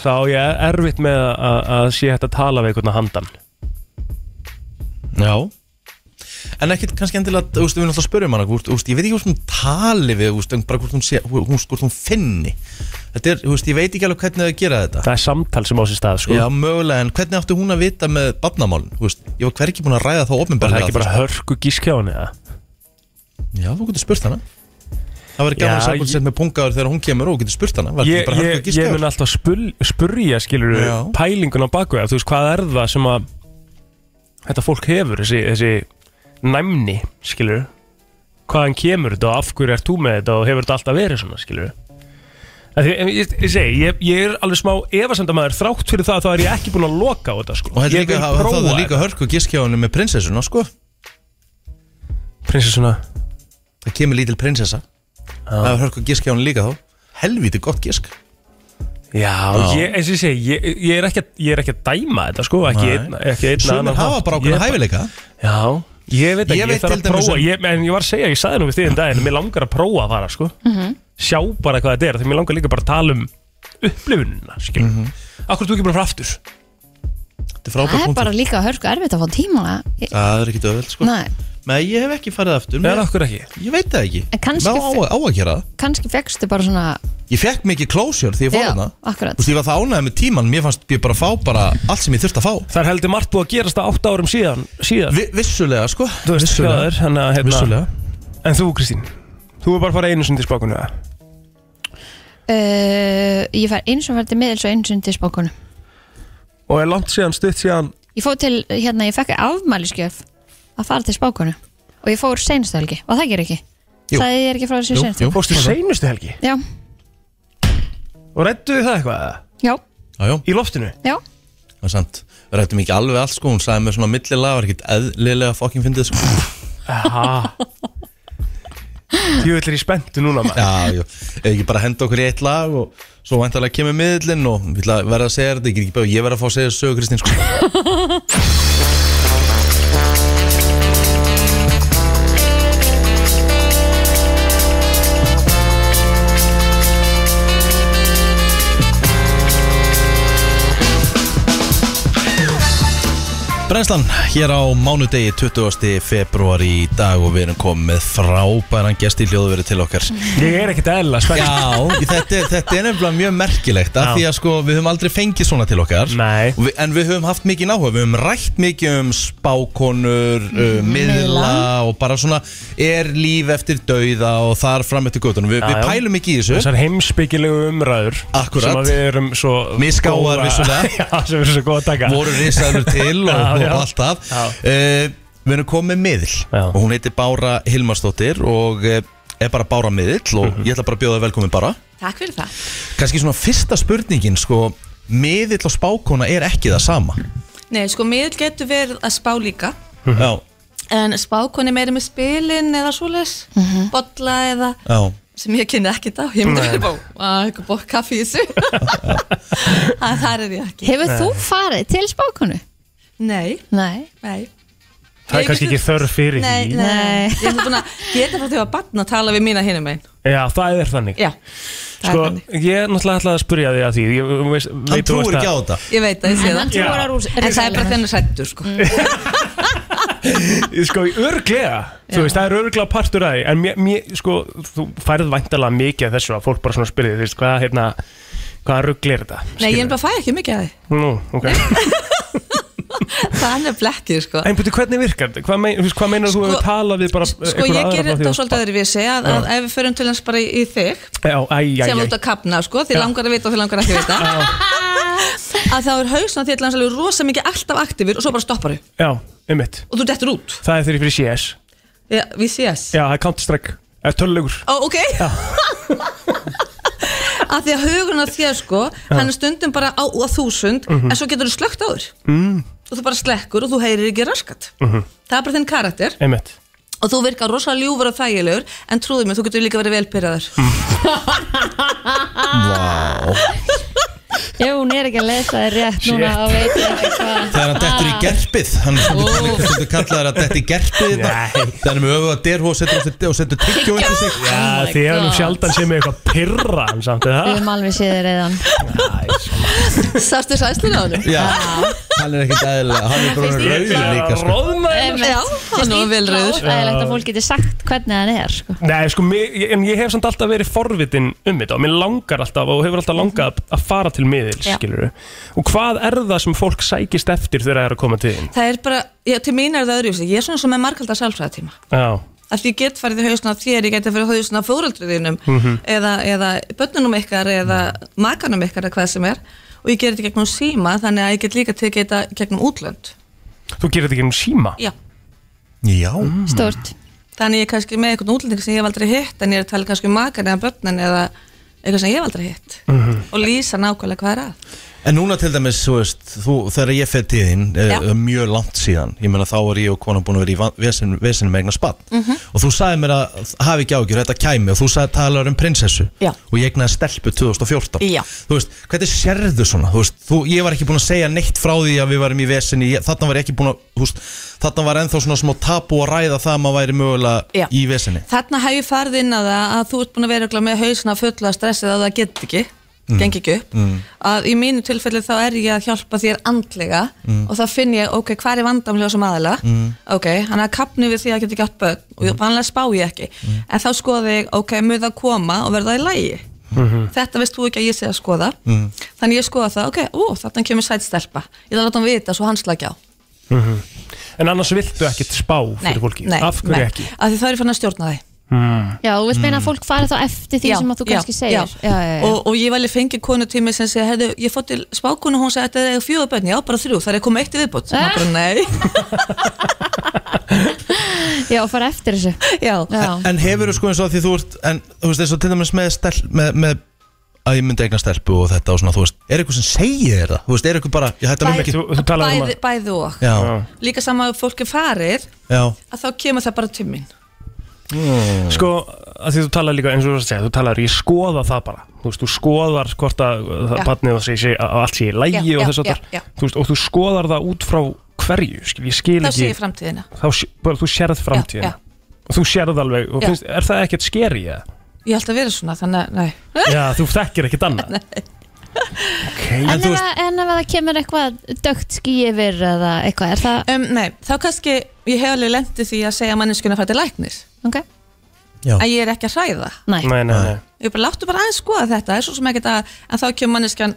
Speaker 2: Þá á ég erfitt með að, að, að sé hægt að tala við einhvern að handan
Speaker 1: já En ekkert kannski endilega, þú veist, við erum alltaf að spyrja um hana, hvort, þú veist, ég veit ekki hvort hún tali við, þú veist, en bara hvort hún, sé, hvort, hún- hvort hún finni. Þetta er, þú veist, ég veit ekki alveg hvernig það gera þetta.
Speaker 2: Það er samtal sem á sér stað sko
Speaker 1: Já, mögulega, en hvernig átti hún að vita með barnamálin, þú veist, ég var hvergi búin að ræða þá
Speaker 2: Það er
Speaker 1: ofinbarlega.
Speaker 2: ekki bara hörku gískjáni eða
Speaker 1: Já, þú getur spurt hana Það verður gaman
Speaker 2: Já,
Speaker 1: að segja
Speaker 2: ég-
Speaker 1: hvort sem með pungaður þegar hún kemur og þú getur spurt hana Var
Speaker 2: ég,
Speaker 1: þetta bara
Speaker 2: ég,
Speaker 1: hægt
Speaker 2: ég mun alltaf spul, spurja skilur
Speaker 1: Já.
Speaker 2: pælingun á bakvega þú veist hvað er það sem að þetta fólk hefur þessi, þessi næmni skilur hvaðan kemur þetta og af hverju ert þú með þetta og hefur þetta alltaf verið svona skilur Því, ég, ég, ég segi, ég, ég er alveg smá efasemdamaður þrátt fyrir það að það er ég ekki búin að loka á þetta sko.
Speaker 1: Og þetta
Speaker 2: ég
Speaker 1: líka, það, það er líka hörku gískjáinu með prinsessuna, sko
Speaker 2: prinsessuna
Speaker 1: Það kemur lítil prinsessa Það er hörku gískjáinu líka þá Helvíti gott gísk
Speaker 2: Já, ég, eins og ég segi, ég, ég, er ekki, að- ég er ekki að dæma þetta sko, ekki
Speaker 1: Nei.
Speaker 2: einn ekki einn
Speaker 1: Sumir
Speaker 2: annan
Speaker 1: hafa
Speaker 2: hátt.
Speaker 1: bara
Speaker 2: Ég
Speaker 1: ákveðna hæfileika
Speaker 2: Já, ég veit ekki,
Speaker 1: Ég
Speaker 2: ég,
Speaker 1: veit
Speaker 2: þarf
Speaker 1: til
Speaker 2: að
Speaker 1: dæmis
Speaker 2: prófa
Speaker 1: um-
Speaker 2: ég, En ég var að segja, ég sagði nú við því en daginn Mér langar að prófa að fara, sko
Speaker 1: Mhm.
Speaker 2: Sjá bara hvað þetta er, því mér langar líka bara að tala um Upplifunina, skil mm -hmm. Akkur þú ekki bara frá aftur
Speaker 8: Það
Speaker 1: Þetta er frábært
Speaker 8: er bara
Speaker 1: punktur
Speaker 8: líka hörku erfitt að fá tíma Ég-
Speaker 1: Það er ekki döðveld, sko
Speaker 8: Nei,
Speaker 1: Nei, ég hef ekki farið aftur
Speaker 2: Eða
Speaker 1: mér,
Speaker 2: akkur ekki
Speaker 1: Ég veit það ekki
Speaker 8: En kannski
Speaker 1: Má á, á að gera það
Speaker 8: kannski fegstu bara svona
Speaker 1: Ég fekk mikið closure því ég fór
Speaker 8: Já,
Speaker 1: hana
Speaker 8: akkurat.
Speaker 1: Þú veist, ég var það ánægð með tíman Mér fannst ég bara fá bara allt sem ég þurfti að fá
Speaker 2: Það er heldur margt búið að gerast það átta árum síðan, síðan.
Speaker 1: Vi, Vissulega, sko
Speaker 2: Þú veist, hvað það er, hann að hérna,
Speaker 1: Vissulega
Speaker 2: En þú, Kristín, þú er bara að fara einu sinni til spákunni eða?
Speaker 8: uh, Ég fær eins og fær til miðils og eins og til spákunum
Speaker 2: Og er langt síðan, stutt síðan
Speaker 8: Ég fór til, hérna, ég fekk afmæliskjöf að fara til spákunum og ég fór seinstölgi, og það ger ekki
Speaker 1: Jú.
Speaker 8: Það er ekki frá þessu
Speaker 1: Jú,
Speaker 8: seinstölgi
Speaker 1: jú.
Speaker 2: Fórstu
Speaker 1: Ok.
Speaker 2: seinustu helgi
Speaker 8: Já,
Speaker 2: Og redduðu það eitthvað eða?
Speaker 8: já,
Speaker 1: Já, já,
Speaker 2: Í loftinu
Speaker 8: já
Speaker 1: það er sant Við rættum ekki alveg allt sko, hún sagði mér svona millilega var ekkert eðlilega fokkin fyndið sko
Speaker 2: Aha Jú, ætlir í spenntu núna maður
Speaker 1: Já, já, ef ekki bara henda okkur í eitt lag og svo vantarlega kemur miðlinn og við ætla að verða að segja þetta, ég get ekki bæði ég verða að fá að segja sögu Kristín sko Brennslan, hér á mánudegi 20. februar í dag og við erum komið með frábæran gest í hljóðverið til okkar
Speaker 2: Ég er ekkert eðla spennt
Speaker 1: Já, þetta, er- þetta er nefnilega mjög merkilegt af
Speaker 2: Já.
Speaker 1: því að sko við höfum aldrei fengið svona til okkar
Speaker 2: Nei.
Speaker 1: Og við, En við höfum haft mikið náhuga, við höfum rætt mikið um spákonur, uh,
Speaker 2: Mm-hmm.
Speaker 1: miðla og bara svona er líf eftir dauða og þar fram eftir göttunum Við,
Speaker 2: Já,
Speaker 1: við
Speaker 2: já.
Speaker 1: pælum ekki í þessu
Speaker 2: Þessar heimsbyggilegu umræður
Speaker 1: Akkúrat.
Speaker 2: Sem að við erum svo
Speaker 1: Misgáfar
Speaker 2: góðar-
Speaker 1: vissulega.
Speaker 2: Já, sem við erum svo góð að taka
Speaker 1: voru risaður til og,
Speaker 2: Já, já.
Speaker 1: og allt það
Speaker 2: Já.
Speaker 1: uh, Við erum komið miðl
Speaker 2: Já.
Speaker 1: og hún heitir Bára Hilmarsdóttir og uh, er bara Bára miðl
Speaker 2: Mhm.
Speaker 1: og ég ætla bara að bjóða þér velkomin Bára
Speaker 3: Takk fyrir það
Speaker 1: Kannski svona fyrsta spurningin sko, miðl og spákona er ekki það sama
Speaker 10: Nei, sko, miðl getur verið að spá líka
Speaker 2: Mhm.
Speaker 1: Já,
Speaker 10: en spákonni meira með spilin eða svoleiðis, bolla eða
Speaker 1: já
Speaker 10: sem ég kynni ekki þá, ég myndi verið bá að eitthvað bók kaffi í þessu að það er ég ekki
Speaker 8: Hefur þú farið til spákonu?
Speaker 10: Nei,
Speaker 8: Nei
Speaker 10: nei
Speaker 2: Það er kannski ekki þörf fyrir
Speaker 10: Nei,
Speaker 2: því
Speaker 10: nei, ég hef búin að geta frá því að batna að tala við mína hinum einn
Speaker 2: Já, það er þannig
Speaker 10: Já, það
Speaker 2: Sko,
Speaker 10: er þannig
Speaker 2: ég náttúrulega ætlaði að spurja því að því Ég veist,
Speaker 1: Hann
Speaker 2: veit þú
Speaker 1: trúir
Speaker 2: veist
Speaker 1: ekki á
Speaker 2: að-
Speaker 1: þetta
Speaker 10: Ég veit að ég sé
Speaker 8: Hann
Speaker 10: það
Speaker 8: trúar á
Speaker 10: En það er bara
Speaker 8: risaeðlurnar.
Speaker 10: þenni sættur sko
Speaker 2: Ég sko, örglega Þú veist, það er örglega partur að því En mér, mér, sko, þú færð væntalega mikið af þessu að fólk bara svona spyrði, þú veist, hvað, hérna Hvaða rugl er þetta?
Speaker 10: Nei, ég er bara að fæ ekki mikið að
Speaker 2: Skilurðu? Nú, ok
Speaker 10: því Það er blekkið, sko
Speaker 2: En betur, hvernig virkar þetta? Hvað, mein, þú veist, hvað meinar þú hefur talað við bara
Speaker 10: Sko, ég gerir þetta svolítið öðru við sig að, að ef við förum til hans bara í, í þig
Speaker 2: Já, æ, æ,
Speaker 10: sem
Speaker 2: æ,
Speaker 10: þú ert að kapna, sko, þið
Speaker 2: Já.
Speaker 10: langar að vita og þið langar ekki að vita að þá er hausna þér langs alveg rosa mikið alltaf aktífur og svo bara stoppar þau
Speaker 2: Já, einmitt
Speaker 10: og þú dettur út
Speaker 2: Það er þeirri fyrir CS
Speaker 10: Já, við sést
Speaker 2: Já, það er Counter-Strike Það er tölulegur
Speaker 10: Ó, ok að því að hugurinn á þér sko hann er stundum bara á á þúsund
Speaker 2: Mhm.
Speaker 10: en svo getur þú slögt á þér
Speaker 2: mm.
Speaker 10: og þú bara slekkur og þú heyrir ekki raskat
Speaker 2: mm
Speaker 10: það er bara þinn karakter
Speaker 2: Einmitt
Speaker 10: og þú virkar rosalega ljúfur og þægilegur en trúðu mér, þú getur líka verið velbyrjaður
Speaker 1: Vá
Speaker 8: Ef hún er ekki að lesa þér rétt núna
Speaker 1: Shit.
Speaker 8: og veit ég ekki hvað
Speaker 1: Þegar hann dettur
Speaker 2: Ah.
Speaker 1: í gerpið Hann er
Speaker 8: Ó.
Speaker 1: stundum- stundum kallaður að detta í gerpið Þannig er með öfuga derhú og setur á sig- og setur tyggjó undir sig
Speaker 10: Oh
Speaker 2: Já, þið er nú sjaldan sem er eitthvað pyrra hann samt
Speaker 8: Við
Speaker 2: eða
Speaker 8: höfum alveg séð þér reyðan
Speaker 10: Sástu sæslinu á hann?
Speaker 1: Já,
Speaker 2: Ah.
Speaker 1: hann er ekkert aðeins Hann er bara
Speaker 8: Finnst
Speaker 1: rauður
Speaker 8: ég-
Speaker 1: líka sko.
Speaker 10: Já, hann var vel rauður.
Speaker 8: Það er lægt að fólk getur sagt hvernig hann er sko.
Speaker 2: Nei, sko, mér, ég- en ég hef samt alltaf verið forvitin um þetta og mér langar alltaf og hefur alltaf langað að- að fara til miðils,
Speaker 10: Mhm. Já.
Speaker 2: skilur Og hvað er það sem fólk sækist eftir þegar það er að koma til þín?
Speaker 10: það er bara, já, til mín er það öðruvísi ég er svona sem er margaldar sálfræðatíma
Speaker 2: Já,
Speaker 10: að því ég get farið í hausna á þér, ég get farið í hausna á fóröldriðinum
Speaker 2: Mhm.
Speaker 10: eða, eða börnunum ykkar eða makanum ykkar eða hvað sem er og ég ger þetta gegnum síma þannig að ég get líka tekið þetta gegnum útlönd
Speaker 2: þú gerir þetta ekki um síma?
Speaker 10: Já.
Speaker 1: Já
Speaker 8: Mm.
Speaker 10: Stort Þannig ég er kannski með eitthvað útlending sem ég hef aldrei hitt en ég er að tala kannski um makan eða börnin eða eitthvað sem ég hef aldrei hitt og lýsa nákvæmlega hvað er að
Speaker 1: En núna til dæmis, þú veist, þú, þegar ég fer til þín
Speaker 10: Já.
Speaker 1: uh, mjög langt síðan, ég meina þá er ég og konan búin að vera í van- vesen- vesinu með eignar spatt Mhm. og þú sagði mér að hafi ekki ágjur þetta kæmi og þú sagði talar um prinsessu
Speaker 10: Já.
Speaker 1: og ég egnaði stelpu 2014
Speaker 10: Já.
Speaker 1: þú veist, hvernig sérðu svona þú veist, þú, ég var ekki búin að segja neitt frá því að við varum í vesinni, þarna var ég ekki búin að þú veist, þarna var ennþá svona smá tabu að ræða það að maður væri mögulega
Speaker 10: Já.
Speaker 1: í vesinni
Speaker 10: Þarna hef ég farið inn að það að þú ert búin að vera örugglega með hausna fulla af stressið að það get ekki,
Speaker 1: Mm.
Speaker 10: gengi ekki upp mm. að í mínu tilfelli þá er ég að hjálpa þér andlega
Speaker 4: Mm.
Speaker 10: og þá finn ég, ok, hvað er vandamlega sem aðala
Speaker 4: Mm.
Speaker 10: ok, hann er að kapni við því að geta ekki átt börn og vanlega spá ég ekki
Speaker 4: Mm.
Speaker 10: en þá skoði ég, ok, mun það koma og verða í lægi
Speaker 2: Mhm.
Speaker 10: þetta veist þú ekki að ég sé að skoða
Speaker 4: Mm.
Speaker 10: þannig ég skoða það, ok, ú, þarna kemur sæt stelpa ég þarf að láta hann vita svo hann slagi á
Speaker 2: Mhm. En annars viltu ekkit spá fyrir fólki? Af hverju
Speaker 10: nei.
Speaker 2: ekki?
Speaker 10: Af því það er fann að stjórna því
Speaker 2: Mm.
Speaker 8: Já, þú veist meina að fólk fara þá eftir því sem að þú kannski segir
Speaker 10: já.
Speaker 3: Eh.
Speaker 10: Og, og ég vali fengi konu til mig sem segi herðu, ég fótt til spákonu hún segi þetta er fjóða bönn, já bara þrjú, það er komið eitt í viðbútt og maður bara nei
Speaker 8: Já, og fara eftir þessu
Speaker 10: Já,
Speaker 1: En, en hefur þú sko eins og því þú ert En þú veist eins og til dæmis með, stel, með, með að ég myndi eigna stelpu og þetta og svona þú veist, er eitthvað sem segir þér það? Þú veist, er eitthvað bara, ég hætti alveg mikið
Speaker 2: um
Speaker 10: bæði, bæði og
Speaker 1: Já,
Speaker 10: líka sama að fólki farir
Speaker 1: já
Speaker 10: að þá kemur það bara til mín
Speaker 2: Sko, að því þú talar líka eins og þú varst að segja, þú talar, ég skoða það bara þú veist, þú skoðar hvort að
Speaker 10: Já.
Speaker 2: barnið sé, sé, að allt sé í lægi
Speaker 10: Já,
Speaker 2: og
Speaker 10: já,
Speaker 2: þess að
Speaker 10: já, já.
Speaker 2: þú veist, og þú skoðar það út frá hverju, skil, ég skil
Speaker 10: þá
Speaker 2: ekki
Speaker 10: sé ég framtíðina
Speaker 2: þá sé, bara þú sérð framtíðin
Speaker 10: já.
Speaker 2: og þú sérð alveg, og
Speaker 10: Já.
Speaker 2: finnst, er það ekkert skeri eða?
Speaker 10: ég held að vera svona, þannig að nei
Speaker 2: Já, þú þekkir ekkert annað okay.
Speaker 8: En, ef að- en ef að það kemur eitthvað dögt ský yfir eða eitthvað, er það
Speaker 10: um, Nei, þá kannski, ég hef alveg lendið því að segja manneskuna að fara til læknis
Speaker 8: okay.
Speaker 1: Já.
Speaker 10: að ég er ekki að hræða
Speaker 8: Nei,
Speaker 2: nei, nei, nei.
Speaker 10: ég bara láttu bara aðeins skoða þetta er svo sem ekkert að, en þá kemur manneskjan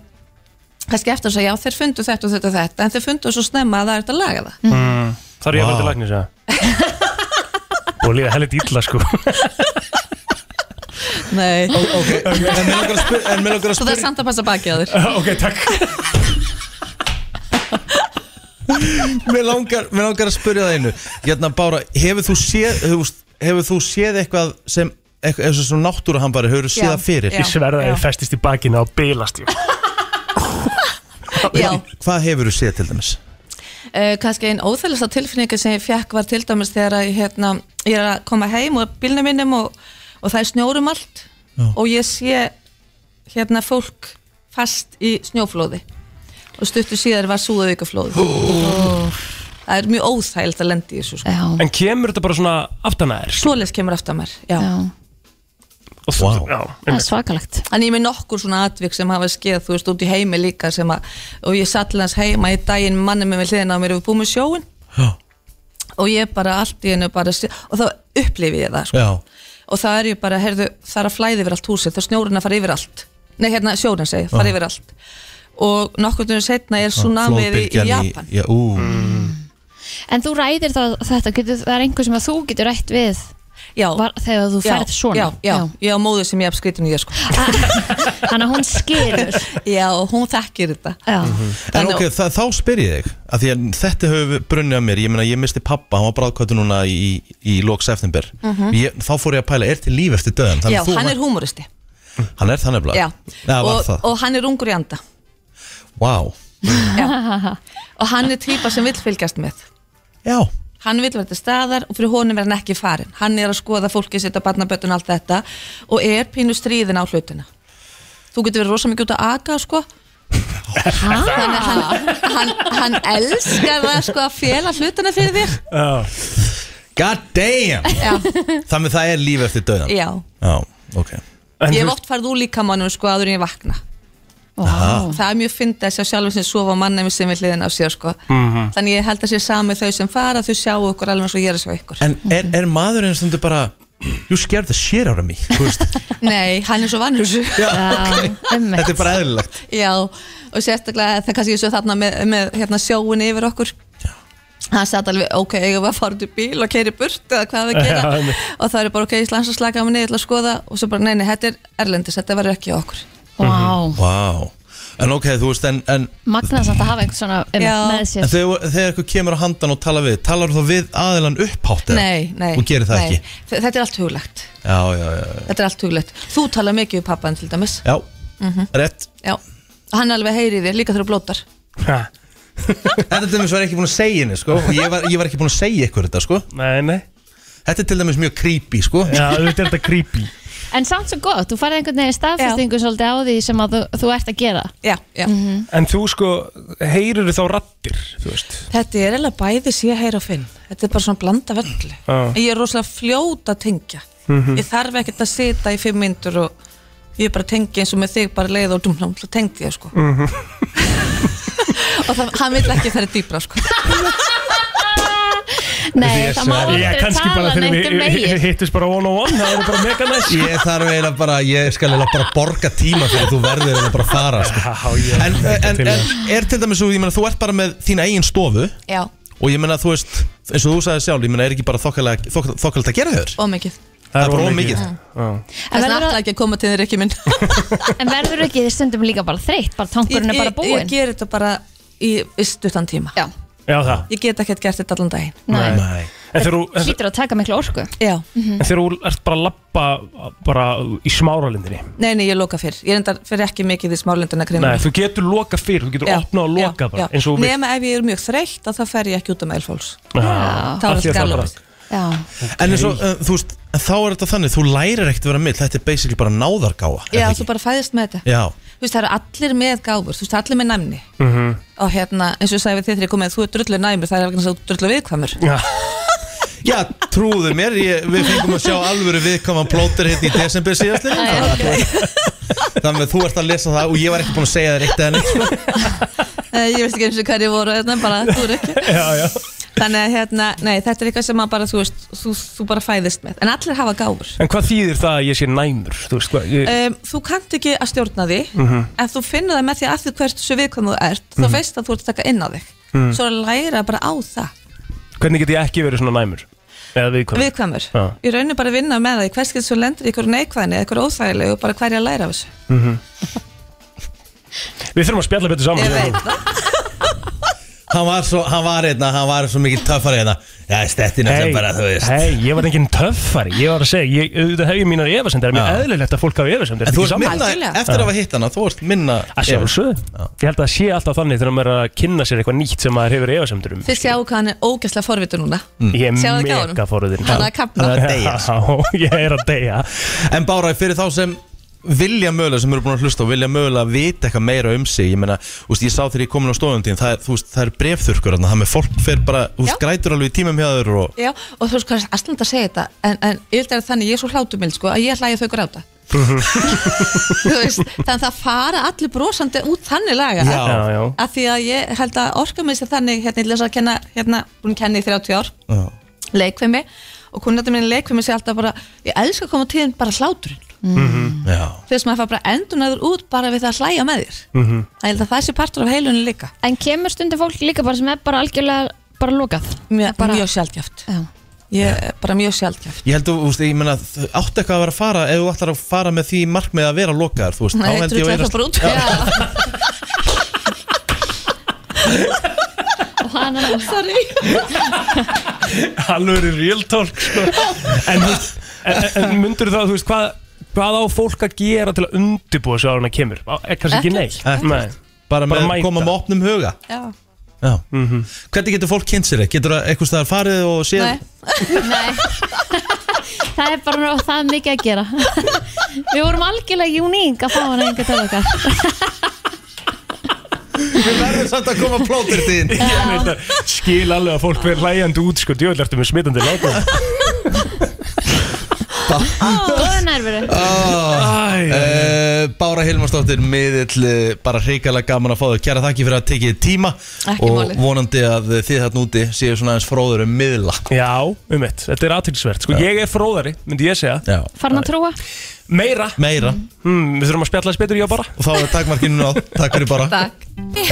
Speaker 10: kannski eftir að segja, já þeir fundu þetta og þetta og þetta en þeir fundu svo snemma að það er þetta að laga það
Speaker 2: Mm. Þar er ég að
Speaker 1: Vá.
Speaker 2: vera til læknis eða? og líða helið illa sko
Speaker 10: Nei
Speaker 1: okay. En mér langar að spyrja En mér langar að
Speaker 10: Svo það er
Speaker 1: spyrja
Speaker 10: samt að passa baki á þér
Speaker 2: Ok, takk
Speaker 1: Mér langar, mér langar að spyrja það einu Hérna bara, hefur þú séð þú veist, Hefur þú séð eitthvað sem eitthvað, eins og svona náttúruhamfari, hefur þú séð
Speaker 10: Já,
Speaker 1: það fyrir
Speaker 10: já, Ég sverða já. ég
Speaker 2: festist í bakinu á bilast
Speaker 10: Já,
Speaker 1: Hvað hefur þú séð til dæmis?
Speaker 10: uh, kannski einn óþægilegsta tilfinninga sem ég fekk var til dæmis þegar að, ég, hérna, ég er að koma heim og bílnum minnum og, og það er snjórum allt
Speaker 1: Já.
Speaker 10: og ég sé hérna fólk fast í snjóflóði og stuttu síðar var súðaukaflóði Það er mjög óþægilegt að lendi í þessu sko.
Speaker 2: En kemur þetta bara svona aftan að þér?
Speaker 10: Svoleiðs kemur aftan mér Já,
Speaker 2: Og þú- Já, einmitt.
Speaker 8: svakalegt
Speaker 10: En ég er með nokkur svona atvik sem hafa skeið þú veist út í heimi líka sem að og ég satt hans heima í daginn manni með með hliðina á mér og við búum með sjóin
Speaker 1: Já.
Speaker 10: og ég bara allt í hennu bara sé- og þá upplifi ég það sko.
Speaker 1: Já,
Speaker 10: og það er ég bara, heyrðu, það er að flæði yfir allt húsið, þá er snjórinn að fara yfir allt nei, hérna, sjórinn segi, fara
Speaker 1: Já.
Speaker 10: yfir allt og nokkur dönum setna er tsunamið í, í
Speaker 1: Ah, flóðbylgjan
Speaker 10: Japan
Speaker 1: Já, ú
Speaker 8: En þú ræðir það, þetta, getur, það er einhver sem að þú getur rætt við
Speaker 10: já,
Speaker 8: var, þegar þú ferð svona
Speaker 10: já, já, já, já móður sem ég hef skritin í ég sko
Speaker 8: Þannig að hún skilur
Speaker 10: Já, og hún þekkir þetta
Speaker 8: Já,
Speaker 1: En ok, það, þá spyr ég þig að Því að þetta hefur brunnið að mér Ég meina, ég misti pappa, hann var bráðkvættu núna í, í lok september
Speaker 10: Mhm.
Speaker 1: ég, Þá fór ég að pæla, er til líf eftir döðan?
Speaker 10: já hann er húmoristi
Speaker 1: Hann er þannig blað
Speaker 10: já.
Speaker 1: Já, var
Speaker 10: og,
Speaker 1: það
Speaker 10: og hann er ungur í anda
Speaker 1: Vá
Speaker 10: já. og hann er týpa sem vill fylgjast með
Speaker 1: Já
Speaker 10: hann vill vera til staðar og fyrir honum er hann ekki farin hann er að skoða fólkið sitt á barnabötun allt þetta og er pínu stríðin á hlutina þú getur verið rosa mikið út að aga sko Þannig að hann, hann, hann elskar það sko að fela hlutina fyrir þér
Speaker 1: God damn
Speaker 10: Já,
Speaker 1: Þannig það er líf eftir döðan
Speaker 10: já.
Speaker 1: Já, ok
Speaker 10: Ég hef oft farið úr líkamannum sko áður en ég vakna
Speaker 1: Aha.
Speaker 10: Það er mjög fyndið að sjá sjálfur sem sofa á mannum sem við hliðin á sér sko
Speaker 1: Mhm.
Speaker 10: Þannig ég held að sé sami þau sem fara þau sjá okkur alveg eins og ég er að sjá ykkur
Speaker 1: En er, er maðurinn stundu bara You scared the shit out of me þú veist?
Speaker 10: Nei, hann er svo vannur þessu
Speaker 1: Já, ok.
Speaker 8: Um,
Speaker 1: Þetta er bara eðlilegt
Speaker 10: Já, og sérstaklega það kannski svo þarna með, með hérna, sjóin yfir okkur hann satt alveg, ok, ég var að fara út í bíl og keiri burt eða hvað við gera
Speaker 2: Já, einmitt.
Speaker 10: og það er bara, ok, ég slans að slaka á mig niður til að skoða og svo bara, nei, nei, þetta er erlendis, þetta var ekki hjá okkur
Speaker 1: Vá En ok, þú veist, en, en
Speaker 8: Magna samt að hafa einhvern svona um, með
Speaker 1: En
Speaker 8: sér
Speaker 1: þegar, þegar eitthvað kemur á handan og tala við Talar þú þá við aðilan upphátt eða?
Speaker 10: Nei, nei,
Speaker 1: Þú gerir það
Speaker 10: nei.
Speaker 1: ekki
Speaker 10: Þ- Þetta er allt huglegt,
Speaker 1: Já, já, já, já.
Speaker 10: þetta er allt huglegt Þú tala mikið við pappan til dæmis
Speaker 1: já.
Speaker 10: Mhm.
Speaker 1: Rétt
Speaker 10: Já, hann alveg heyri þér líka þegar þú blótar
Speaker 1: Þetta til dæmis var ég ekki búin að segja henni sko. og ég var, ég var ekki búin að segja ykkur þetta sko.
Speaker 2: Nei, nei
Speaker 1: Þetta er til dæmis mjög creepy sko.
Speaker 2: Já, þetta er þetta creepy
Speaker 8: En samt svo gott, þú farið einhvern veginn staðfestingu svolítið á því sem að þú, þú ert að gera
Speaker 10: Já, já
Speaker 2: En þú sko, heyrir þá rattir, þú veist
Speaker 10: Þetta er eiginlega bæði sé heyra og finn Þetta er bara svona blanda völlu
Speaker 2: Já.
Speaker 10: Ég er rosalega fljóta að tengja
Speaker 2: Mhm.
Speaker 10: Ég þarf ekkert að sita í fimm myndur og ég er bara að tengja eins og með þig bara leið og dumlum, þá tengdi ég sko
Speaker 2: Mhm.
Speaker 10: og það, hann vil ekki færa dýbra sko
Speaker 8: Nei, það má
Speaker 2: Já,
Speaker 8: aldrei
Speaker 2: kannski bara
Speaker 8: tala
Speaker 2: þegar
Speaker 8: neitt um
Speaker 2: við
Speaker 8: megin
Speaker 2: hittist bara one on one, það er bara mega næst
Speaker 1: Ég þarf eiginlega bara, ég skal eiginlega bara borga tíma fyrir þú verður eiginlega bara að fara sko.
Speaker 2: ég
Speaker 1: en,
Speaker 2: er
Speaker 1: en,
Speaker 2: til í
Speaker 1: en er til dæmis svo, ég meina, þú ert bara með þína eigin stofu
Speaker 10: Já,
Speaker 1: og ég meina, þú veist, eins og þú sagði sjálf ég meina, er ekki bara þokkalega þokk- þokkalegt að gera þér
Speaker 10: og mikið
Speaker 1: Það er
Speaker 2: of
Speaker 1: bara of
Speaker 2: mikið.
Speaker 1: mikið
Speaker 10: Það er alltaf ekki að koma til þér ekki minn
Speaker 8: En verður ekki þið stundum líka bara þreytt bara tankurinn er bara
Speaker 10: Ég, ég
Speaker 8: búinn
Speaker 10: ger þetta bara í, í stuttan tíma Já.
Speaker 2: Já, það
Speaker 10: Ég get ekkert gert þetta allan daginn
Speaker 8: Nei.
Speaker 2: En þegar þú- en-
Speaker 8: Hlýtur að taka miklu orku
Speaker 10: Já
Speaker 2: en þegar þú ert bara að lappa bara í smáralindinni
Speaker 10: Nei, nei, ég loka fyrr Ég reyndar fyrir ekki mikið í smálendina krimina
Speaker 2: Nei, þú getur loka fyrr, þú getur
Speaker 10: Já,
Speaker 2: opnað og loka bara eins og þú vilt.
Speaker 10: Nefna ef ég er mjög þreytt að það fer ég ekki út um eilfóls
Speaker 2: Já.
Speaker 10: Þá er
Speaker 2: Af því
Speaker 10: þetta
Speaker 2: að það
Speaker 10: galopið
Speaker 8: Já
Speaker 1: En eins og, uh, þú veist, þá er þetta þannig þú lærir ekkert að vera mill, þetta er basically bara náðargáfa er
Speaker 10: Já,
Speaker 1: það
Speaker 10: þú
Speaker 1: ekki?
Speaker 10: bara fæðist með þetta
Speaker 1: Já
Speaker 10: Þú veist, það eru allir með gáfur, þú veist, allir með næmni
Speaker 2: Mhm.
Speaker 10: Og hérna, eins og ég sagði við þið þegar ég komið Þú er drullu næmur, það er vegna þess að þú ert drullu viðkvæmur
Speaker 2: Já,
Speaker 1: Já, trúðu mér, ég, við fengum að sjá alvöru viðkvæman plóter hérna í desember síðastinu Þannig að þú ert að lesa það og ég var ekki búin að segja þér eitt eða neitt sko.
Speaker 10: Eh, Ég veist ekki eins og hverju voru, hérna, bara, þú er ekki
Speaker 2: já, já
Speaker 10: Þannig að, hérna, nei, þetta er eitthvað sem að bara, þú veist, þú, þú bara fæðist með En allir hafa gáfur
Speaker 2: En hvað þýðir það að ég sé næmur, þú veist hvað ég,
Speaker 10: um, Þú kannt ekki að stjórna því
Speaker 2: Mhm.
Speaker 10: En þú finnur það með því að því hvert svo viðkvæmur þú ert Þú
Speaker 2: Mhm.
Speaker 10: veist að þú ert að taka inn á þig
Speaker 2: Mhm.
Speaker 10: Svo að læra bara á það
Speaker 2: Hvernig get ég ekki verið svona næmur? Eða viðkvæmur?
Speaker 10: viðkvæmur
Speaker 2: Já.
Speaker 10: ég raunir bara að vinna með það, hvers getur svo lendur í einhverju neikvæðinu, einhverju óþægilegu, bara hverja að læra af þessu
Speaker 2: Mhm. Við þurfum að spjalla betur saman
Speaker 10: veit
Speaker 1: Hann var svo, hann var hérna, hann var svo mikið töffari hérna Já, stettina
Speaker 2: Hei,
Speaker 1: sem bara, þú veist
Speaker 2: hei, ég var enginn töffari Ég var að segja, ég, auðvitað hef ég mínar efasendir Það er mjög eðlilegt að fólk hafa efasendir
Speaker 1: En þú ert minna, eftir að hafa hitt hana, þú ert minna
Speaker 2: Að sjálfsögðu Ég held að það sé alltaf þannig þegar maður er að kynna sér eitthvað nýtt sem maður hefur efasendur um
Speaker 10: þið sjáu hvað hann er ógæslega forvitur núna
Speaker 2: Ég er
Speaker 10: Sjáðu ekki á honum?
Speaker 2: mega forðin
Speaker 10: Hann er að kafna. Hann er að deyja.
Speaker 2: Ég er að deyja
Speaker 1: En Bára, fyrir þá sem vilja mögulega sem eru búin að hlusta og vilja mögulega vita eitthvað meira um sig ég meina, úst, ég sá þegar ég komin á stofum tíðin það er, þú veist, það er brefþurkur þarna, það með fólk fer bara, þú veist, grætur alveg í tímum hjá þér og
Speaker 10: Já, og þú veist hvað, allan þetta að segja þetta en, en ég held að það er þannig, ég er svo hlátumild sko, að ég hlæði þau gráta Þú veist, þannig að það fara allir brosandi út þannig laga
Speaker 2: Já. Já, já.
Speaker 10: Af því að ég held að orka mig sér þannig hérna, ég les að kenna, hérna, búin að kenna í 30 ár
Speaker 1: Já.
Speaker 10: leikfimi og kunnandi minn leikfimi sé alltaf bara ég elska að koma tíðin bara hláturinn
Speaker 1: Já
Speaker 10: þess að maður fara bara endunæður út bara við það að hlæja með þér
Speaker 1: Mhm.
Speaker 10: það held að það sé partur af heilunni líka
Speaker 8: En kemur stundum fólk líka bara sem er bara algjörlega bara lokað
Speaker 10: Mjög, mjög sjaldgjöft Ég, bara mjög sjaldgjöft
Speaker 1: Ég held að, þú veist, ég menna, átt eitthvað að vera að fara ef þú ætlar að fara með því markmið að vera lokaðar, þú veist,
Speaker 10: Nei,
Speaker 1: held ég að
Speaker 10: drulla það bara út.
Speaker 8: Og hann er
Speaker 10: Sorry
Speaker 2: Alveg er real talk sko. En, þú veist, en, en- en myndur þá, þú veist, hvað, hvað á fólk að gera til að undirbúa sig ára hann að kemur? Á- eh, Kannski ekki neitt Nei.
Speaker 1: Bara með-
Speaker 2: mæta.
Speaker 1: koma með opnum huga
Speaker 10: Já
Speaker 1: Já. Hvernig getur fólk kynnt sér það? Getur það eitthvað staðar farið og séð?
Speaker 8: Nei. Nei Það er bara nóg, það er mikið að gera Við vorum algjörlega uník að fá hann einhvern til okkar
Speaker 1: Við verðum samt að koma plótur þín
Speaker 2: Ég veit að skil alveg að fólk verður hlægjandi út sko, djóðlega ertu með smitandi látum
Speaker 8: Góðu nærveru
Speaker 1: Ah, uh, Bára Hilmarsdóttir miðill eh, bara hrikalega gaman að fá þau kæra þakki fyrir að tekið tíma
Speaker 10: Ekki
Speaker 1: og
Speaker 10: málið.
Speaker 1: vonandi að þið þarna úti séu svona aðeins fróður um miðla
Speaker 2: Já, um eitt, þetta er aðtilsvert sko, Ég er fróðari, myndi ég segja
Speaker 1: Já.
Speaker 8: Farin að trúa
Speaker 2: Meira,
Speaker 1: meira
Speaker 10: Mm.
Speaker 2: hmm, við þurfum að spjalla þess betur ég og bara
Speaker 1: og þá er takmarkinu náð, takk fyrir Bára
Speaker 10: Takk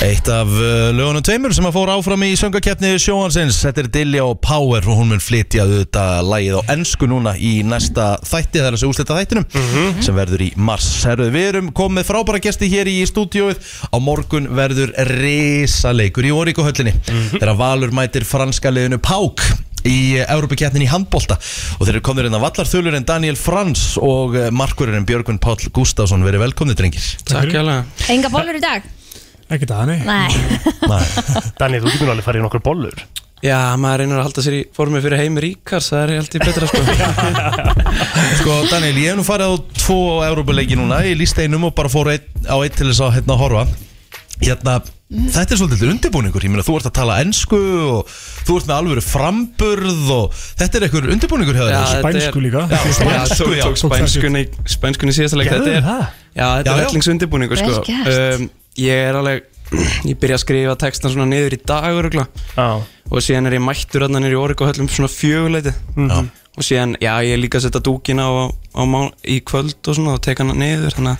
Speaker 1: Eitt af uh, lögunum tveimur sem að fór áfram í söngakeppni sjóhansins Þetta er Dilja og Power og hún mun flytja auðvitað lagið á ennsku núna í næsta þætti Það er þessi úslita þættinum sem verður í mars Herru, Við erum komið frábæra gesti hér í stúdíóið Á morgun verður risaleikur í Oríko höllinni Þegar Valur mætir franska liðinu Pák í Európa-keppnin í handbolta og þeir eru komnir inn á vallarþulurinn Daniel Frans og eh, markvörurinn Björgvin Páll Gustafsson verið velkomni drengir
Speaker 11: Takk hérlega
Speaker 8: Enga bólur í dag?
Speaker 11: Ekki það, nei
Speaker 8: Nei
Speaker 2: Daniel, þú getur nú alveg farið í nokkur bollur
Speaker 11: Já, maður reynir að halda sér í formi fyrir heim ríkars Það er alltaf betra sko
Speaker 1: Sko Daniel, ég hef nú farið á tvo Európa-leiki núna í lísteinum og bara fór ein, á einn til þess að hérna horfa Hérna, þetta er svolítið undirbúningur Ég meina, þú ert að tala ensku og þú ert með alvöru framburð og þetta er einhver undirbúningur hefur
Speaker 11: Já, þetta er-
Speaker 1: sko
Speaker 11: Já,
Speaker 1: spænsku, já
Speaker 11: tók- Tók spænskunni, spænskunni síðasta leik
Speaker 2: Gerðu
Speaker 11: Þetta er,
Speaker 2: það?
Speaker 11: já, þetta
Speaker 1: Já,
Speaker 11: er
Speaker 1: já.
Speaker 11: ætlingsundibúningur sko.
Speaker 8: Vel gert.
Speaker 11: um, Ég er alveg Ég byrja að skrifa textan svona niður í dag örugla.
Speaker 2: Já,
Speaker 11: Og síðan er ég mættur Þannig er ég orðið höllum svona fjöguleiti
Speaker 1: Já.
Speaker 11: Og síðan, já, ég er líka að setja dúkina á, á mán, Í kvöld og svona Og teka hana niður Þannig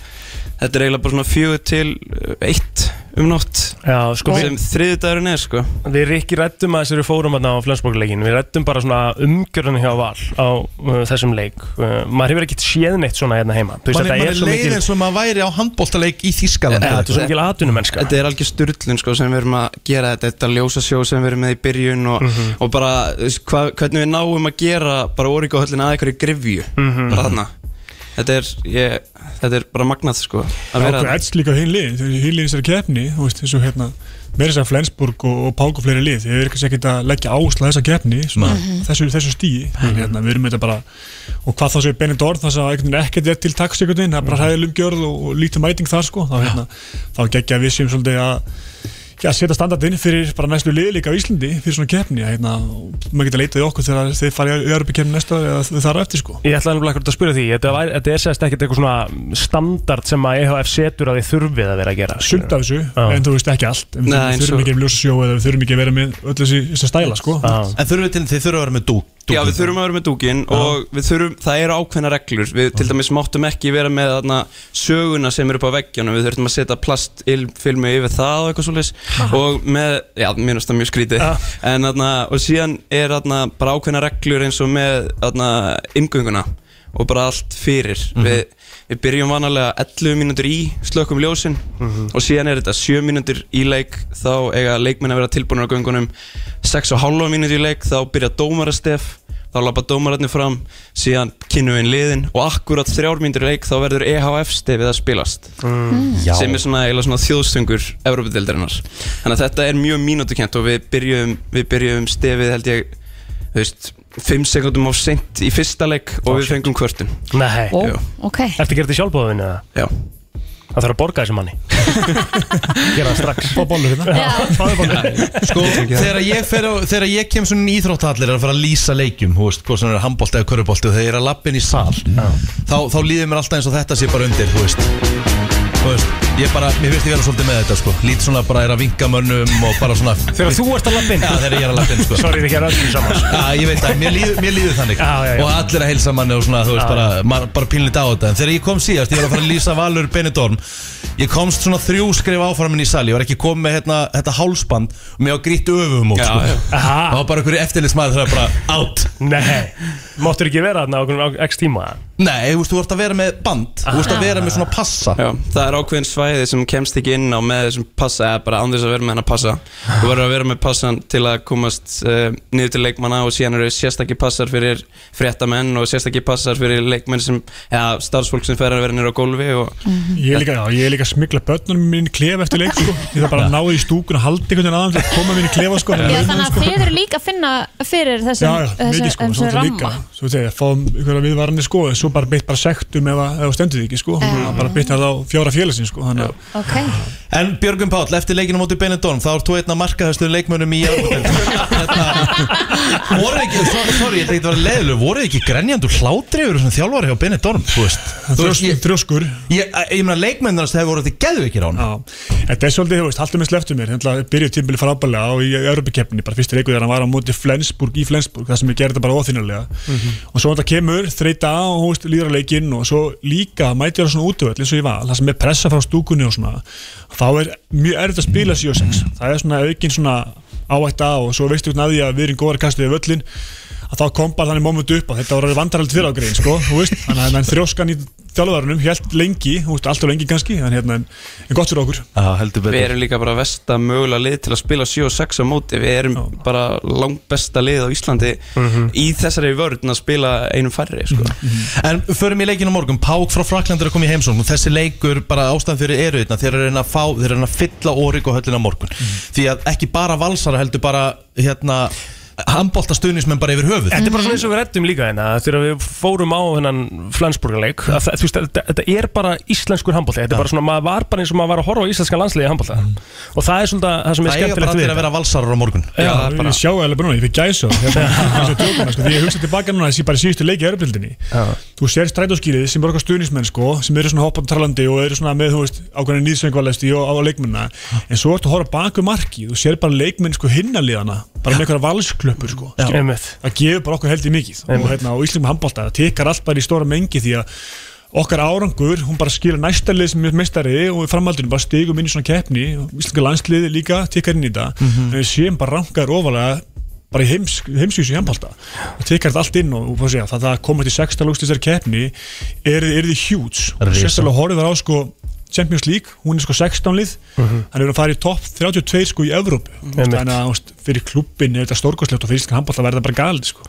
Speaker 11: að þetta er eiginlega bara svona fjögur til uh, Eitt um nótt
Speaker 2: já sko, við,
Speaker 11: Sem þriðudagurinn er sko
Speaker 2: Við Rikki rættum að þessari fórum hérna á Flensborgleikin Við rættum bara svona umgjörðan hjá Val á uh, þessum leik uh, Maður hefur ekkert séð neitt svona hérna heima Þú veist,
Speaker 1: Man er,
Speaker 2: Þetta
Speaker 1: man
Speaker 2: er
Speaker 1: er
Speaker 2: svo
Speaker 1: leið
Speaker 2: mikil
Speaker 1: eins og maður væri á handbóltaleik í Þískaland
Speaker 2: Þetta er svo mikil atvinnumennska
Speaker 11: Þetta er algjör styrlun sko, sem við erum að gera þetta Þetta ljósasjó sem við erum með í byrjun og, og bara þú veist, hva, hvernig við náum að gera bara Origo höllin að einhverju grifju bara þarna þetta er, ég, þetta er bara magnað sko, að vera
Speaker 12: ákveð ets líka á hinn lið þegar hinn lið í þessari keppni þú veist, eins og hérna meira þess að Flensburg og, og Pák og fleiri lið þeir eru kannski ekkert að leggja ásla þessa keppni svona, þessu, þessu stíi en, hérna, við erum þetta bara og hvað þá segir Benny Dorn það sagði einhvern veginn ekkert rétt til taks einhvern veginn það er bara hæðil umgjörð og, og lítið mæting þar sko þá, hérna, þá geggja við séum svolítið að Já, setja standardinn fyrir bara næstu lið líka á Íslandi fyrir svona keppni, hérna, og maður getur leitað í okkur þegar þeir farið í Örbi keppni næsta ár eða þar á eftir sko.
Speaker 2: Ég ætlaði nefnilega ekkert að spyrja því Þetta, væri, þetta er sérst ekkert eitthvað svona standard sem að EHF setur að þið þurfið að vera að gera
Speaker 12: sumt af þessu,
Speaker 2: Já.
Speaker 12: en þú veist ekki allt en
Speaker 11: Nei,
Speaker 12: við
Speaker 11: eins
Speaker 12: þurfum
Speaker 11: og-
Speaker 12: ekki að ljósa sjó eða við þurfum ekki að vera með öll þessi, þessi stæla sko.
Speaker 2: Já.
Speaker 1: En þurfum við til, þið þurfum að vera með dúk
Speaker 11: Já, við þurfum að vera með dúkin og við þurfum, það eru ákveðna reglur við til dæmis máttum ekki vera með þarna, söguna sem eru upp á veggjónum við þurfum að setja plastfilmu yfir það og eitthvað svoleiðis og með, já, mér finnst það mjög skrítið en þarna, og síðan er þarna bara ákveðna reglur eins og með þarna inngönguna og bara allt fyrir við, við byrjum vanalega 11 mínútur í slökkum ljósin og síðan er þetta 7 mínútur í leik þá eiga leikmenn að vera tilbúin á göngunum 6 og hálfa mínútur í leik þá byrja dómarastef þá lappa dómararnir fram síðan kynnu við inn liðin og akkurat þrjár mínútur í leik þá verður EHF stefið að spilast
Speaker 1: Já.
Speaker 11: sem er svona, eiginlega svona þjóðstöngur Evrópadeildarinnar þannig að þetta er mjög mínútukent og við byrjum, við byrjum stefið held ég þú veist, 5 sekundum á seint í fyrsta leik og við fengum kvörtun
Speaker 2: Nei,
Speaker 11: Ó.
Speaker 2: ertu að gera þetta sjálfbóðinu?
Speaker 11: Já,
Speaker 2: Það þarf að borga þessi manni Gera það strax Fá bollur hérna
Speaker 1: Sko, þegar ég, fer á, þegar ég kem svona í íþróttahallir er að fara að lýsa leikjum, hú veist, hvort sem það er handbólti eða körubólti og þegar ég er að lappin í sal
Speaker 2: Mhm.
Speaker 1: þá, þá líður mér alltaf eins og þetta sé bara undir, hú veist Þú veist, ég bara, mér finnst ég vera svolítið með þetta, sko Lít svona bara er að vinka mönnum og bara svona
Speaker 2: Þegar þú ert að lappin
Speaker 1: Já, þegar ég er að lappin, sko
Speaker 2: Sorry, við gerum öllum saman
Speaker 1: Já, ég veit það, mér líður, mér líður þannig
Speaker 2: já, já.
Speaker 1: Og allir að heilsa manni og svona, þú veist,
Speaker 2: Já,
Speaker 1: bara, maður bara pínlítið á þetta En þegar ég kom síðast, ég var að fara að lýsa Valur Benidorm Ég komst svona þrjú skrif áframin í sali Ég var ekki komið með hérna, þetta hálsband Og mér var grýtt öfum og
Speaker 2: Já,
Speaker 1: sko
Speaker 2: já. Aha.
Speaker 1: Það var bara einhverju eftirlitsmaður þegar bara out
Speaker 2: Nei, máttur ekki vera þarna á einhvern x tíma
Speaker 1: Nei, þú veist, þú ert að vera með band Þú veist að vera með svona passa
Speaker 11: Já, það er ákveðin svæði sem kemst ekki inn á með þessum passa eða bara án þess að vera með hennar passa þú verður að vera með passan til að komast uh, niður til leikmanna og síðan eru sérstakki passar fyrir fréttamenn og sérstakki passar fyrir leikmenn sem eða starfsfólk sem fer að vera niður á gólfi og
Speaker 12: Ég er líka, já, ég er líka að smikla börnunum mín í klef eftir leik sko. Ég þarf bara að ná því í stúkun og halda einhvern veginn aðan til að koma mín í klefa sko.
Speaker 8: Já, þannig að þið eru líka að finna fyrir
Speaker 12: Já,
Speaker 8: þessum,
Speaker 12: já, mikið sko,
Speaker 8: þessum,
Speaker 12: svo
Speaker 8: þessum
Speaker 12: er það líka
Speaker 8: ramma
Speaker 12: Svo þegar, fáum ykkur að viðvarandi sko en Svo bara beitt bara sektum ef að ef þú stendur því ekki sko Þannig að bara beitt það á fjóra félagsin sko Þannig að
Speaker 8: Ok
Speaker 1: En Björgum Páll, eftir leikinu móti Benidorm Þá ert þú einn að marka þessu leikmönum í Evrópudeildinni. Hérna, Voru ekki, sorry, sorry, ég tenkti að vera leiðileg Voru ekki grenjandur hlátri yfir þessum þjálfari hjá Benidorm, þú veist Þú veist, ég,
Speaker 12: Þrjóskur
Speaker 1: ég, ég meina leikmönnarnast hefur voru þetta geðveikir á hann
Speaker 12: Þetta er svolítið, þú veist, alltaf með sleftum mér Þannig að byrjuð tímbili frábælega og í Europakeppni Bara fyrsti leikur þegar hann var á móti Flensburg í Flensburg Það sem ég gerði þetta bara óþýnilega og svo þetta kemur, þreita á og húst líður að leikinn og svo líka mæti ég á svona útvöld eins og ég var, það sem er pressa frá stúkunni og svona þá er mjög erfitt að spila 7-6 það er svona aukin svona áætta og svo veistu hvernig að því að við erum góðar kastið við völlin að þá kom bara þannig moment upp að þetta voru vandarhald fyrir ágrein sko, þú veist, þannig að menn þrjóskan í þjálfarunum helt lengi, þú veist, alltaf lengi kannski en hérna, en, en gott fyrir okkur
Speaker 1: Já, heldur
Speaker 11: við erum líka bara versta mögulega lið til að spila 7 og 6 á móti við erum bara langt besta lið á Íslandi
Speaker 1: Mhm.
Speaker 11: í þessari vörðin að spila einum færri sko.
Speaker 1: En förum í leikinu á morgun, Pák frá Frakland er að koma í heimsókn og þessi leikur bara ástæðan fyrir eru þeirna, þeir eru að reyna að fá, þeir eru að reyna að fylla órík og höllina á morgun, því að ekki bara valsara heldur bara, hérna handbóltastuðnismenn bara yfir höfuð
Speaker 2: Þetta er bara svona eins og við reddum líka hérna Þegar við fórum á hennan Flensburgarleik að það- Þú veist, þetta þetta er bara íslenskur handbólta Þetta er bara svona, maður var bara eins og maður var að horfa á íslenskan landslegi handbólta Og það er svona það sem
Speaker 1: Mm. Það
Speaker 2: er
Speaker 1: eiga bara
Speaker 2: skemmtilegt
Speaker 1: allir
Speaker 2: við
Speaker 1: að vera valsarar á morgun
Speaker 2: Já, það er
Speaker 12: ég sjá eða bara núna, ég fyrir gæsa hérna, eins og djókuna, sko, því ég hugsa tilbaka núna þessi bara síðustu leiki í erupildinni þú sér strætóskýrið sem er okkar stuðnismenn sko, sem eru svona hoppandi trælandi og eru svona með þú veist, ákveðin nýðsvengvalesti og á leikmennina en svo ertu að horfa baku markið og sér bara leikmenn sko hinnaliðana bara með einhverja valsklöppur sko
Speaker 2: Já.
Speaker 12: skilur.
Speaker 2: Einmitt.
Speaker 12: það gefur bara okkur heldur mikið og,
Speaker 2: Einmitt.
Speaker 12: hérna, og Íslingum handbólta, það tekar allt bara í stóra mengi því að okkar árangur, hún bara skilur næsta lið sem er meistari og við framhaldunum bara stigum inn í svona keppni og Íslinga landsliði líka tekar inn í þetta
Speaker 1: Mhm.
Speaker 12: en við séum bara rankaður ofalega bara í heims, heimsvísu í handbólta það tekar þetta allt inn og, og bara segja, það, það komið til sexta lústisar keppni er, er því hjúts og
Speaker 1: Risa.
Speaker 12: sérstaklega horfið var á sko Champions League, hún er sko 16 lið
Speaker 2: Mhm.
Speaker 12: hann er að fara í topp 32 sko í Evrópu
Speaker 2: Einmitt.
Speaker 12: þannig að þú veist, fyrir klubbin er þetta stórkostlegt og fyrir Íslinga handbólta verður það bara galið sko.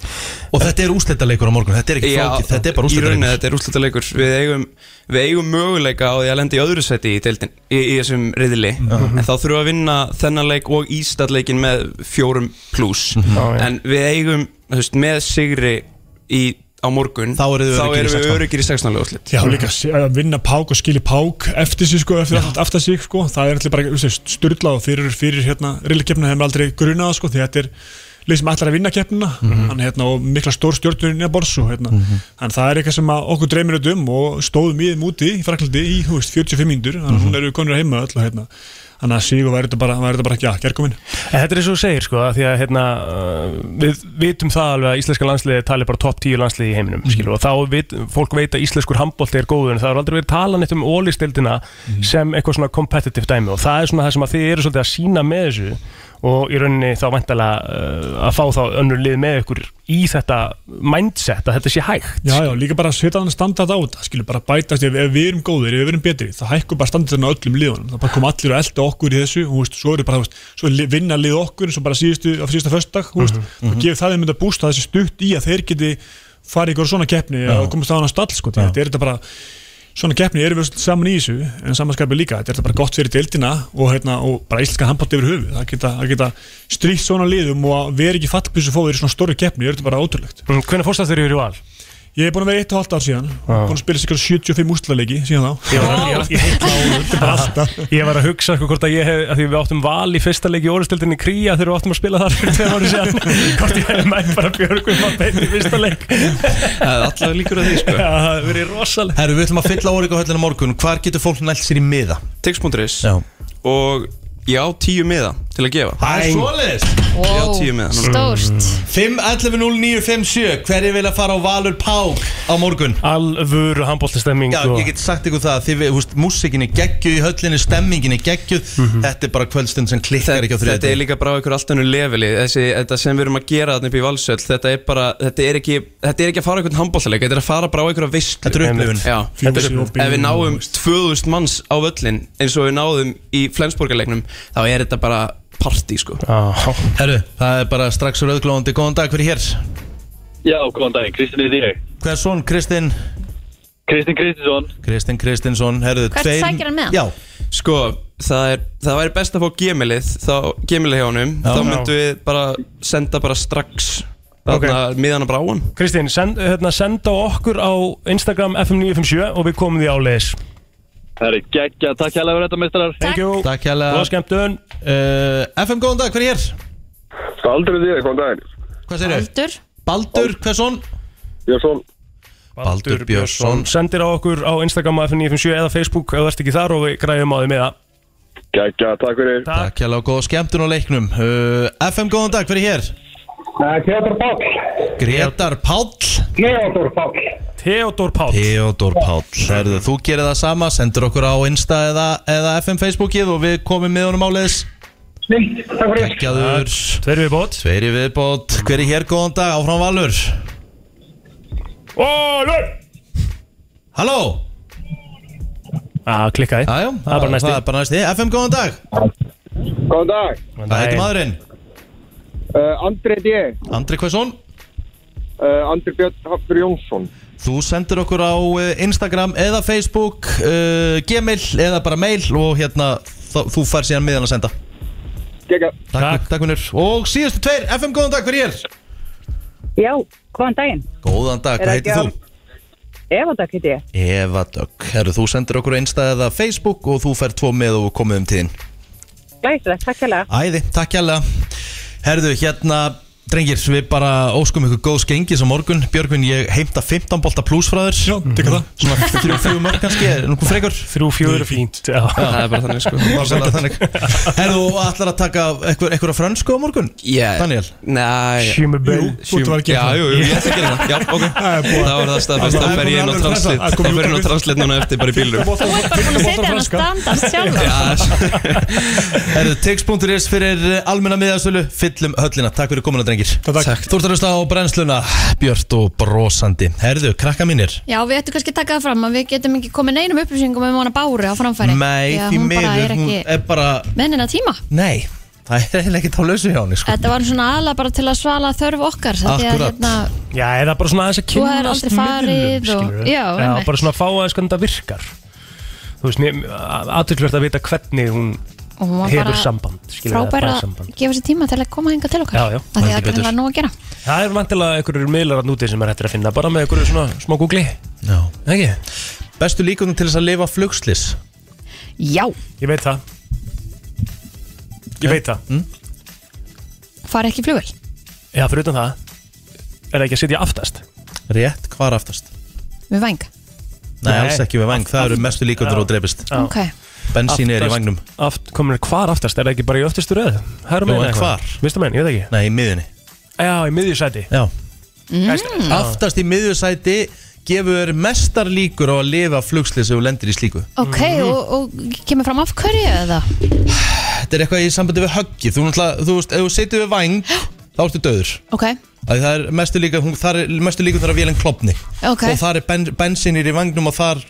Speaker 1: Og þetta er úrslitaleikur á morgun, þetta er ekki flókið, þetta er bara
Speaker 11: í rauninni
Speaker 1: úrslitaleikur
Speaker 11: þetta er úrslutaleikur við eigum, við eigum möguleika á því að lenda í öðru seti í, deildin, í, í þessum riðli
Speaker 1: Mhm.
Speaker 11: en þá þurfum við að vinna þennan leik og ístatleikin með fjórum pluss
Speaker 1: Mhm.
Speaker 2: Já, já.
Speaker 11: en við eigum þú veist, með sigri í, á morgun þá
Speaker 1: eruð þið öruggir í
Speaker 11: erum við
Speaker 1: 16.
Speaker 11: öryggir í 16. úrslit
Speaker 12: Já, líka sé- að vinna pák og skilja pák eftir sig sko, eftir allt aftar sig sko, það er allir bara styrla og þeir eru fyrir hérna rillikeppna hefur aldrei grunað sko, því þetta er lið sem allar að vinna keppnina
Speaker 1: Mhm.
Speaker 12: mm. hérna, og mikla stór stjórnurinn er borsu hérna.
Speaker 1: Mhm.
Speaker 12: þannig að það er eitthvað sem að okkur dreymir þetta um og stóðum í þeim úti í fraklandi í þú veist, 45 mínútur, þannig að
Speaker 2: Mhm.
Speaker 12: núna erum við konur heima öll og hérna, þannig að síg og væri þetta bara, væri þetta bara ekki að gerkomin
Speaker 2: En þetta er eins og þú segir sko að Því að hérna, uh, við vitum það alveg að íslenska landsliði tali bara topp 10 landsliði í heiminum mm. og þá vit, fólk veit að íslenskur handbólti er góður en það er aldrei verið talað neitt um ólistildina sem eitthvað svona competitive dæmi og það er svona það sem að þið eru svolítið að sína með þessu og í rauninni þá væntalega uh, að fá þá önnur lið með ykkur í þetta mindset að þetta sé hægt
Speaker 12: Já, já, líka bara að setja þannig standard á þetta skilur bara bætast, ef, ef við erum góðir, ef við erum betri þá hækkum bara standardin á öllum liðunum þá bara kom allir að elda okkur í þessu og þú veist, svo eru bara, þú veist, svo li- vinna lið okkur eins og bara síðustu, á síðusta föstudag mm -hmm,
Speaker 1: mhm.
Speaker 12: þá gefur það þeim mynda bústa þessi stutt í að þeir geti farið ykkur svona keppni
Speaker 1: Já.
Speaker 12: og komast á hana stall, sko, þetta er þetta bara svona keppni erum við öll saman í þessu en samanskapi líka, þetta er þetta bara gott fyrir deildina og, hérna, og bara íslenska handbótt yfir höfu það geta, það geta stríkt
Speaker 2: Mm,
Speaker 12: svona liðum og að vera ekki fallbísu fóður í svona stóri keppni, er þetta bara ótrúlegt
Speaker 2: Hvernig fórstast þeir eru í val?
Speaker 12: Ég er búin að vera eitt og halvt ár síðan Búin að spila sikkur 75 úrslaleiki síðan þá
Speaker 2: Ég var, ég, ég, ég, ég var að hugsa sko hvort að ég hef, að því við áttum val í fyrsta leik í orðstöldinni Kría þegar við áttum að spila þar fyrir tveim ári sér hvort ég hef mætt bara Björgum að beina í fyrsta leik
Speaker 11: Það er alltaf líkur að því sko
Speaker 2: Já, það hefur verið rosalega
Speaker 1: Herru, við ætlum að fylla orðið á höllinu morgun Hvar getur fólk nælt sér í miða?
Speaker 11: Tix.is Og ég á tíu miða til að gefa
Speaker 1: Það er svoleiðis
Speaker 11: Ég á tíu miða núna.
Speaker 12: Mm.
Speaker 1: 5.11.09.57 Hverju vilja fara á Valur Pák á morgun?
Speaker 2: Alvöru handbóltastemming
Speaker 1: Já,
Speaker 2: og-
Speaker 1: ég get sagt ykkur það Þið, húst, músikin er geggjuð í höllinni, stemmingin er geggjuð Þetta er bara kvöldstund sem klikkar ekki á þriðið
Speaker 11: Þetta er líka bara á ykkur allt ennur leveli Þessi, Þetta sem við erum að gera þarna upp í valsöll Þetta er bara, þetta er ekki Þetta er ekki að fara á einhvern handbóltaleik Þetta er að fara bara á ykkur að vist
Speaker 1: Þetta er upplifun.
Speaker 11: Já,
Speaker 1: Fjúsi
Speaker 11: þetta er,
Speaker 1: og bíl
Speaker 11: Ef við
Speaker 1: og
Speaker 11: náum 2000 manns á völlin Eins og við náðum í Flensborgarleiknum Þá er þetta bara partí sko
Speaker 1: Herru, það er bara strax rauðglóðandi Góðan dag, hver er hér?
Speaker 13: Já, góðan daginn, Kristinn er þig
Speaker 1: Hver svon, Kristinn?
Speaker 13: Kristinn Kristinsson
Speaker 1: Kristinn Kristinsson, herðu
Speaker 8: Hvert tveir- sækir hann með? Já.
Speaker 11: Sko, það, er, það væri best að fá gemilið Þá, gemilið hjá honum
Speaker 2: Já.
Speaker 11: Þá
Speaker 2: Já.
Speaker 11: myndum við bara senda bara strax Þarna okay. miðan að bráan
Speaker 2: Kristín, send, hérna, senda á okkur á Instagram FM957 og við komum því áleis
Speaker 13: Það er geggja, takk hérlega fyrir þetta mestrar
Speaker 2: Takk
Speaker 1: Takk hérlega
Speaker 2: Góða skemmtun
Speaker 1: uh, FM, góðan dag, hver er hér?
Speaker 14: Baldur er þig, góðan daginn
Speaker 1: Hvað segir þau?
Speaker 8: Baldur
Speaker 1: Baldur, hvers svon?
Speaker 14: Björnsson
Speaker 1: Baldur Björnsson
Speaker 2: Sendir á okkur á Instagram á FM957 eða Facebook ef þú ert ekki þar og við græjum á því með það
Speaker 14: Gækja, takk fyrir
Speaker 1: Takk hérlega og góða skemmtun á leiknum uh, FM, góðan dag, hver er hér?
Speaker 15: Gretar Páll
Speaker 1: Gretar Páll
Speaker 15: Theodor Páll
Speaker 2: Theodor Páll
Speaker 1: Theodor Páll Herðu, þú gerir það sama, sendur okkur á Insta eða, eða FM Facebookið og við komum með honum áleiðis
Speaker 15: Snill, takk fyrir
Speaker 1: Gjadur
Speaker 2: Tveir viðbót
Speaker 1: Tveir viðbót Hver er hér, góðan dag, áfram Valur
Speaker 2: Valur
Speaker 1: Halló
Speaker 2: Já, Ah, klikkaði
Speaker 1: Jájá,
Speaker 2: Það er bara næsti.
Speaker 1: Það er bara næsti FM, góðan dag
Speaker 14: Góðan dag
Speaker 1: Hvað heitir maðurinn?
Speaker 14: uh, Andri D
Speaker 1: Andri Hversson
Speaker 14: uh, Andri Björn Haftur Jónsson
Speaker 1: Þú sendir okkur á eh, Instagram eða Facebook, uh, Gmail eða bara mail og hérna þá- þú fær síðan miðan að senda
Speaker 14: Gækja
Speaker 1: Takk, takk vinnur Og síðustu tveir, FM góðan dag, hver er ég?
Speaker 16: Já, góðan daginn.
Speaker 1: Góðan dag,
Speaker 16: Er
Speaker 1: hvað
Speaker 16: ekki
Speaker 1: heitir þú?
Speaker 16: Eva Dag heiti ég.
Speaker 1: Eva Dögg, herru þú sendir okkur á Insta eða Facebook og þú fær tvo með og komið um tíðin
Speaker 16: Glæsilegt, takk hérlega.
Speaker 1: Æði, takk hérlega Herðu, hérna, drengir, við bara óskum ykkur góðs gengis á morgun Björgvin, ég heimta 15 bolta pluss frá þér Já,
Speaker 12: tekur það.
Speaker 1: Svona þrjú, fjú mörg kannski, er nokkuð frekar
Speaker 2: Þrjú, fjögur er fínt Já,
Speaker 11: það er bara þannig, sko.
Speaker 1: Bara þannig Herðu, og ætlar að taka einhver, einhverja frönsku á morgun?
Speaker 11: Yeah.
Speaker 1: Daniel?
Speaker 11: Nei
Speaker 2: Schumer Bell.
Speaker 1: þú ert að vera að gera það.
Speaker 11: Já, jú, jú, ég ætla að gera það Já, ok Það var það staðfest
Speaker 1: Það
Speaker 11: Það
Speaker 1: er
Speaker 11: fer ég inn
Speaker 1: komið alveg
Speaker 11: á translate Það fer inn á translate núna eftir bara í bílum
Speaker 1: Þú
Speaker 8: ert bara búin að setja hann að standast sjálf
Speaker 1: Herðu, tix.is fyrir almenna miðasölu Fyllum höllina, takk fyrir komuna drengir Takk, takk. Þú ert að hlusta á brennsluna Björt og brosandi Herðu, krakka mínir
Speaker 8: Já, við ættum kannski að taka það fram að við getum ekki komið neinum upplýsingum um hana Báru á framfæri
Speaker 1: Nei,
Speaker 8: Því að
Speaker 1: því
Speaker 8: hún bara
Speaker 1: miður,
Speaker 8: er
Speaker 1: hún
Speaker 8: ekki
Speaker 1: er bara
Speaker 8: með neina tíma
Speaker 1: Nei, það er eiginlega ekki þá lausu hjá henni sko.
Speaker 8: Þetta var svona aðalega bara til að svala þörf okkar af því að, hérna,
Speaker 1: Akkúrat.
Speaker 2: Já, eða bara svona aðeins að
Speaker 8: Þú hefur aldrei
Speaker 2: kynnast
Speaker 8: farið og-
Speaker 2: skilurðu.
Speaker 8: Já, einmitt.
Speaker 2: bara svona að fá aðeins hvernig það virkar Þú veist, aðtökklert að vita hvernig hún
Speaker 8: og hún var
Speaker 2: hefur
Speaker 8: bara
Speaker 2: samband skilurðu, eða
Speaker 8: frábæra
Speaker 2: fær
Speaker 8: að
Speaker 2: samband.
Speaker 8: gefa sér tíma til að koma hinga til okkar
Speaker 2: Já, já.
Speaker 8: Af því
Speaker 2: Heldur
Speaker 8: að
Speaker 2: betur.
Speaker 8: það var nú að gera
Speaker 2: Það er vantilega einhverjur miðlar að núti sem er hættir að finna bara með einhverju svona smá googli
Speaker 1: Já
Speaker 2: Ekki?
Speaker 1: Bestu líkunum til þess að lifa flugslis
Speaker 8: Já,
Speaker 2: Ég veit það Ég veit það
Speaker 8: fara ekki í flugvel
Speaker 2: Já, fyrir utan það Er það ekki að sitja aftast?
Speaker 1: Rétt, hvar aftast?
Speaker 8: með væng
Speaker 1: Nei,
Speaker 2: Nei.
Speaker 1: alls ekki með vang, það eru mestu líkundur
Speaker 2: Já.
Speaker 1: og drefist
Speaker 2: Já.
Speaker 8: Ok.
Speaker 1: Bensín er í
Speaker 2: Aftast-
Speaker 1: vagnum
Speaker 2: aft, Komin hvar aftast? Er það ekki bara í öftustu röð? Hærum
Speaker 1: Jú, en hvar?
Speaker 2: Vistu menn, ég veit ekki
Speaker 1: Nei, í miðunni
Speaker 2: Já, í miðjusæti
Speaker 1: Já
Speaker 2: Mm.
Speaker 1: Aftast í miðjusæti gefur mestar líkur á að lifa flugslis ef þú lendir í slíku
Speaker 8: Ok, og, og kemur fram af hverju eða?
Speaker 1: Þetta er eitthvað í sambandi við höggi Þú, náttúrulega- þú veist, ef þú situr við vang þá ertu döður
Speaker 8: Ok,
Speaker 1: Það er mestu líka, hún, þar er mestu líka þar að vélinn klopni
Speaker 8: Ok.
Speaker 1: Og þar er ben, bensinir í vangnum og þar,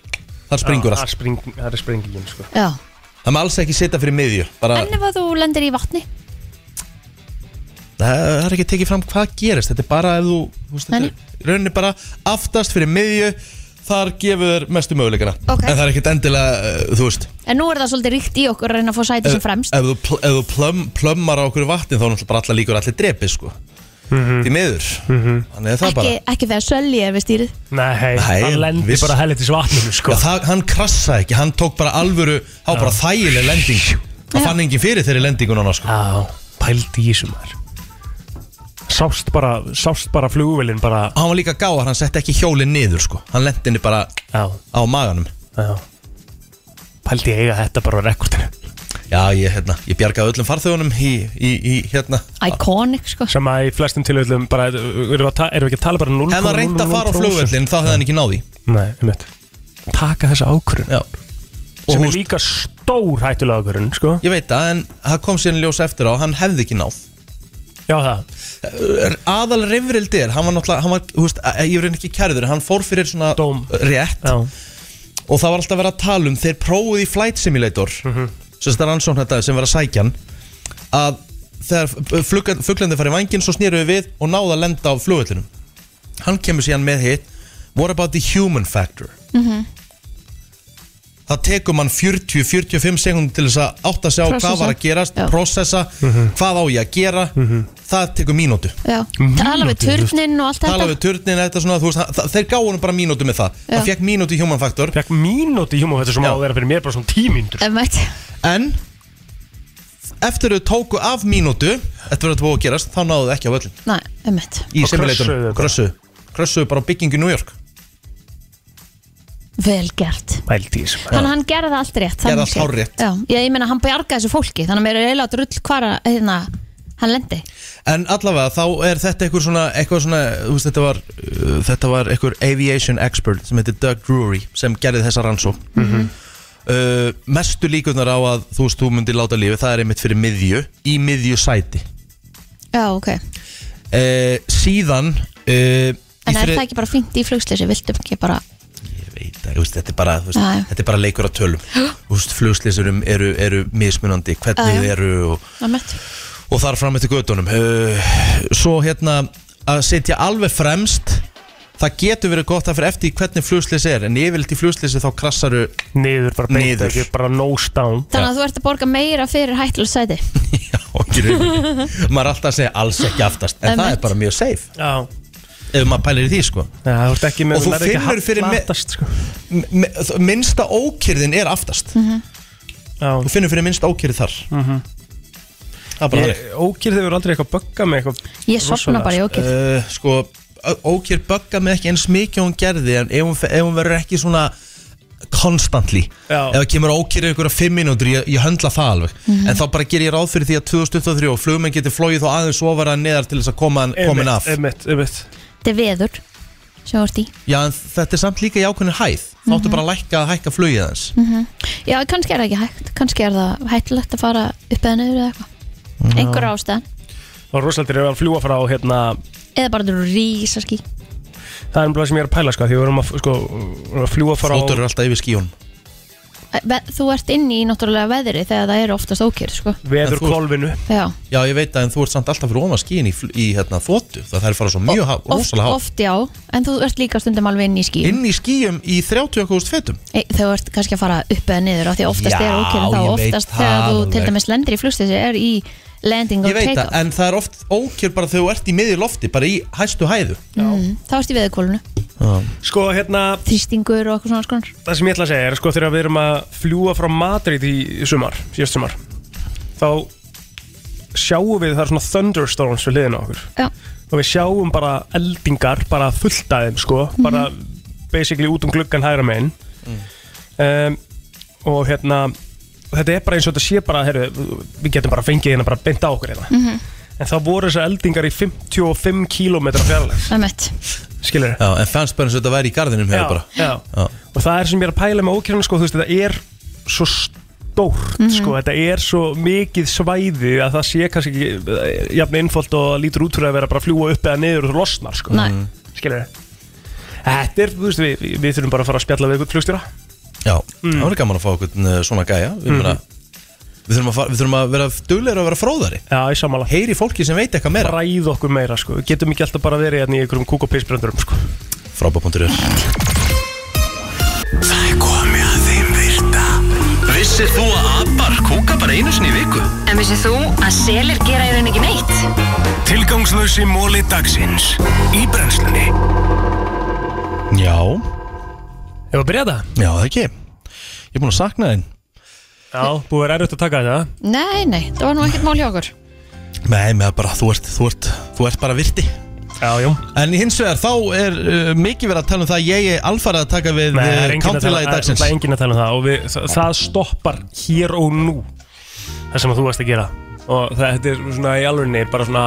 Speaker 1: þar springur
Speaker 2: Já,
Speaker 1: allt
Speaker 2: þar spring- þar er springingin sko.
Speaker 8: já
Speaker 1: Það má alls ekki sitja fyrir miðju bara,
Speaker 8: En ef að þú lendir í vatni
Speaker 1: það, það er ekki tekið fram hvað gerist Þetta er bara ef þú, þú veist, þetta er rauninni bara aftast fyrir miðju Þar gefur þér mestu möguleikana
Speaker 8: Ok.
Speaker 1: En það er ekkit endilega, uh, þú veist
Speaker 8: En nú er það svolítið ríkt í okkur að reyna að fá sæti sem
Speaker 1: Ef,
Speaker 8: fremst
Speaker 1: ef þú, pl, ef þú plömm, plömmar á okkur vatni þá er náttúrulega bara allar líkur allir drepi sko
Speaker 2: Mhm.
Speaker 1: Því miður Þannig er það
Speaker 3: Ekki,
Speaker 1: bara
Speaker 3: ekki þegar Sölli er við stýrið
Speaker 2: Nei,
Speaker 1: Nei,
Speaker 2: hann lendi
Speaker 1: viss.
Speaker 2: bara helviti vatninu sko.
Speaker 1: Já, það, hann krassaði ekki, hann tók bara alvöru Há bara þægileg lending Það fann enginn fyrir þeirri lendingun hann sko.
Speaker 2: Já, pældi í þessum þar Sást bara, sást bara flugvélinn bara
Speaker 1: Hann var líka gáðar, hann setti ekki hjólinn niður sko. Hann lendi henni bara
Speaker 2: Já.
Speaker 1: á maganum
Speaker 2: Já. Pældi ég eiga þetta bara á rekordinu
Speaker 1: Já, ég, hérna, ég bjargaði öllum farþögunum í, í, í hérna
Speaker 3: Iconic sko
Speaker 2: Sem að í flestum tilöðlum bara Erum við, að ta- erum við ekki að tala bara 0,00
Speaker 1: Ef hann reyndi að fara á flugvöllin, þá hefði hann ekki náði
Speaker 2: Nei, um Taka þessa ákvörun
Speaker 1: Já
Speaker 2: Sem er líka stór hættulega ákvörun sko.
Speaker 1: Ég veit það, en það kom síðan í ljós eftir á Hann hefði ekki náð
Speaker 2: Já, það
Speaker 1: Eh, Aðal reyfrildi er, hann var náttúrulega hann var, þú veist, eh, Ég er ekki kærður, hann fór fyrir svona Dóm. Rétt
Speaker 2: Já.
Speaker 1: Og það var alltaf verið að tala um Þeir prófuðu í Flight Simulator mm -hmm. Sem þetta rannsókn þetta sem var að sækja hann Að þegar fluglandi farið vanginn Svo snýru við við og náðu að lenda á flugvöllunum Hann kemur síðan með hitt What about the human factor?
Speaker 3: Mhm.
Speaker 1: það tekur mann 40-45 sekundum til þess að átta sig á
Speaker 3: Processa.
Speaker 1: hvað var að gerast,
Speaker 3: Já.
Speaker 1: processa, hvað á ég að gera, það tekur mínútu.
Speaker 3: Já,
Speaker 1: Mhm.
Speaker 3: tala við turnin og allt
Speaker 1: Tala
Speaker 3: þetta
Speaker 1: við turnin, þetta svona, þú veist, það- það, þeir gáðu hann bara mínútu með það.
Speaker 3: Já.
Speaker 1: Það fekk mínútu í human factor.
Speaker 2: Fekk mínútu í human factor sem á að vera fyrir mér bara svona tímíndur.
Speaker 3: Emmett
Speaker 1: En, eftir þau tóku af mínútu, eftir þau búið að gerast, þá náðu þau ekki á völlin.
Speaker 3: Nei, emmett
Speaker 1: Í
Speaker 2: Og krössuðu
Speaker 1: simulatornum,
Speaker 2: þetta.
Speaker 1: krössuðu. Krössuðu bara á byggingu í New York.
Speaker 3: Vel gert
Speaker 2: Pældi í þessum
Speaker 3: Þannig að hann gerði það allt rétt
Speaker 1: Gerði
Speaker 3: þannig
Speaker 1: allt
Speaker 3: séð.
Speaker 1: hárrétt.
Speaker 3: Já, ég, ég meina hann bjargaði þessu fólki Þannig að mér er eiginlega drull hvar að- hérna, hann lendi
Speaker 1: En allavega þá er þetta eitthvað svona, eitthvað svona þú veist, þetta, var, uh, þetta var eitthvað aviation expert sem heitir Doug Drury sem gerði þessa rannsó uh, Mestu líkurnar á að þú veist þú myndir láta lífi, það er einmitt fyrir miðju í miðju sæti
Speaker 3: Já, ok
Speaker 1: uh, Síðan uh,
Speaker 3: En er það ekki bara fínt í flugslýsi? Viltu ekki bara
Speaker 1: Þetta, veist, þetta, er bara, þú veist,
Speaker 3: Já, já.
Speaker 1: þetta er bara leikur að tölum Þú veist, Flugslýsurum eru, eru mismunandi hvernig
Speaker 3: Já, já.
Speaker 1: þið eru og,
Speaker 3: Emmett
Speaker 1: og þar fram eftir gödunum uh, svo hérna að setja alveg fremst það getur verið gott að fyrir eftir því hvernig flugslýs er en yfirleitt í flugslýsi þá krassaru
Speaker 2: niður bara beint ekki bara nose down
Speaker 3: Þannig að þú ert að borga meira fyrir hættulega sæti
Speaker 1: maður er alltaf að segja alls ekki aftast en það er
Speaker 3: Einmitt.
Speaker 1: bara mjög safe
Speaker 2: Já.
Speaker 1: ef maður pælir í því sko
Speaker 2: Já, þú ert ekki með
Speaker 1: og þú
Speaker 2: nærðu ekki
Speaker 1: finnur
Speaker 2: að
Speaker 1: fyrir
Speaker 2: halla
Speaker 1: me-
Speaker 2: aftast, sko.
Speaker 1: m- m- minnsta ókyrðin er aftast þú finnur fyrir minnsta ókyrð þar það er bara þannig.
Speaker 2: Ókýrð hefur aldrei eitthvað bögga með eitthvað
Speaker 3: Ég sofna bara í ókýrð
Speaker 1: uh, Sko, ókýr bögga mig ekki eins mikið og hún gerði En ef hún, ef hún verður ekki svona Constantly
Speaker 2: Já.
Speaker 1: Ef það kemur ókýr ykkur að fimm mínútur Ég, ég höndla það alveg
Speaker 2: Mhm.
Speaker 1: En þá bara ger ég ráð fyrir því að 2023 Og flugmenn getur flogið þá aðeins ofar að neðar Til þess að koma komin af
Speaker 2: Einmitt, einmitt
Speaker 1: Eh.
Speaker 3: Þetta er veður sem þú ert í
Speaker 1: Já, en þetta er samt líka í ákveðin hæð Þá áttu
Speaker 3: Mhm.
Speaker 1: bara að lækka, hækka flugið aðeins
Speaker 3: Mhm. Já, kannski er það ekki hægt Kannski er það hættulegt að fara upp eða niður eða eitthvað Einhver ástæðan
Speaker 2: Og rosaldir eru að fljúa frá hérna
Speaker 3: Eða bara þetta rísa ský
Speaker 2: Það er bara sem ég er að pæla sko Því við erum að, sko, erum að fljúa frá
Speaker 1: Flótur eru alltaf yfir skíun
Speaker 3: Eh, Þú ert inni í náttúrulega veðri þegar það eru oftast ókýrð sko.
Speaker 2: Veður kolvinu
Speaker 3: Já,
Speaker 1: Já, ég veit að en þú ert samt alltaf fyrir ofan skíin Í, fl- í hérna, þóttu, það þær fara svo mjög há,
Speaker 3: oft,
Speaker 1: rosalega há
Speaker 3: oft já En þú ert líka stundum alveg inni í ský
Speaker 1: Inn í skíum í 30.000 fetum
Speaker 3: Ei, Þú Eh, ert kannski að fara upp eða niður af Því að oftast
Speaker 1: Já,
Speaker 3: er ókýrð þá
Speaker 1: ég veit
Speaker 3: oftast
Speaker 1: það
Speaker 3: þegar þú til
Speaker 1: alveg.
Speaker 3: dæmis lendir í flugstísi er í landing
Speaker 1: Ég
Speaker 3: og
Speaker 1: veit það,
Speaker 3: take-off
Speaker 1: en það er oft ókjör bara þegar þú ert í miðju lofti, bara í hæstu hæðu
Speaker 3: mm, Þá ert í veðurkólunu
Speaker 2: Sko hérna
Speaker 3: Þrýstingur og eitthvað svona skonar
Speaker 2: Það sem ég ætla að segja er sko Þegar við erum að fljúa frá Madrid í sumar Sérst sumar Þá sjáum við það er svona thunderstorms Við liðin á okkur
Speaker 3: Já.
Speaker 2: Og við sjáum bara eldingar Bara fullt af þeim sko Bara basically út um gluggan hægra megin um, Og hérna Þetta er bara eins og þetta sé bara heru, Við getum bara fengið hérna bara beint á okkur hérna
Speaker 3: Mhm.
Speaker 2: En þá voru þessar eldingar í 55 km fjarlæg
Speaker 3: Emmett
Speaker 2: Skilur
Speaker 1: Já, en fannst bara eins og þetta væri í gardinum hér
Speaker 2: Já,
Speaker 1: bara
Speaker 2: já. Og það er sem ég er að pæla með ókjörna sko, þú veist, Þetta er svo stórt
Speaker 1: Mhm.
Speaker 2: sko, Þetta er svo mikið svæði Að það sé kannski ekki eh, Jafn einfalt og lítur út fyrir að vera bara að fljúa upp Eða niður og þú losnar sko.
Speaker 3: Nei.
Speaker 2: Skilur Þetta er, þú veist, við, við- við þurfum bara að fara að spjalla við ykkur flugstjóra
Speaker 1: Já,
Speaker 2: Mm.
Speaker 1: það var gaman að fá okkur eh, svona gæja Við, mm. við, þurfum, að fara, við þurfum að vera duglegur að vera fróðari
Speaker 2: Já, í samanlega
Speaker 1: Heyri fólki sem veit eitthvað meira
Speaker 2: Ræð okkur meira, sko Við getum ekki alltaf bara verið hérna í einhverjum kúk og pissbrendurum, sko
Speaker 1: Frábá.ru
Speaker 9: Það er komið að þeim virta Vissir þú að abar kúka bara einu sinni í viku?
Speaker 17: En vissið þú að selir gera í rauninni ekki neitt?
Speaker 9: Tilgangs Stanslösi móli dagsins Í brennslunni
Speaker 1: Já
Speaker 2: Hefur að byrja þetta?
Speaker 1: Já, það ekki Ég er búin að sakna þinn
Speaker 2: Já, búið er erfitt að taka þetta
Speaker 3: Nei, nei, það var nú ekkert mál hjá okkur
Speaker 1: Nei, með bara, þú ert, þú ert, þú ert bara virti
Speaker 2: Já, já
Speaker 1: En hins vegar, þá er uh, mikið verið að tala um það að Ég er alfarið að taka við
Speaker 2: Nei, það er enginn að tala-
Speaker 1: countrylagi dagsins
Speaker 2: Það er enginn að tala um það og við, það, það stoppar hér og nú það sem að þú varst að gera og það, þetta er svona í alvegni bara svona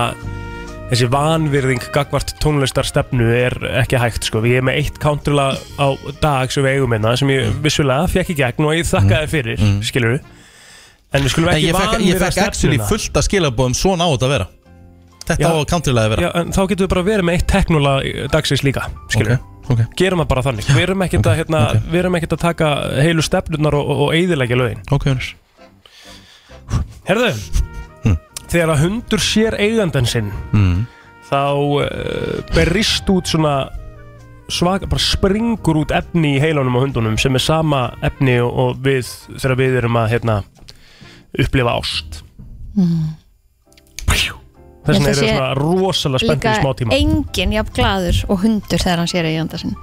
Speaker 2: þessi vanvirðing gagvart tónlistar stefnu er ekki hægt sko. Ég er með eitt countryla á dag sem við eigum einna sem ég
Speaker 1: Mm.
Speaker 2: vissulega fekk í gegn og ég þakkaði fyrir, mm. skilur En við skulum
Speaker 1: En
Speaker 2: ekki
Speaker 1: ég fekk, ég
Speaker 2: vanvirða
Speaker 1: fekk actually
Speaker 2: stefnuna.
Speaker 1: fullt að skilabóðum svona á þetta að vera Þetta á að countrylagi að vera
Speaker 2: Já, en þá getum við bara verið með eitt teknóla dagsins líka, skilur
Speaker 1: okay.
Speaker 2: Gerum það bara þannig, við erum ekkert að, hérna, við erum ekkert að taka heilu stefnunar og, og, og eigðilegja lögin
Speaker 1: Ok, Jónis
Speaker 2: Herðu, þegar að hundur sér eigandan sinn
Speaker 1: mm.
Speaker 2: þá uh, berist út svona svaka, bara springur út efni í heilanum á hundunum sem er sama efni og, og við þegar við erum að hérna, upplifa ást
Speaker 3: Mm. Ég
Speaker 2: þess vegna
Speaker 3: held að
Speaker 2: eru
Speaker 3: sé
Speaker 2: svona rosalega spennt í smá tíma
Speaker 3: engin jafn gladur og hundur þegar hann sér eiganda sinn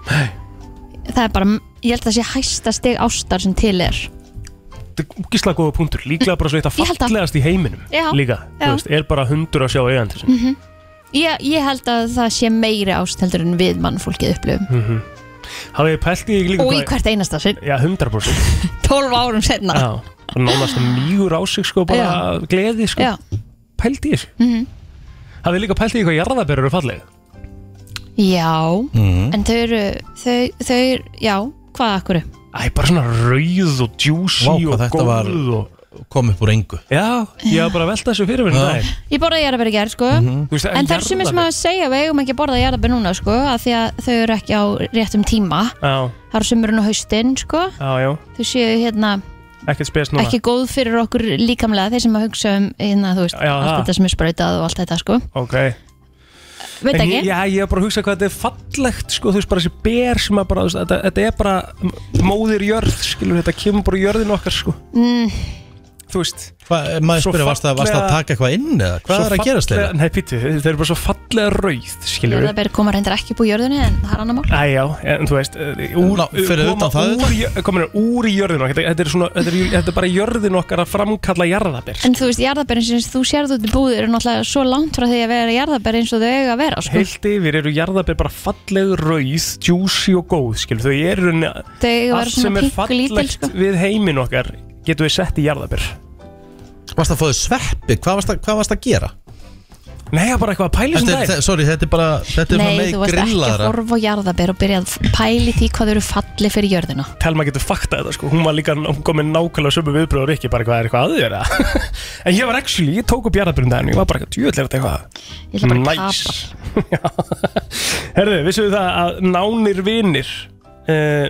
Speaker 3: Það er bara, ég held að það sé hæsta steg ástar sem til er
Speaker 2: gísla góða punktur, líklega bara svo eitt að
Speaker 3: Ég held að-
Speaker 2: fallegast í heiminum
Speaker 3: Já,
Speaker 2: líka,
Speaker 3: já.
Speaker 2: þú veist, er bara hundur að sjá eigandi sinn
Speaker 3: mm ég, ég held að það sé meiri ást heldur en við mannfólkið upplifum
Speaker 2: mm -hmm. hafið þið pælt í líka
Speaker 3: Og í
Speaker 2: hvað-
Speaker 3: hvert einasta sinn,
Speaker 2: já, 100%
Speaker 3: 12 árum senna
Speaker 2: Já, bara nánast mýgur á sig sko, bara gleði sko,
Speaker 3: Já. Mhm.
Speaker 2: pælt í þessu Hafið þið líka pælt í því hvað jarðabær eru falleg
Speaker 3: Já,
Speaker 1: Mm.
Speaker 2: Mhm.
Speaker 3: en þau eru, þau, þau, já, hvað akkuru?
Speaker 2: Æ, bara svona rauð og juicy
Speaker 1: Vá,
Speaker 2: og
Speaker 1: hvað þetta
Speaker 2: góð
Speaker 1: var
Speaker 2: og...
Speaker 1: kom upp úr engu
Speaker 2: Já, ég var bara að velta þessu fyrir mér um
Speaker 1: Já.
Speaker 2: daginn.
Speaker 3: Ég borða jarðabæri gerð, sko
Speaker 2: Þú veist,
Speaker 3: En það er sumir sem
Speaker 2: Mhm.
Speaker 3: að
Speaker 2: jarðarber-
Speaker 3: segja við eigum ekki að borða jarðabæri núna, sko af því að þau eru ekki á réttum tíma
Speaker 2: Já,
Speaker 3: Það eru sumurinn og haustinn, sko
Speaker 2: já, já,
Speaker 3: Þau séu, hérna,
Speaker 2: ekkert spes núna
Speaker 3: ekki góð fyrir okkur líkamlega þeir sem að hugsa um, hérna, þú veist
Speaker 2: Já,
Speaker 3: allt
Speaker 2: það.
Speaker 3: þetta sem er sprautað og allt þetta, sko
Speaker 2: Ok
Speaker 3: Veit
Speaker 2: En
Speaker 3: ekki.
Speaker 2: ég, Já, ég var bara að hugsa hvað þetta er fallegt sko, þú veist, bara þessi ber sem að bara, þú veist, þetta, þetta er bara m- móðir jörð, skilur, þetta kemur bara úr jörðin okkar, sko
Speaker 3: mm.
Speaker 2: Þú veist
Speaker 1: Hva, Maður
Speaker 2: Svo
Speaker 1: spyrir, varst það varstu að
Speaker 2: fallega-
Speaker 1: taka eitthvað inn eða? Hvað er
Speaker 2: Svo
Speaker 1: að
Speaker 2: fallega-
Speaker 1: gerast þeirra?
Speaker 2: Nei, pítu, þeir eru bara svo fallega rauð, skilur
Speaker 3: Jarðabæri koma reyndar ekki upp úr jörðunni en það er annar mál
Speaker 2: Æjá, en þú veist eh, úr,
Speaker 1: Ná, fyrir
Speaker 2: koma
Speaker 1: utan það
Speaker 2: úr, jö- komin er úr í jörðin okkar Þetta- Þetta er, svona, þetta, er, ju- þetta er bara jörðin okkar að framkalla jarðabir
Speaker 3: En þú veist, jarðabærin sem þú sérð út í búð eru náttúrulega svo langt frá því að vera jarðabæri eins og þau eiga að vera, sko
Speaker 2: Heilt yfir eru jarðabir bara falleg rauð Juicy og góð, skil Þau eru en-
Speaker 3: Þau eiga að
Speaker 2: allt
Speaker 3: vera svona
Speaker 2: sem er
Speaker 3: pinkulítil,
Speaker 2: fallegt
Speaker 3: sko.
Speaker 2: Við heimin okkar getum við sett í jarðabir
Speaker 1: Varst að fóðu sveppi? Hvað varst að, hvað varst að gera?
Speaker 2: Nei, bara eitthvað að pæli
Speaker 1: sem það Sorry, þetta er bara Þetta er
Speaker 3: Nei,
Speaker 1: svona
Speaker 3: þú
Speaker 1: með
Speaker 3: varst ekki að
Speaker 1: grillaðra
Speaker 3: horfa á jarðabér og byrja að pæli því hvað þau eru falli fyrir jörðina
Speaker 2: Telma getur fakta þetta sko, hún var líka hún kom með nákvæmlega sömu viðbröður ekki, bara hvað er eitthvað aðeira En ég var actually, ég tók upp jarðabyrjum daginn og ég var bara eitthvað djúðlega eitthvað
Speaker 3: Ég ætla bara að
Speaker 2: Nice. Herðu, vissum við það að nánir vinir uh,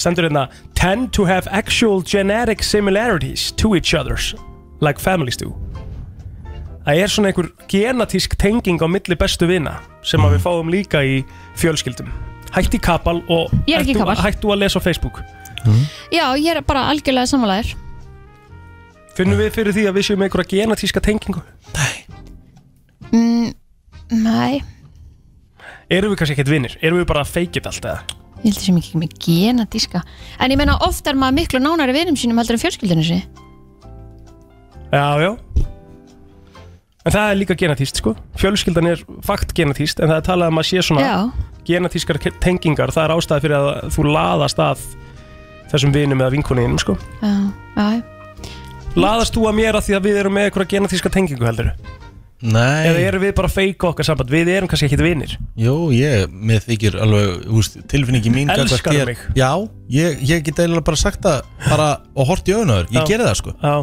Speaker 2: Stendur hérna Tend to have actual genetic similarities to each others Like families do Það er svona einhver genatísk tenging á milli bestu vina sem að við fáum líka í fjölskyldum Hætti kapal og
Speaker 3: Ég er ekki í
Speaker 2: hættu-
Speaker 3: kapal.
Speaker 2: hættu að lesa á Facebook
Speaker 3: Já, ég er bara algjörlega samanlæður
Speaker 2: Finnum við fyrir því að við séum með einhverja genatíska tengingu?
Speaker 3: mm, Nei,
Speaker 2: Erum við kannski ekkert vinnir? Erum við bara að feikið allt eða?
Speaker 3: ég held þessum ekki með genadíska En ég meina oft er maður miklu nánari vinum sínum heldur en fjölskyldinu sinni
Speaker 2: Já, já En það er líka genatíst sko Fjölskyldan er fakt genatíst En það er talað um að sé svona
Speaker 3: Já.
Speaker 2: Genatískar ke- tengingar Það er ástæði fyrir að þú laðast að Þessum vinum eða vinkoninum sko
Speaker 3: Já, já,
Speaker 2: Laðast þú að mér að því að við erum með einhverja genatíska tengingu heldur
Speaker 1: Nei
Speaker 2: Eða erum við bara að feika okkar samband Við erum kannski ekkit vinir
Speaker 1: Jú, ég, mér þykir alveg, húst, tilfinningi mín gagnvart
Speaker 2: Elskar
Speaker 1: þér-
Speaker 2: mig.
Speaker 1: Já, ég, ég get eiginlega bara sagt það bara og hort í auðnaður,
Speaker 2: Já.
Speaker 1: ég geri það sko
Speaker 2: Já,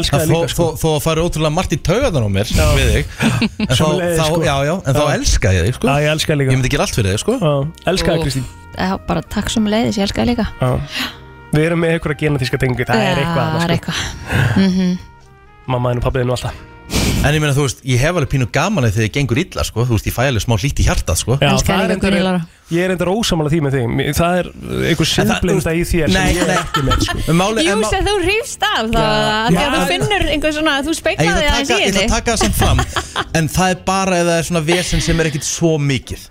Speaker 2: elskar
Speaker 1: það
Speaker 2: það líka, sko.
Speaker 1: Þó að fari ótrúlega margt í taugaðan á mér við þig En þá,
Speaker 2: Sömuleiðis,
Speaker 1: þá,
Speaker 2: sko.
Speaker 1: já, já, en þá
Speaker 2: Já.
Speaker 1: elska ég þig sko
Speaker 2: Já, ég elska líka
Speaker 1: Ég myndi gera allt fyrir þig sko
Speaker 2: Já, elska það Kristín
Speaker 3: já, bara takk sem leiðis, ég elska það líka
Speaker 2: Já. Við erum með
Speaker 1: sko.
Speaker 2: einhverja genatíska tengingu Það er sko.
Speaker 3: Já,
Speaker 2: eitthvað annað,
Speaker 3: Það
Speaker 2: sko.
Speaker 3: er eitthvað Mhm.
Speaker 2: Mamma þín og pappi þín og alltaf
Speaker 1: En ég meina, þú veist, ég hef alveg pínu gaman að þegar þið gengur illa, sko Þú veist, ég fæ alveg smá hlýtt í hjartað, sko
Speaker 2: Já, það er reyndar- Ég er endar ósamála því með því Mér- Það er einhver sinnblinda í þér
Speaker 1: Nei,
Speaker 2: sem ég er
Speaker 1: nei.
Speaker 2: ekki með sko.
Speaker 1: Máli,
Speaker 18: Jú, sem þú rífst af þá að því að þú
Speaker 1: Já.
Speaker 18: finnur einhver svona, þú
Speaker 1: En ég
Speaker 18: speiklaði
Speaker 1: ætla að
Speaker 18: aðeins
Speaker 1: taka-
Speaker 18: í
Speaker 1: ég ætla að
Speaker 18: henni
Speaker 1: taka það samt fram En það er bara ef það er svona vesen sem er ekkit svo mikið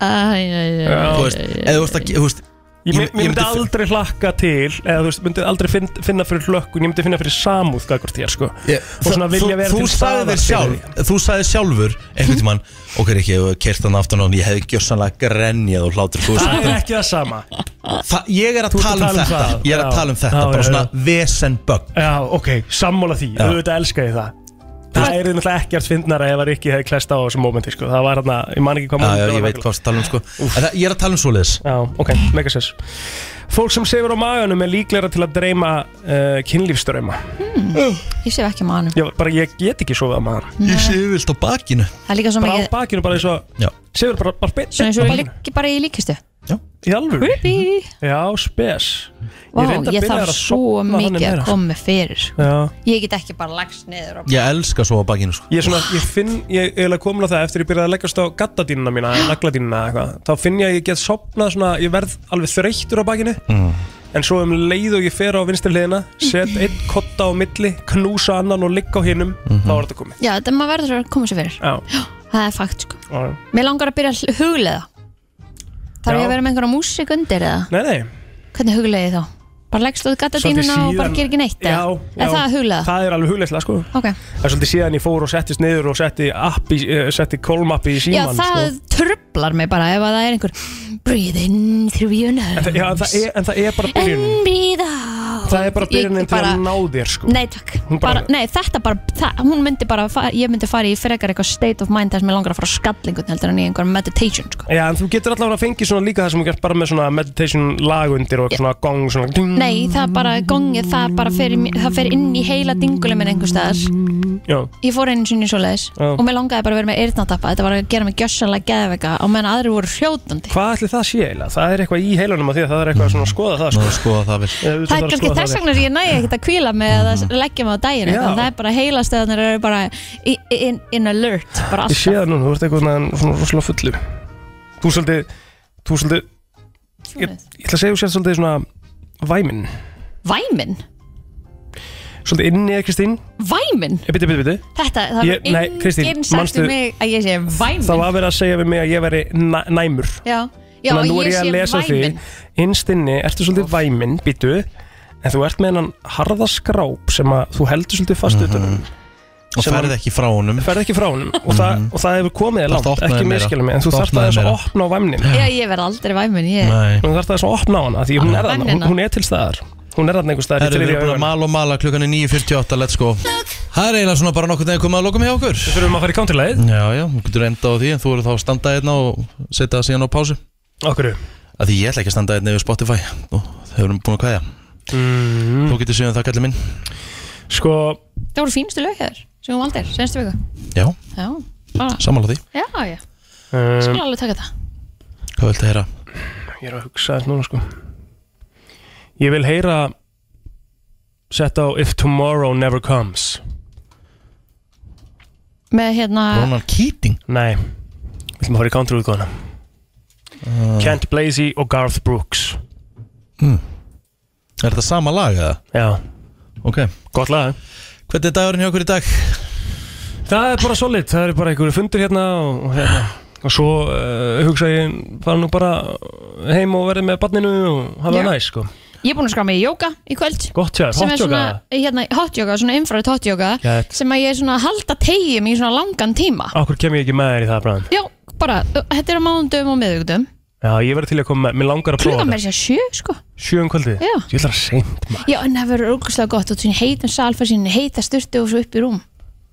Speaker 1: Þú veist, eða þú veist að þú veist,
Speaker 2: Ég,
Speaker 1: ég-
Speaker 2: ég,
Speaker 1: ég
Speaker 2: myndi
Speaker 1: myndi-
Speaker 2: aldrei hlakka til eða þú veist, myndi aldrei finn, finna fyrir hlökkun ég myndi finna fyrir samúð gagvart þér sko. og svona
Speaker 1: Þú-
Speaker 2: vilja vera
Speaker 1: þú, þú
Speaker 2: til
Speaker 1: sagðir
Speaker 2: staðar fyrir
Speaker 1: sjálf, Þú sagði sjálfur einhvern tímann Ok, ekki, ég kert hann aftan á hann Ég hefði gjössanlega grenjað og hlátur þú
Speaker 2: því.
Speaker 1: veist,
Speaker 2: það er
Speaker 1: þetta-
Speaker 2: ekki það sama
Speaker 1: Þa, ég er að
Speaker 2: Þú ert
Speaker 1: tala um þetta
Speaker 2: það.
Speaker 1: Ég er að
Speaker 2: Já.
Speaker 1: tala um þetta,
Speaker 2: Já,
Speaker 1: bara
Speaker 2: já,
Speaker 1: svona
Speaker 2: já.
Speaker 1: vesenbögg
Speaker 2: já, ok, sammála því,
Speaker 1: Já.
Speaker 2: auðvitað elska ég það það er náttúrulega ekkert fyndnara ef að Rikki hefði klest á þessum mómenti sko. það var hérna, ég man ekki hvað
Speaker 1: Já,
Speaker 2: mómenti
Speaker 1: já,
Speaker 2: það
Speaker 1: ég
Speaker 2: var
Speaker 1: veit hvað það tala um sko En það- Ég er að tala um svoleiðis
Speaker 2: Já, ok, megasess fólk sem sefur á maganum er líklega til að dreyma uh, kynlífströma
Speaker 3: Ég sé ekki maður
Speaker 2: ég, bara, ég get ekki sofið á maganum
Speaker 1: Ég sefur vilt á bakinu
Speaker 3: Það er líka svo
Speaker 2: bara
Speaker 3: mikið
Speaker 2: á bakinu, bara eins og sefur bara, bara beint
Speaker 3: Svona eins og
Speaker 2: á
Speaker 3: ég
Speaker 2: bakinu.
Speaker 3: liggi bara í líkistu
Speaker 2: í alvöru
Speaker 3: Creepy
Speaker 2: Já, spes
Speaker 3: Vá,
Speaker 2: reyndar
Speaker 3: ég
Speaker 2: byrjaður
Speaker 3: þarf
Speaker 2: að
Speaker 3: svo
Speaker 2: sofna þannig
Speaker 3: mikið að
Speaker 2: meira.
Speaker 3: koma með fyrir sko.
Speaker 2: Já.
Speaker 3: Ég get ekki bara lagst niður og...
Speaker 1: Ég elska svo á bakinu sko
Speaker 2: Ég, er svona, ég finn, ég er eiginlega komin á það eftir ég byrjaði að leggjast á gattadínuna mína, nagladínuna eða eitthvað, þá finn ég að ég get sopnað svona, ég verð alveg þreyttur á bakinu, en svo um leið og ég fer á vinstri hliðina, set einn kotta á milli, knúsa annan og ligga á hinnum, þá er þetta komið.
Speaker 3: Já, þetta maður verður að koma sér fyrir
Speaker 2: Já.
Speaker 3: Það er fakt sko
Speaker 2: Já.
Speaker 3: Mér langar að byrja að huglega Þarf ég
Speaker 2: Já.
Speaker 3: að vera með einhverja músík undir eða?
Speaker 2: Nei, nei.
Speaker 3: Hvernig huglega ég þá? Bara leggst þú gata dínuna og bara ger ekki neitt
Speaker 2: Já,
Speaker 3: eða?
Speaker 2: já.
Speaker 3: Er það að huglega?
Speaker 2: Það er alveg huglegslega, sko.
Speaker 3: Ok.
Speaker 2: Það er svolítið síðan ég fór og settist niður og setti, app í, eh, setti kolmappi í sko.
Speaker 3: Já,
Speaker 2: síman,
Speaker 3: það trublar mig bara ef að það er einhver Breathe in through your
Speaker 2: En
Speaker 3: nose
Speaker 2: það, já, en það, er, en það er bara byrjunin
Speaker 3: And breathe out
Speaker 2: Það er bara byrjunin
Speaker 3: Ég
Speaker 2: til
Speaker 3: bara-
Speaker 2: að ná þér sko
Speaker 3: Nei takk,
Speaker 2: Hún bara-
Speaker 3: bara, nei, þetta bara, það, hún myndi bara, fara, ég myndi fara í frekar eitthvað state of mind þess að mér langar að fara á skallingun heldur en í einhver meditation sko.
Speaker 2: Já, en þú getur allavega að fengi svona líka það sem þú gert bara með svona meditation lag undir og eitthvað svona gong svona ding,
Speaker 3: Nei, það bara gongið, það bara fer, í mér- það fer inn í heila dingulum minn einhver staðar
Speaker 2: Já,
Speaker 3: Ég fór einu sinni svoleiðis
Speaker 2: Já.
Speaker 3: og mér langaði bara að vera með eyrnatappa, þetta var að gera mig gjössanlega geðveika á meðan aðrir voru hrjótandi
Speaker 2: hvað ætli það sé eiginlega? Það er eitthvað í heilanum að því að það er eitthvað svona að skoða það sko.
Speaker 1: Ná, skoða það vel
Speaker 2: Það
Speaker 3: Það er kannski þess vegna sem ég næði ekkert að kvíla mig eða að leggja mig á daginn
Speaker 2: Já.
Speaker 3: þannig það er bara heilastöðanir eru bara í- in, in alert bara
Speaker 2: Ég sé
Speaker 3: alltaf
Speaker 2: það núna, þú ert eitthvað svona, svona rosalega fullu Þú er svolítið, þú er svolítið ég, ég ætla að segja þú sér svolítið svona væmin
Speaker 3: Væmin?
Speaker 2: Svolítið inni eða Kristín Eh,
Speaker 3: Væmin?
Speaker 2: Ég biti, biti, biti
Speaker 3: Þetta, það
Speaker 2: Ég- nei,
Speaker 3: var
Speaker 2: Kristín,
Speaker 3: enginn sagt
Speaker 2: manstu-
Speaker 3: um mig að ég sé væmin
Speaker 2: Það var verið að segja við mig að ég veri næ, næmur
Speaker 3: Já, já
Speaker 2: Þannig að nú
Speaker 3: og
Speaker 2: er
Speaker 3: ég,
Speaker 2: ég að lesa
Speaker 3: sé væmin
Speaker 2: því Innst inni, ertu svolítið væminn, býtu En þú ert með hennan harða skráp sem að þú heldur svolítið fast utanum
Speaker 1: Mhm. Og
Speaker 2: Sem
Speaker 1: ferð
Speaker 2: að-
Speaker 1: ekki frá honum
Speaker 2: Ferð ekki frá honum og, það, og það hefur komið
Speaker 1: Þarft að
Speaker 2: þér langt,
Speaker 1: opna
Speaker 2: ekki
Speaker 1: þig Mhm. meira.
Speaker 2: miskilum mig En þú
Speaker 1: Þarft að
Speaker 2: þarft
Speaker 1: opna
Speaker 2: aðeins
Speaker 1: þig
Speaker 2: að
Speaker 1: meira.
Speaker 2: opna á væmnin
Speaker 3: Já, ég verð aldrei væmin ég...
Speaker 2: Þú þarft aðeins að opna á hana, því hún
Speaker 3: Á
Speaker 2: er þarna, hún,
Speaker 3: væmnina.
Speaker 2: hún er til staðar Hún er þarna einhver staðar
Speaker 1: Herru, við erum búin að
Speaker 2: augunum.
Speaker 1: mala og mala, klukkan er 9.48, let's go Það er eiginlega svona bara nokkur daginn komið að lokum hjá okkur Við
Speaker 2: þurfum að fara í counterlæð
Speaker 1: Já, já, þú getur enda á því en þú eru þá að standa hérna og setja það síðan á pásu
Speaker 2: Okkur
Speaker 1: Af því ég ætla ekki að standa hérna yfir Spotify og þau eru búin að kvæða
Speaker 2: Mhm.
Speaker 1: Þú getur síðan það kallið minn
Speaker 2: Sko,
Speaker 3: Það voru fínstu lög hér sem hún valdir, senstu viku
Speaker 1: já,
Speaker 3: Já, bara
Speaker 1: sammála því
Speaker 3: Já, já,
Speaker 2: um,
Speaker 3: skal alveg taka það
Speaker 1: Hvað viltu heyra?
Speaker 2: ég er að hugsa þetta núna sko Ég vil heyra Sett á If Tomorrow Never Comes
Speaker 3: Með hérna
Speaker 1: Ronald Keating?
Speaker 2: Nei, við ætlum að fara í country útgóðana Kent Blazy og Garth Brooks
Speaker 1: Er þetta sama lag eða?
Speaker 2: Já
Speaker 1: Ok
Speaker 2: Gott lag
Speaker 1: Hvernig er dagurinn hjá okkur í dag?
Speaker 2: Það er bara solid, það er bara einhverju fundur hérna og, og hérna Og svo uh, hugsa ég fara nú bara heim og verði með barninu og hafa
Speaker 3: Já.
Speaker 2: það næs sko
Speaker 3: Ég er búin að skrá mig í jóka í kvöld
Speaker 2: Gott hjá þér,
Speaker 3: Sem
Speaker 2: hot
Speaker 3: er
Speaker 2: yoga?
Speaker 3: svona, hérna, hot yoga, svona infrared hot yoga
Speaker 2: Gæt.
Speaker 3: sem að ég er svona að halda tegjum í svona langan tíma
Speaker 2: Akkur kem ég ekki með þér í það bræðan
Speaker 3: Já, bara, ö, þetta er á mánudum og miðugdum
Speaker 2: Já, ég verði til að koma með, mér langar að prófa
Speaker 3: Klukkan
Speaker 2: þetta
Speaker 3: verður sér sjö, sko
Speaker 2: Sjö um kvöldið?
Speaker 3: Já.
Speaker 2: Ég ætla að seint
Speaker 3: Já, en það verður ógustlega gott og svona heitum salfa sinni, heita sturtu og svo upp í rúm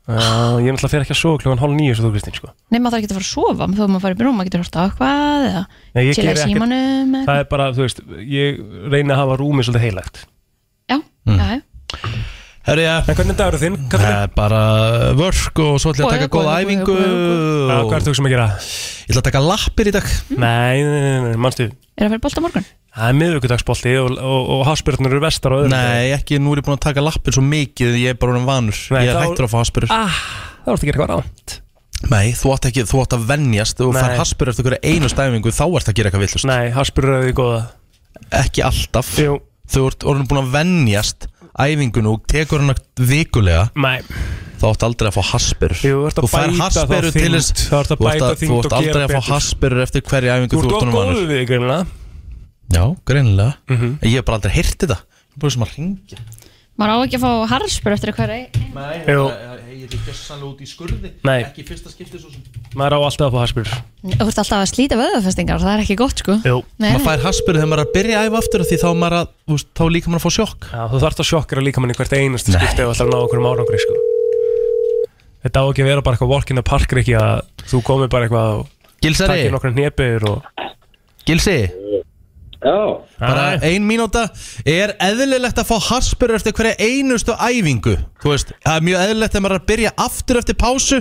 Speaker 2: Já, ég ætla að fyrir ekki að sofa klukkan hálf nýju svo þú Kristín sko
Speaker 3: Nei, maður þarf ekki að fara að sofa, þú maður farið upp í rúm, maður getur horta á eitthvað eða
Speaker 2: Nei, ég
Speaker 3: chilla
Speaker 2: geri
Speaker 3: í
Speaker 2: ekkert-
Speaker 3: símanum eða
Speaker 2: Það er bara, þú veist, ég reyni að hafa rúmið svolítið heilagt
Speaker 3: eitthvað.
Speaker 11: Mm.
Speaker 3: Já, já.
Speaker 1: Herri, ja.
Speaker 2: En hvernig dagur er þinn?
Speaker 1: Það er bara vörk og svo ætlum ég að taka góða æfingu
Speaker 2: Já, hvað ert þú sem að gera?
Speaker 1: Ég ætla að taka lappir í dag
Speaker 2: Nei, nei, nei, nei, mannstu
Speaker 3: Er að fyrir bolta morgun?
Speaker 2: Það er miðvíkudagsbolti og, og, og hafspyrnur eru vestar og öðrum
Speaker 1: Nei, ekki, nú er ég búin að taka lappir svo mikið Ég er bara orðinn vanur Ég er
Speaker 2: þá-
Speaker 1: hættur að fá haspurur
Speaker 2: Ah, þá ertu að gera eitthvað rámt
Speaker 1: Nei, þú átt ekki, þú átt að venjast og fara haspur eftir hverja einu stæfingu þá ert að gera eitthvað villust
Speaker 2: Nei, haspur eru því góða
Speaker 1: Ekki alltaf
Speaker 2: Jú.
Speaker 1: Þú ert orðin búin að venjast æfingun og tekur hann vikulega
Speaker 2: Nei
Speaker 1: Þá átt aldrei að fá haspur
Speaker 2: Jú, þú ert að
Speaker 1: Þú fær
Speaker 2: bæta þá
Speaker 1: haspur til
Speaker 2: þyngd,
Speaker 1: þess
Speaker 2: þá ertu að
Speaker 1: Þú ert
Speaker 2: bæta
Speaker 1: að-
Speaker 2: þyngd
Speaker 1: þú
Speaker 2: og
Speaker 1: ert
Speaker 2: gera
Speaker 1: aldrei að fá
Speaker 2: betur.
Speaker 1: haspur eftir hverja æfingu
Speaker 2: Þú ert of
Speaker 1: orðinn vanur.
Speaker 2: góð við því greinlega
Speaker 1: Já, greinilega
Speaker 2: Mhm.
Speaker 1: Ég hef bara aldrei heyrt þetta Ég er bara sem að ringja
Speaker 3: Maður á ekki að fá harspur eftir hverja
Speaker 1: Nei,
Speaker 2: Jú.
Speaker 1: ég er ekki sannlega út í skurði
Speaker 2: Nei.
Speaker 1: Ekki í fyrsta skipti svo sem
Speaker 2: Maður á alltaf að fá haspur
Speaker 3: Þú ert alltaf að slíta vöðufestingar, það er ekki gott sko
Speaker 2: Jú
Speaker 3: Nei.
Speaker 1: Maður fær haspur þegar maður er að byrja að æfa aftur af Því þá, er maður að, þú veist, þá er líka maður að fá sjokk
Speaker 2: Já, þú þarfst að sjokkera líka manni hvert einast skipti ef þú ætlar að ná okkur um árangri sko. Þetta á ekki að vera bara eitthvað walk in the park ekki að þú komir bara eitthvað og
Speaker 1: Gilsari.
Speaker 2: takir nokkra hnepir og
Speaker 1: Gilsi
Speaker 11: Já
Speaker 1: Bara ein mínúta Er eðlilegt að fá haspur eftir hverja einustu æfingu Þú veist, það er mjög eðlilegt þegar maður er að byrja aftur eftir pásu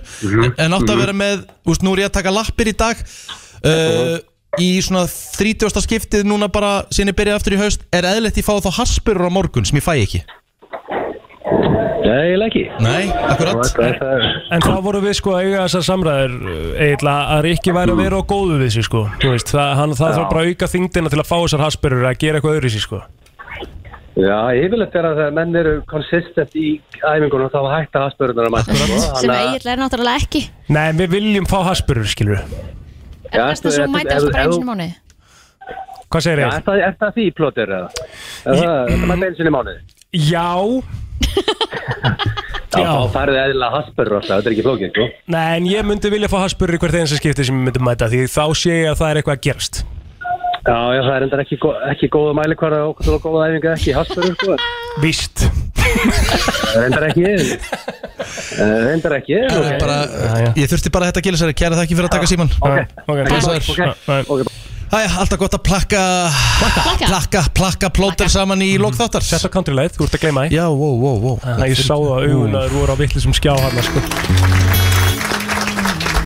Speaker 1: En átt að vera með, þú veist, nú er ég að taka lappir í dag uh, Í svona 30. skiptið núna bara Sýni byrja aftur í haust Er eðlilegt ég fá þá haspur á morgun sem ég fæ ekki
Speaker 11: Nei, ekki
Speaker 1: Nei, akkurat
Speaker 2: En það voru við sko að eiga þessar samræður eiginlega að Rikki væri að vera á góðu við sig sko Þú veist, það, hann, það
Speaker 11: Já.
Speaker 2: þarf bara að auka þyngdina til að fá þessar haspurur að gera eitthvað öðru í sig sko
Speaker 11: Já, yfirleitt er að þegar menn eru konsistent í æfingunum þá hætta aðspörunar að mæta sko,
Speaker 3: Sem
Speaker 11: þannig að-
Speaker 3: eiginlega er náttúrulega ekki
Speaker 2: Nei, við viljum fá haspurur skilur
Speaker 11: Já,
Speaker 3: Þess að
Speaker 11: ef-
Speaker 3: svo
Speaker 11: ef-
Speaker 3: mæta
Speaker 11: ef-
Speaker 3: alltaf bara
Speaker 11: ef-
Speaker 3: einu sinni í mánuði
Speaker 2: Hvað segir
Speaker 11: Já,
Speaker 2: ég?
Speaker 11: er það- er það því plótir eða? Er það- Þetta mæta einu sinni í mánuði
Speaker 2: Já,
Speaker 11: Já, þá færðu eðlilega aðspörur alltaf, þetta er ekki flókið sko
Speaker 2: nei, en ég myndi vilja fá haspurur í hvert einasta skipti sem ég myndi mæta því þá sé ég að það er eitthvað að gerast
Speaker 11: Já, já, það er endar ekki, gó- ekki góða mælikvara og okkur góða æfinga ekki í haspörum sko
Speaker 2: Víst
Speaker 11: Það er endar ekki Það er endar ekki ok.
Speaker 1: bara, Ég þurfti bara að þetta gilsari Kæra þakki fyrir að taka síman
Speaker 2: ok.
Speaker 1: Blessaður. Æ, alltaf gott að plakka Plakka, plakka, plakka plóter saman í lokþáttar
Speaker 2: Sett á country light, þú ert að gleyma því
Speaker 1: Já, wow, wow, wow
Speaker 2: Það ég sá það augun að þeir voru á vitlisum skjá hann sko.